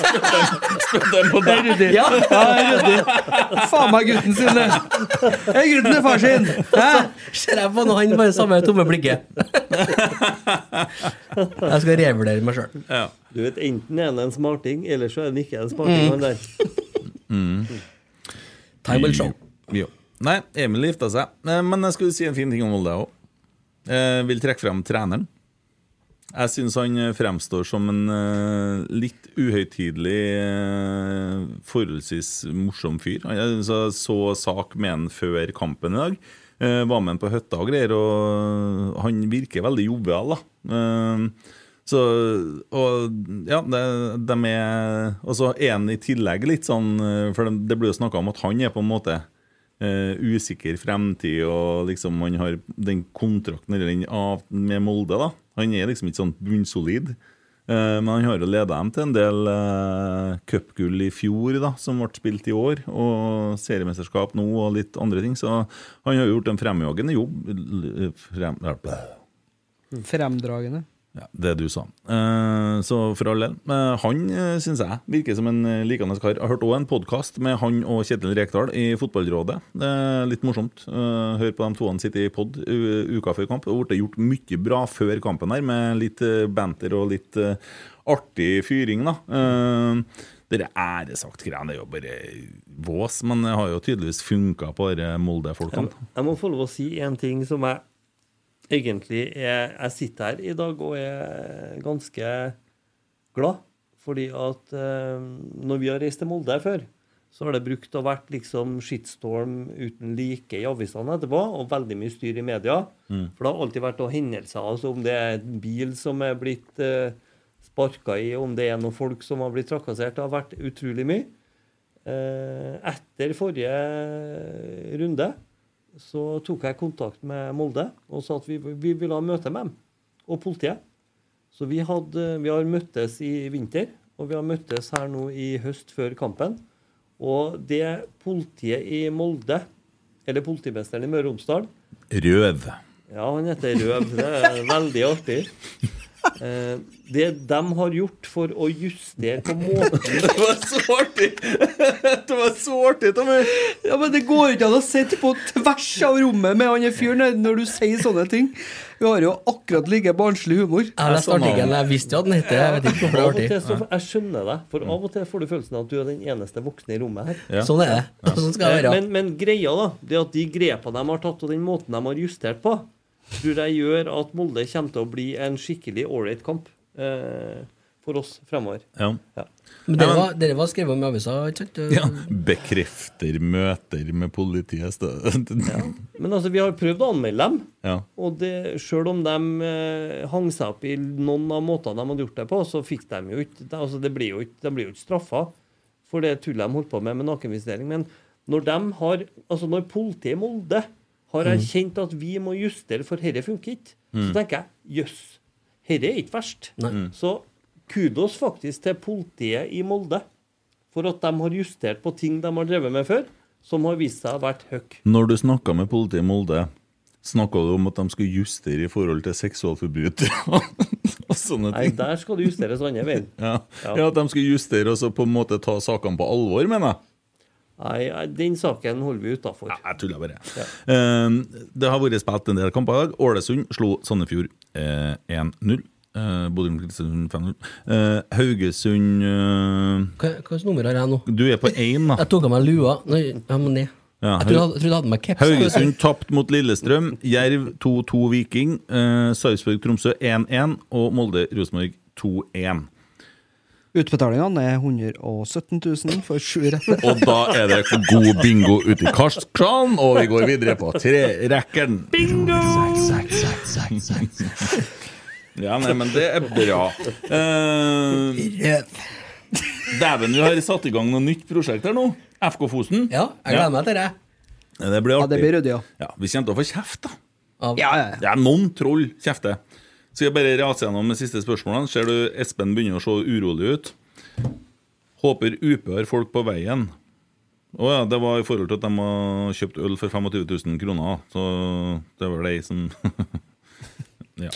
Spytter han på deg? Ja. Faen meg gutten sin, det! Det er gutten til far sin! Hæ? Ser jeg på han, og han bare samme tomme blikket. Jeg skal revurdere meg sjøl. Du vet, Enten er han en smarting, eller så er han ikke en smarting. Mm. Han der. Mm. Time will show. Jo. Nei, Emil gifta seg. Eh, Men jeg skulle si en fin ting om Molde òg. Vil trekke frem treneren. Jeg syns han eh, fremstår som en eh, litt uhøytidelig, eh, forholdsvis morsom fyr. Jeg så, så sak med han før kampen i dag. Eh, var med han på hytta og greier, og eh, han virker veldig jovial, da. Eh, så, og ja, de, de er Og så er han i tillegg litt sånn eh, For det, det blir jo snakka om at han er på en måte eh, usikker fremtid, og liksom han har den kontrakten eller den av, med Molde, da. Han er liksom ikke sånn bunnsolid. Eh, Men han har jo leda dem til en del eh, cupgull i fjor, da, som ble spilt i år. Og seriemesterskap nå, og litt andre ting. Så han har jo gjort en fremjagende jobb. l- l- Frem, Fremdragende. det du sa. Eh, så for all del. Eh, han uh, syns jeg virker som en eh, likende kar. Jeg har hørt òg en podkast med han og Kjetil Rekdal i Fotballrådet. Det er litt morsomt. Eh, hør på de to sitte i pod uka før kamp. Det ble gjort mye bra før kampen her, med litt eh, banter og litt eh, artig fyring, da. Eh, det æresakt-greiene det er jo bare vås, men det har jo tydeligvis funka på disse Molde-folkene. Jeg, jeg må få lov å si en ting som jeg egentlig er, Jeg sitter her i dag og er ganske glad. Fordi at eh, når vi har reist til Molde før, så har det brukt å vært liksom shitstorm uten like i avisene etterpå, og veldig mye styr i media. Mm. For det har alltid vært noen hendelser, altså om det er en bil som er blitt eh, sparka i, om det er noen folk som har blitt trakassert. Det har vært utrolig mye. Eh, etter forrige runde så tok jeg kontakt med Molde og sa at vi, vi ville ha møte med dem og politiet. Så vi, hadde, vi har møttes i vinter, og vi har møttes her nå i høst før kampen. Og det politiet i Molde, eller politimesteren i Møre og Romsdal, Røv. ja, han heter Røv. Det er veldig artig. Eh, det de har gjort for å justere på måten Det var så artig! Det var så artig, Tommy! Ja, men Det går ikke an å sitte på tvers av rommet med han fyren når du sier sånne ting. Vi har jo akkurat like barnslig humor. Jeg har lest sånn artikkelen, jeg visste jo at den het det. Jeg vet ikke hvorfor Av og det til er så, artig. jeg skjønner deg, for av og til får du følelsen av at du er den eneste voksne i rommet her. Ja. Sånn er det. Sånn skal Eh, det være. Men, men greia, da, det at de grepene de har tatt, og den måten de har justert på, tror jeg gjør at Molde kommer til å bli en skikkelig ålreit kamp eh, for oss fremover. Ja. Men dere var, dere var skrevet om i avisa, ikke sant? Ja, Mm. bekrefter møter med politiet. Ja. Men altså, vi har prøvd å anmelde dem. Ja. Og det, selv om de eh, hang seg opp i noen av måtene de hadde gjort det på, så fikk de jo ikke det, altså det ble jo ikke, De ble jo ikke straffa for det tullet de holdt på med med nakenvisitering. Men når de har, altså når politiet i Molde har Mm. erkjent at vi må justere, for dette funker ikke, så Mm. tenker jeg jøss, dette er ikke verst. Nei. Mm. Så kudos faktisk til politiet i Molde for at de har justert på ting de har drevet med før, som har vist seg å ha vært høyt. Når du snakka med politiet i Molde, snakka du om at de skulle justere i forhold til seksualforbrytere og sånne Nei, ting? der skal det justeres andre veien. Ja. ja, at de skulle justere og så på en måte ta sakene på alvor, mener jeg. Nei, nei, den saken holder vi utafor. Jeg tuller bare. Ehm, det har vært spilt en del kamper i dag. Ålesund slo Sandefjord eh, 1-0. Eh, Bodø-Glimt 5-0. Eh, Haugesund eh, Hva slags nummer har jeg nå? Du er på én, da. Jeg tok av meg lua. Nå, jeg må ned. Ja, Jeg trodde jeg hadde- trodde jeg hadde med caps. Haugesund tapt mot Lillestrøm. Jerv 2-2 Viking. Eh, Sarpsborg-Tromsø 1-1. Og Molde-Rosenborg 2-1. Utbetalingene er 117 000 for sju retter. Og da er det god bingo ute i Karststrand, og vi går videre på trerekkeren. Bingo! Ja, nei, men det er bra. Eh, Dæven, vi har satt i gang noe nytt prosjekt her nå. FK Fosen. Ja, Jeg gleder meg til det. Det blir artig. det blir ryddig, ja. Vi kommer til å få kjeft, da. Ja, Det er noen troll kjefter. Skal jeg bare rase gjennom de siste spørsmålene? Ser du Espen begynner å se urolig ut? Håper UP har folk på veien. Å ja, det var i forhold til at de har kjøpt øl for 25 000 kroner. Så det var de som Ja.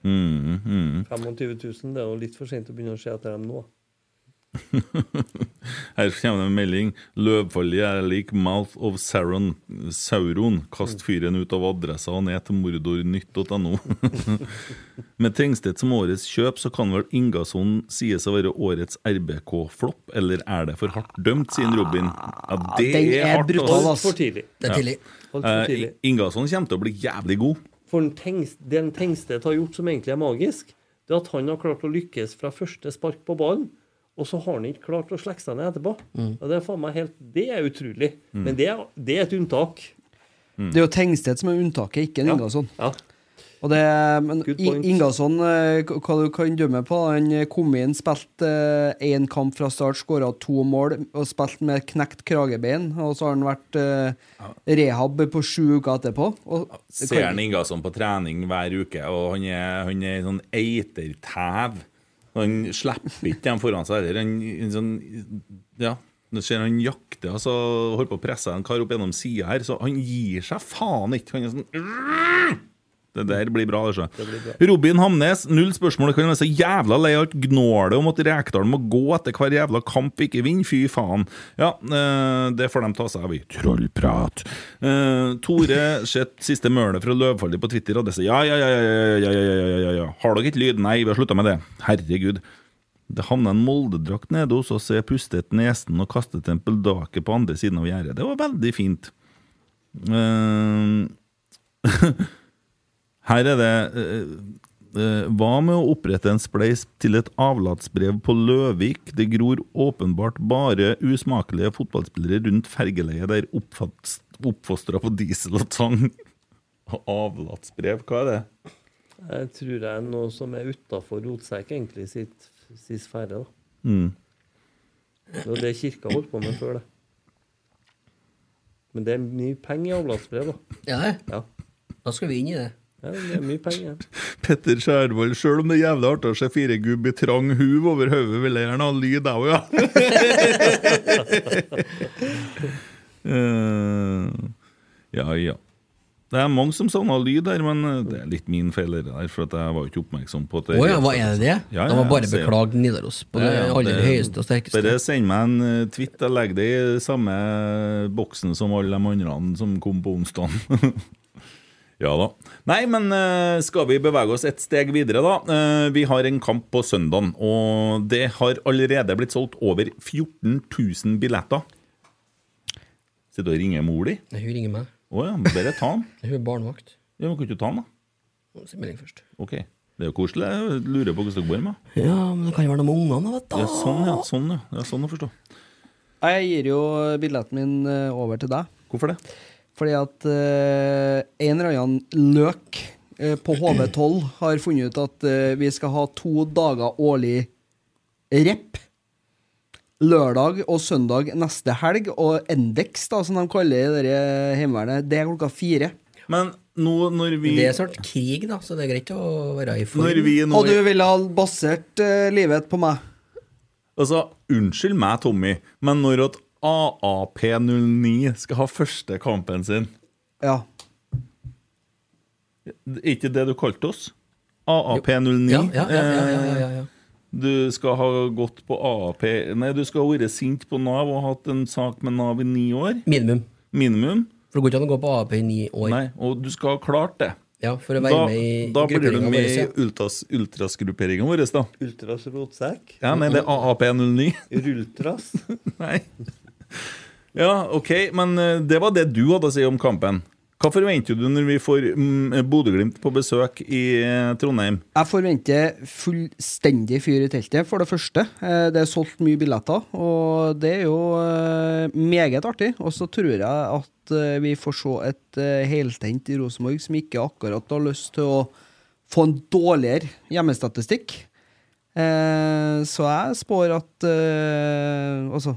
Mm, mm. 25 000, det er jo litt for sent å begynne å se etter dem nå. Her kommer det en melding. 'Løvfallet er lik Mouth of Sauron. Sauron. Mm. Kast fyren ut av adressa og ned til mordornytt.no. Med Tengstedt som årets kjøp, så kan vel Ingasson sies å være årets RBK-flopp, eller er det for hardt dømt, sier Robin. Ja, det Ah, Den er, er hardt. brutal, altså. ass. Holdt for tidlig. Det er tidlig. Holdt for Eh, tidlig. Ingasson kommer til å bli jævlig god. For den Tengs- den Tengstedt har gjort som egentlig er magisk, det er at han har klart å lykkes fra første spark på ballen, og så har han ikke klart å slekke seg ned etterpå. Mm. Og det er faen meg helt Det er utrolig. Mm. Men det er, det er et unntak. Mm. Det er jo Tengsted som er unntaket, ikke en Ingasson. Og det, men point. I- Ingasson, eh, k- hva du kan dømme på Han eh, kom inn, spilte eh, én kamp fra start, skåra to mål og spilte med knekt kragebein. Og så har han vært eh, rehab på sju uker etterpå. Og, det Ser kan- han Ingasson på trening hver uke, og han er, han er en sånn eitertæv. Han slipper ikke dem foran seg heller. Han en sånn Ja, nå ser han jakter altså, holder på å presse en kar opp gjennom sida her, så han gir seg faen ikke. Han er sånn det der blir bra, altså. Robin Hamnes, null spørsmål. Kan være så jævla lei av alt gnålet om at Rekdal må gå etter hver jævla kamp vi ikke vinner. Fy faen. Ja, eh, det får de ta seg av i trollprat. Eh, Tore sett siste mølet fra Løvfallet på Twitter, og det sier ja, ja, ja, ja, ja, ja, ja, ja, ja, ja. Har dere ikke lyd? Nei, vi har slutta med det. Herregud. Det havna en Molde-drakt nede hos oss, og jeg pustet nesen og kastet en peldaker på andre siden av gjerdet. Det var veldig fint. Eh, Her er det eh, eh, Hva med å opprette en spleis til et avlatsbrev på Løvik? Det gror åpenbart bare usmakelige fotballspillere rundt fergeleiet der oppfats- oppfostra på diesel og tang. Og Avlatsbrev, hva er det? Jeg tror det er noe som er utafor rotsekk, egentlig, sitt, sitt sfære. da. Mm. Det var det kirka holdt på med før, det. Men det er mye penger i avlatsbrev, da. Ja, det? Ja. Da skal vi inn i det. Ja, det er mye penger. Petter Skjærvold, sjøl om det er jævlig artig å se fire gubb i trang huv over hodet, vil jeg gjerne ha lyd, jeg òg, ja. Eh, ja, ja. Det er mange som savner lyd her, men eh, det er litt min feil, det der, for at jeg var jo ikke oppmerksom på at Å ja, hva er det? Ja, ja, De har bare jeg ser- beklaget Nidaros på det aller høyeste og sterkeste. Bare send meg en eh, tweet. Jeg legger det i samme boksen som alle de andre som kom på onsdag. ja da. Nei, men eh, skal vi bevege oss et steg videre, da? Eh, Vi har en kamp på søndagen, og det har allerede blitt solgt over 14 000 billetter. Sitter du og ringer mor di? Nei, Hun ringer meg. Å ja, bare ta den. Hun er barnevakt. Ja, men kan ikke du ta den, da? Må sende melding først. Ok. Det er jo koselig. Jeg lurer på hvordan det går med Ja, men det kan jo være noe med ungene, da, vet du. ja, Sånn, ja. Sånn, ja. ja sånn å forstå. Jeg gir jo billetten min eh, over til deg. Hvorfor det? Fordi at eh, en eller annen løk eh, på HV12 har funnet ut at eh, vi skal ha to dager årlig rep. Lørdag og søndag neste helg. Og Endex, da, som de kaller det der Heimevernet, det er klokka fire. Men nå når vi Det er snart krig, da, så det er greit å være i form. Og du ville ha basert eh, livet på meg. Altså, unnskyld meg, Tommy, men når at AAP09 skal ha første kampen sin Ja. Er ikke det du kalte oss? AAP09? Ja, ja, ja, ja, ja, ja, Eh, ja. Du skal ha gått på AAP Nei, du skal ha vært sint på Nav og hatt en sak med Nav i ni år. Minimum. Minimum. For det går ikke an å gå på AAP i ni år. Nei, og du skal ha klart det. Ja, for å være da, med i Da blir du grupperingen med vår, i ja. ultras, ultrasgrupperingen vår, da. Ultras rotsekk? Ja, nei, det er AAP09. Rultras? nei. Ja, OK, men eh, det var det du hadde å si om kampen. Hva forventer du når vi får mm, Bodø-Glimt på besøk i eh, Trondheim? Jeg forventer fullstendig fyr i teltet, for det første. Eh, Det er solgt mye billetter, og det er jo eh, meget artig. Og så tror jeg at eh, vi får se et eh, heltent i Rosenborg som ikke akkurat har lyst til å få en dårligere hjemmestatistikk. Eh, Så jeg spår at eh, Altså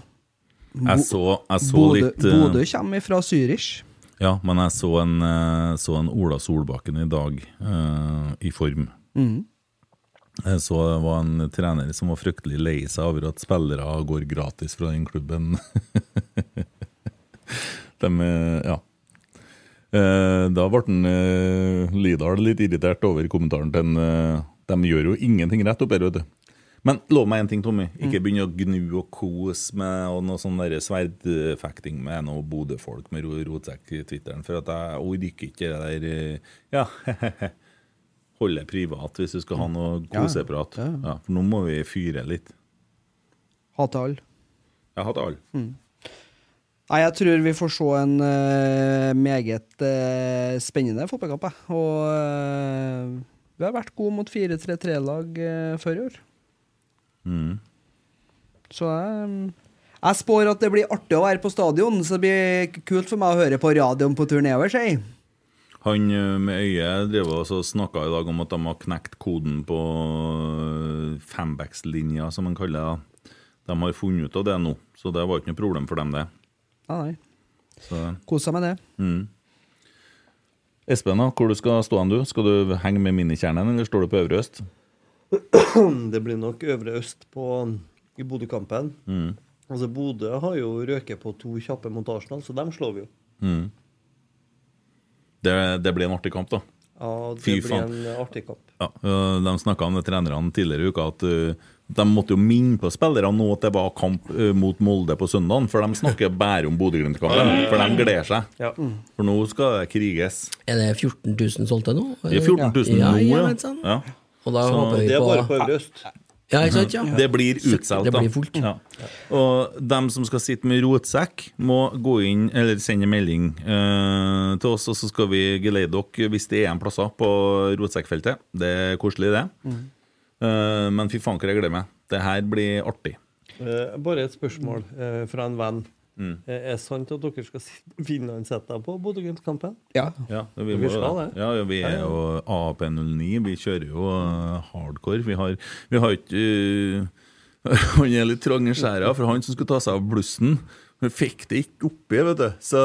Jeg så, jeg så Bodø- litt eh, Bodø kommer fra Zürich. Ja, men jeg så en, eh, så en Ola Solbakken i dag eh, i form. Mhm. Jeg så det var en trener som var fryktelig lei seg over at spillere går gratis fra den klubben. De, eh, ja. Eh, Da ble den, eh, Lidahl litt irritert over kommentaren til en, eh, De gjør jo ingenting rett opp her, vet du. Men lov meg en ting, Tommy. Ikke Mm. begynn å gnu og kose med og noe sånn der sverdfekting med noe Bodø-folk med ro- rotsekk i Twitteren, for at jeg orker ikke det der eh, Ja, holde privat hvis du skal ha noe Mm. Ja, koseprat. ja, ja. Ja, for nå må vi fyre litt. Hater alle. Jeg hater alle. Nei, jeg tror vi får se en eh, meget eh, spennende fotballkamp. jeg. Og eh, vi har vært gode mot 4-3-3-lag eh, før i år. Mm. Så jeg, jeg spår at det blir artig å være på stadion, så det blir kult for meg å høre på radioen på tur nedover, sier jeg. Han eh, med øyet drev og snakka i dag om at de har knekt koden på eh, fembacks-linja, som han kaller det. De har funnet ut av det nå, så det var ikke noe problem for dem, det. Nei, nei. Så, Kos deg med det. mm. Espen, da, hvor du skal stå hen du? Skal du henge med minikjernen, eller står du på Øvre Øst? Det blir nok Øvre Øst på, i Bodø-kampen. Mm. Altså, Bodø har jo røket på to kjappe montasjer, så dem slår vi jo. Mm. Det, det blir en artig kamp, da. Ja, det Fy blir faen. en eh, artig kamp. Ja, øh, de snakka om det trenerne tidligere i uka, at øh, de måtte jo minne på spillerne nå at det var kamp øh, mot Molde på søndagen, for de snakker bare om Bodø-Glimt-kampen. For de gleder seg. Mm. For nå skal det kriges. Er det 14 000 solgte nå? Det er 14 000 ja, nå, ja. ja. men sånn. ja. Og da håper vi Det er på bare på Øvre Øst. Ja, ikke sant? Ja. Mm. Det blir utsolgt, Det da. blir fullt. Ja. Og dem som skal sitte med rotsekk, må gå inn eller sende melding eh, til oss, og så skal vi geleide dere hvis det er en plasser på rotsekkfeltet. Det er koselig, det. Mm. Mhm. Eh, men fy faen, hva jeg gleder meg. Det her blir artig. Eh, bare et spørsmål eh, fra en venn. Mm. Eh, er det sant at dere skal si- finlandssette på Bodø-Glimt-kampen? Ja, vi, Vi må, jo skal det. det. ja, ja, vi er jo AP09. Vi kjører jo eh, hardcore. Vi har, vi har ikke eh, Han er litt trang i skjæra, for han som skulle ta seg av blussen, han fikk det ikke oppi, vet du. Så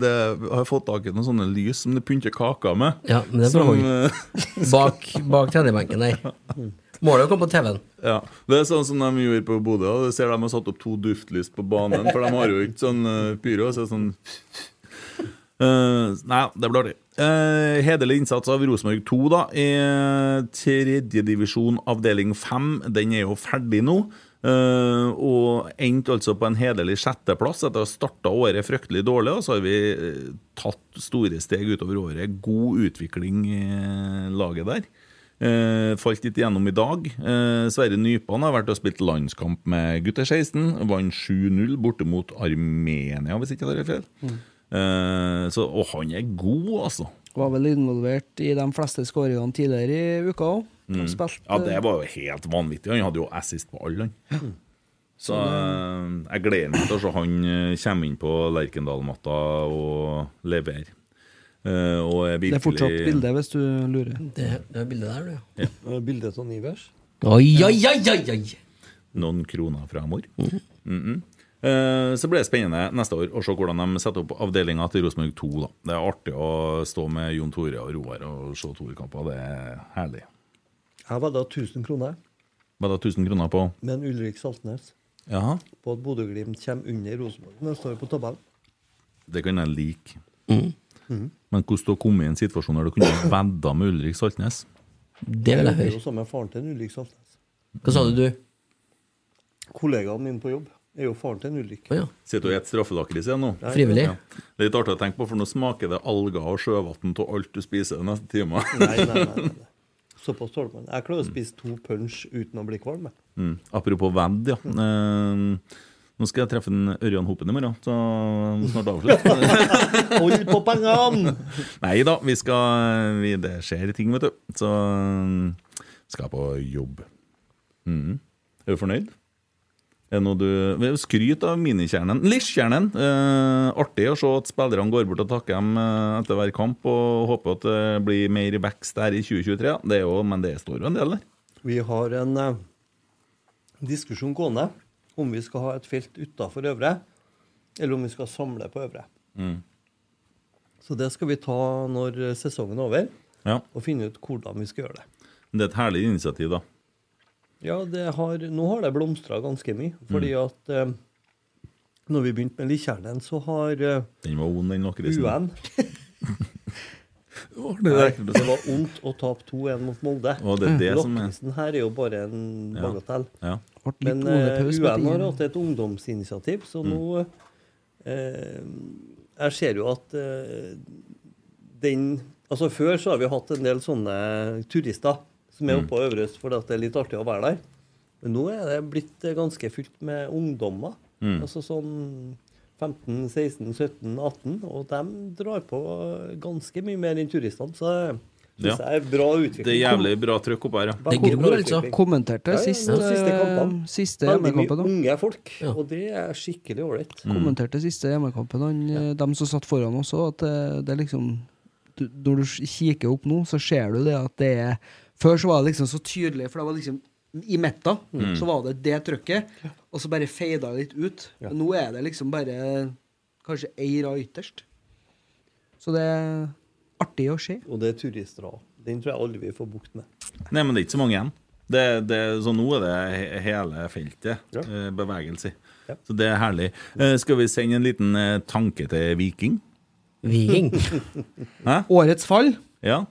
det jeg har fått tak i noen sånne lys som du pynter kaka med. Ja, men det er bra. eh, Bak, bak trenerbenken der. Målet er å komme på TV-en. Ja, Det er sånn som de gjorde på Bodø. og Du ser de har satt opp to duftlys på banen, for de har jo ikke sånn eh, pyro. Så det er sånn Eh, Nei, det blir artig. Eh, hederlig innsats av Rosenborg 2, da. I tredjedivisjon avdeling 5. Den er jo ferdig nå. eh, og endte altså på en hederlig sjetteplass etter å ha starta året fryktelig dårlig. Og så har vi eh, tatt store steg utover året. God utvikling i laget der. Eh, falt litt gjennom i dag. Eh, Sverre Nypan har vært og spilt landskamp med gutter 16. Vant 7-0 borte mot Armenia, hvis ikke jeg tar helt feil. Mm. Eh, så, og han er god, altså. Var vel involvert i de fleste skåringene tidligere i uka òg. Mm. Ja, det var jo helt vanvittig. Han hadde jo assist på alle, han. Så eh, jeg gleder meg til å se han eh, kommer inn på Lerkendal-matta og leverer. Eh, og er Det virkelig er fortsatt bilde, hvis du lurer. Det, det er bildet der, du. Ja. Eh, Bildet av Ivers? Oi, oi, oi, oi, oi! noen kroner fra mor. Mhm. Eh, Så blir det spennende neste år å se hvordan de setter opp avdelinga til Rosenborg 2. Da. Det er artig å stå med Jon Tore og Roar og se Tore-kamper. Det er herlig. Jeg vedda 1000 kroner, Hva da, 1000 kroner på men Ulrik Saltnes Jaha, på at Bodø-Glimt kommer under Rosenborg neste år på tabellen. det kan jeg like. Mm. Mhm. Men hvordan du kom i en situasjon der du kunne vedda med Ulrik Saltnes? Det vil Det jeg er høre. jo samme faren til en sånn. Ulrik Saltnes. Hva sa du, du? Kollegaen min på jobb er jo faren til en Ulrik. Sitter og spiser straffelakris igjen nå. Nei. Frivillig. Det er litt artig å tenke på, for nå smaker det alger og sjøvann av alt du spiser de neste timene. Nei, nei, nei, nei, nei. Såpass tåler man. Jeg klarer å spise to punch uten å bli kvalm. jeg. Mm. Apropos vedd, ja. Eh, Nå skal jeg treffe en Ørjan Hopen i morgen, så jeg må snart avslutte. Hold på pengene! Nei da, vi skal vi, Det skjer ting, vet du. Så mm, skal jeg på jobb. Mhm. Er du fornøyd? Er det noe du vel, Skryt av minikjernen. Liskjernen! Eh, artig å se at spillerne går bort og takker dem eh, etter hver kamp, og håper at det blir mer vekst der i 2023. ja. Det er jo, men det står jo en del der. Vi har en eh, diskusjon gående om vi skal ha et felt utafor øvre, eller om vi skal samle på øvre. Mm. Så det skal vi ta når eh, sesongen er over, Ja. og finne ut hvordan vi skal gjøre det. Det er et herlig initiativ, da. Ja, det har, nå har det blomstra ganske mye, fordi at eh, når vi begynte med Likjernen, så har eh, Den var ond, den lakrisen. UN Var det Nei, det? det var vondt å tape 2-1 mot Molde. Å, det er det som er- Lakrisen her er jo bare en Ja, bagatell. ja. Vart litt Men eh, oljepaus på UN har tiden. hatt et ungdomsinitiativ, så Mm. nå eh, Jeg ser jo at eh, den Altså Før så har vi hatt en del sånne turister som er Mm. oppe på Øverøst fordi at det er litt artig å være der. Men nå er det blitt eh, ganske fylt med ungdommer. Mm. Altså sånn 15, 16, 17, 18. Og de drar på ganske mye mer enn turistene. Så det syns Ja. jeg er bra utvikling. Det er jævlig bra trøkk oppå her, ja. Det gror, altså. Kommenterte Ja, ja, sist, de siste eh, kampene. siste Veldig mye hjemmekampen, Mm. da. unge folk, og det er skikkelig ålreit. Kommenterte siste hjemmekampen. Han, eh, Dem som satt foran oss også, at eh, det er liksom du, Når du kikker opp nå, så ser du det at det er Før så var det liksom så tydelig, for det var liksom i metta Mm. så var det det trøkket, og så bare feida det litt ut. Men nå er det liksom bare kanskje ei rad ytterst. Så det er artig å se. Og det er turister òg. Den tror jeg aldri vi får bukt med. Nei, men det er ikke så mange igjen. Det, det, så nå er det he- hele feltet eh, bevegelse. i. Så det er herlig. Eh, skal vi sende en liten eh, tanke til Viking? Viking? Hæ? Årets fall? Ja.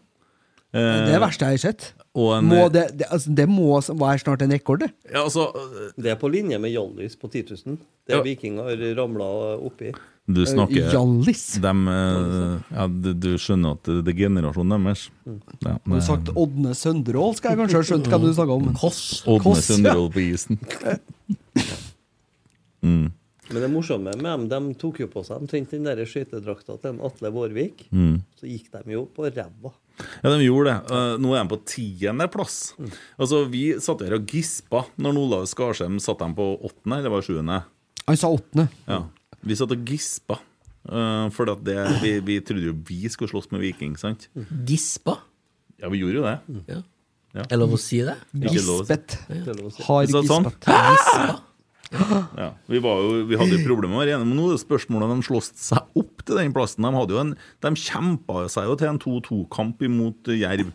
Eh, Det er det verste jeg har sett. Og en, Må det, det, altså, det må være snart en rekord, det. det er på linje med Hjallis på 10 000. Det altså, Ja. vikinger ramla oppi. Du snakker Eh, Hjallis. Dem, eh, ja, du, du skjønner at det er generasjonen deres. Ja, Hadde Mm. du sagt Ådne Sønderål, skal jeg kanskje ha skjønt hva du snakka Mm. om. Koss. Ådne Koss, ja. Sønderål på isen. Mm. Men det morsomme med dem, de tok jo på seg omtrent den der skøytedrakta til en Atle Vårvik. Mm. Så gikk de jo på ræva. Ja, de gjorde det. Eh, Nå er de på tiendeplass. Altså, vi satt her og gispa når Olav Skarsheim satt dem på åttende, eller var det sjuende? Han sa åttende. Ja. Vi satt og gispa. eh, for at det, vi, vi trodde jo vi skulle slåss med Viking, sant? Gispa? Ja, vi gjorde jo det. Ja. Ja. Er lov å si det? Ikke lov å si. Gispet. Ja. Det er lov å si. Har Så sånn. gispet. Ah! Ja, vi, var jo, vi hadde jo problemer med å være enige, men nå er det spørsmålet om de slåss seg opp til den plassen. De, hadde jo en, de kjempa seg jo til en 2-2-kamp imot eh, Jerv.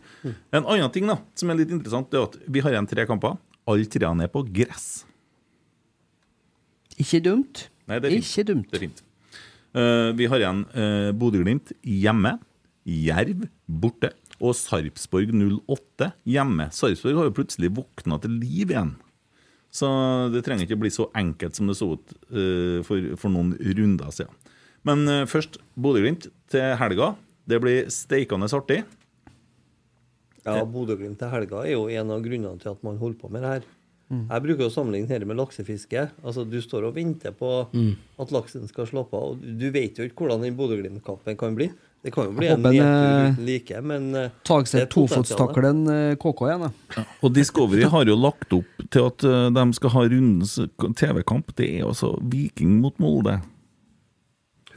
En annen ting da, som er litt interessant, det er at vi har igjen tre kamper. Alle treene er på gress. Ikke dumt. Nei, det er fint. Ikke dumt. Det er fint. Eh, vi har igjen uh, Bodø-Glimt hjemme, Jerv borte og Sarpsborg 08 hjemme. Sarpsborg har jo plutselig våkna til liv igjen. Så det trenger ikke bli så enkelt som det så ut eh, for, for noen runder siden. Men eh, først Bodø-Glimt til helga. Det blir steikende artig. Ja, Bodø-Glimt til helga er jo en av grunnene til at man holder på med det her. Mm. Jeg bruker å sammenligne dette med laksefiske. Altså, Du står og venter på Mm. at laksen skal slappe av. og Du vet jo ikke hvordan den Bodø-Glimt-kampen kan bli. Det kan jo bli Jeg en håper den, nedtur eh, uten like, men eh, det Tagset er et potensial der. tofotstaklen eh, KK igjen, da. Og Discovery har jo lagt opp til at eh, de skal ha rundens TV-kamp. Det er altså Viking mot Molde. Altså,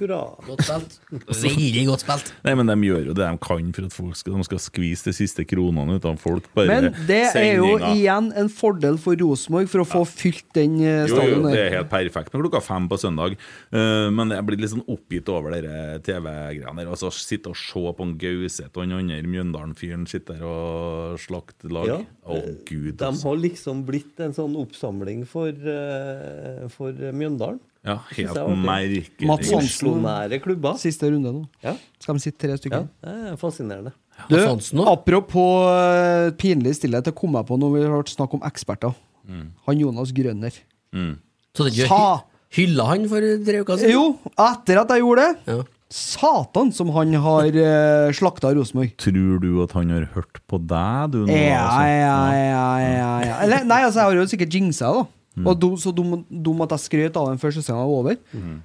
Hurra. Godt spilt. Veldig godt spilt. Nei, men de gjør jo det de kan for at folk skal, de skal skvise de siste kronene ut av folk. Bare Men det er jo sendinga. igjen en fordel for Rosenborg for å få fylt den eh, jo, jo, stadion det der. er helt perfekt med klokka fem på søndag. Eh, men jeg blir litt sånn oppgitt over dere TV-greiene der. Altså, sitte og se på en Gauseth og den andre Mjøndalen-fyren sitte der og slakte lag. Å, Ja. gud. De altså. har liksom blitt en sånn oppsamling for, eh, for Mjøndalen. Ja, Synes helt jeg var artig. merkelig. Mats Hansen. Oslo-nære klubber. Siste runde nå. Skal de sitte tre Ja, stykker? det er fascinerende. Du, apropos eh, pinlig stillhet, det kom jeg på når vi har hørt snakk om eksperter. Mm. Han Jonas Grønner. Mm. Så det ikke Sa- hylla han for tre uker siden? Jo, etter at jeg gjorde det. Satan som han har uh, slakta Rosenborg. Tror du at han har hørt på deg, du? Nå, Ja, altså? ja, ja, ja, ja. Eller, nei, altså, jeg har jo sikkert jinxa, da. Mm. Og dum, så dum, dum at jeg skrøt av den før sesongen var over. Mm.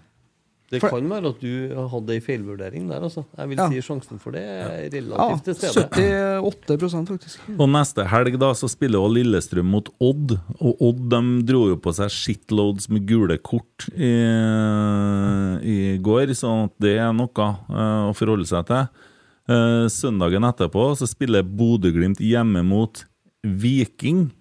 Det For- kan være at du hadde ei feilvurdering der, altså. Jeg vil Ja. si sjansen for det Ja, er relativt til stede. 78 faktisk. Og neste helg da så spiller jo Lillestrøm mot Odd, og Odd de dro jo på seg shitloads med gule kort i, i går, sånn at det er noe eh, å forholde seg til. Eh, søndagen etterpå så spiller Bodø-Glimt hjemme mot Viking.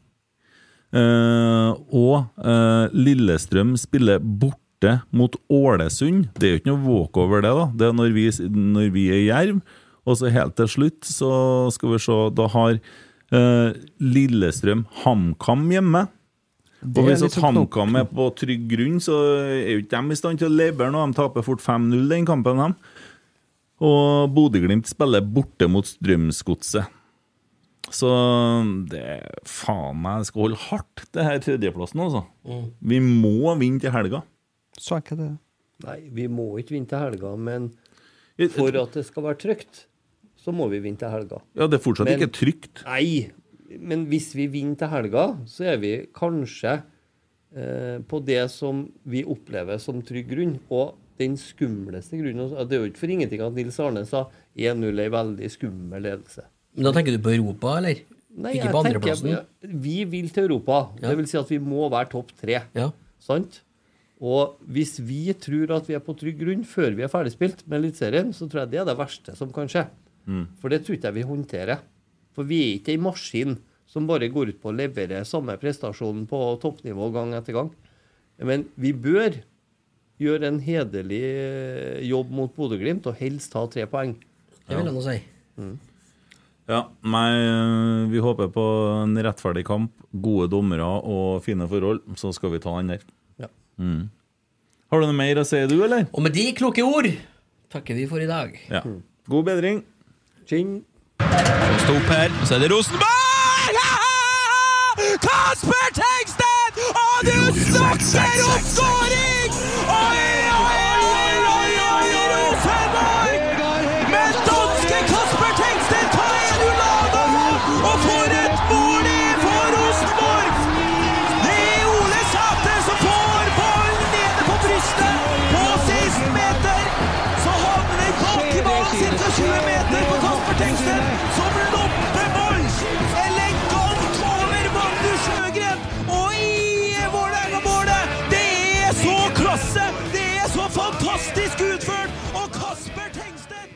Eh, og eh, Lillestrøm spiller borte mot Ålesund. Det er jo ikke noe walkover, det. da Det er når vi, når vi er i Jerv. Og så helt til slutt, så skal vi se Da har eh, Lillestrøm HamKam hjemme. Det Og er hvis litt at sånn knok- HamKam er på trygg grunn, så er jo ikke de i stand til å levere noe. De taper fort 5-0 den kampen, de. Og Bodø-Glimt spiller borte mot Strømsgodset. Så det er faen meg Det skal holde hardt, det her tredjeplassen, altså. Mm. Vi må vinne til helga. Så er ikke det Nei, vi må ikke vinne til helga, men for at det skal være trygt, så må vi vinne til helga. Ja, det er fortsatt Men- ikke trygt. Nei, men hvis vi vinner til helga, så er vi kanskje eh, på det som vi opplever som trygg grunn. Og den skumleste grunnen og Det er jo ikke for ingenting at Nils Arne sa 1-0 er en veldig skummel ledelse. Men da tenker du på Europa, eller? Nei, Ikke jeg på andreplassen? tenker Vi vil til Europa. Det vil si at vi må være topp tre. Sant? Og hvis vi tror at vi er på trygg grunn før vi er ferdigspilt med Eliteserien, så tror jeg det er det verste som kan skje. Mm. For det tror ikke jeg vi håndterer. For vi er ikke en maskin som bare går ut på å levere samme prestasjon på toppnivå gang etter gang. Men vi bør gjøre en hederlig eh, jobb mot Bodø-Glimt, og helst ta tre poeng. Det vil jeg nå si. Mm. Ja, nei, vi håper på en rettferdig kamp, gode dommere og fine forhold, så skal vi ta den der. Ja. Mm. Har du noe mer å si, du, eller? Og med de kloke ord takker vi for i dag. Ja. God bedring. Tjing. Stå opp her, så er det Rosenborg! Kasper Tengstedt! Og du snakker om skåring! Oi, oi, oi, oi, oi, Rosenborg! Men danske Kasper Tengstedt tar 1-0 av dem! Og for et mål i for Rosenborg! Det er Ole Sæter som får ballen nede på brystet på 16 meter. Så havner den bak i ballen ca. 20 meter på Kasper Tengstedt, som loppeball! Elegant over Magnus Sjøgren og i Vålerenga-målet! Det er så klasse! Det er så fantastisk utført! Og Kasper Tengstedt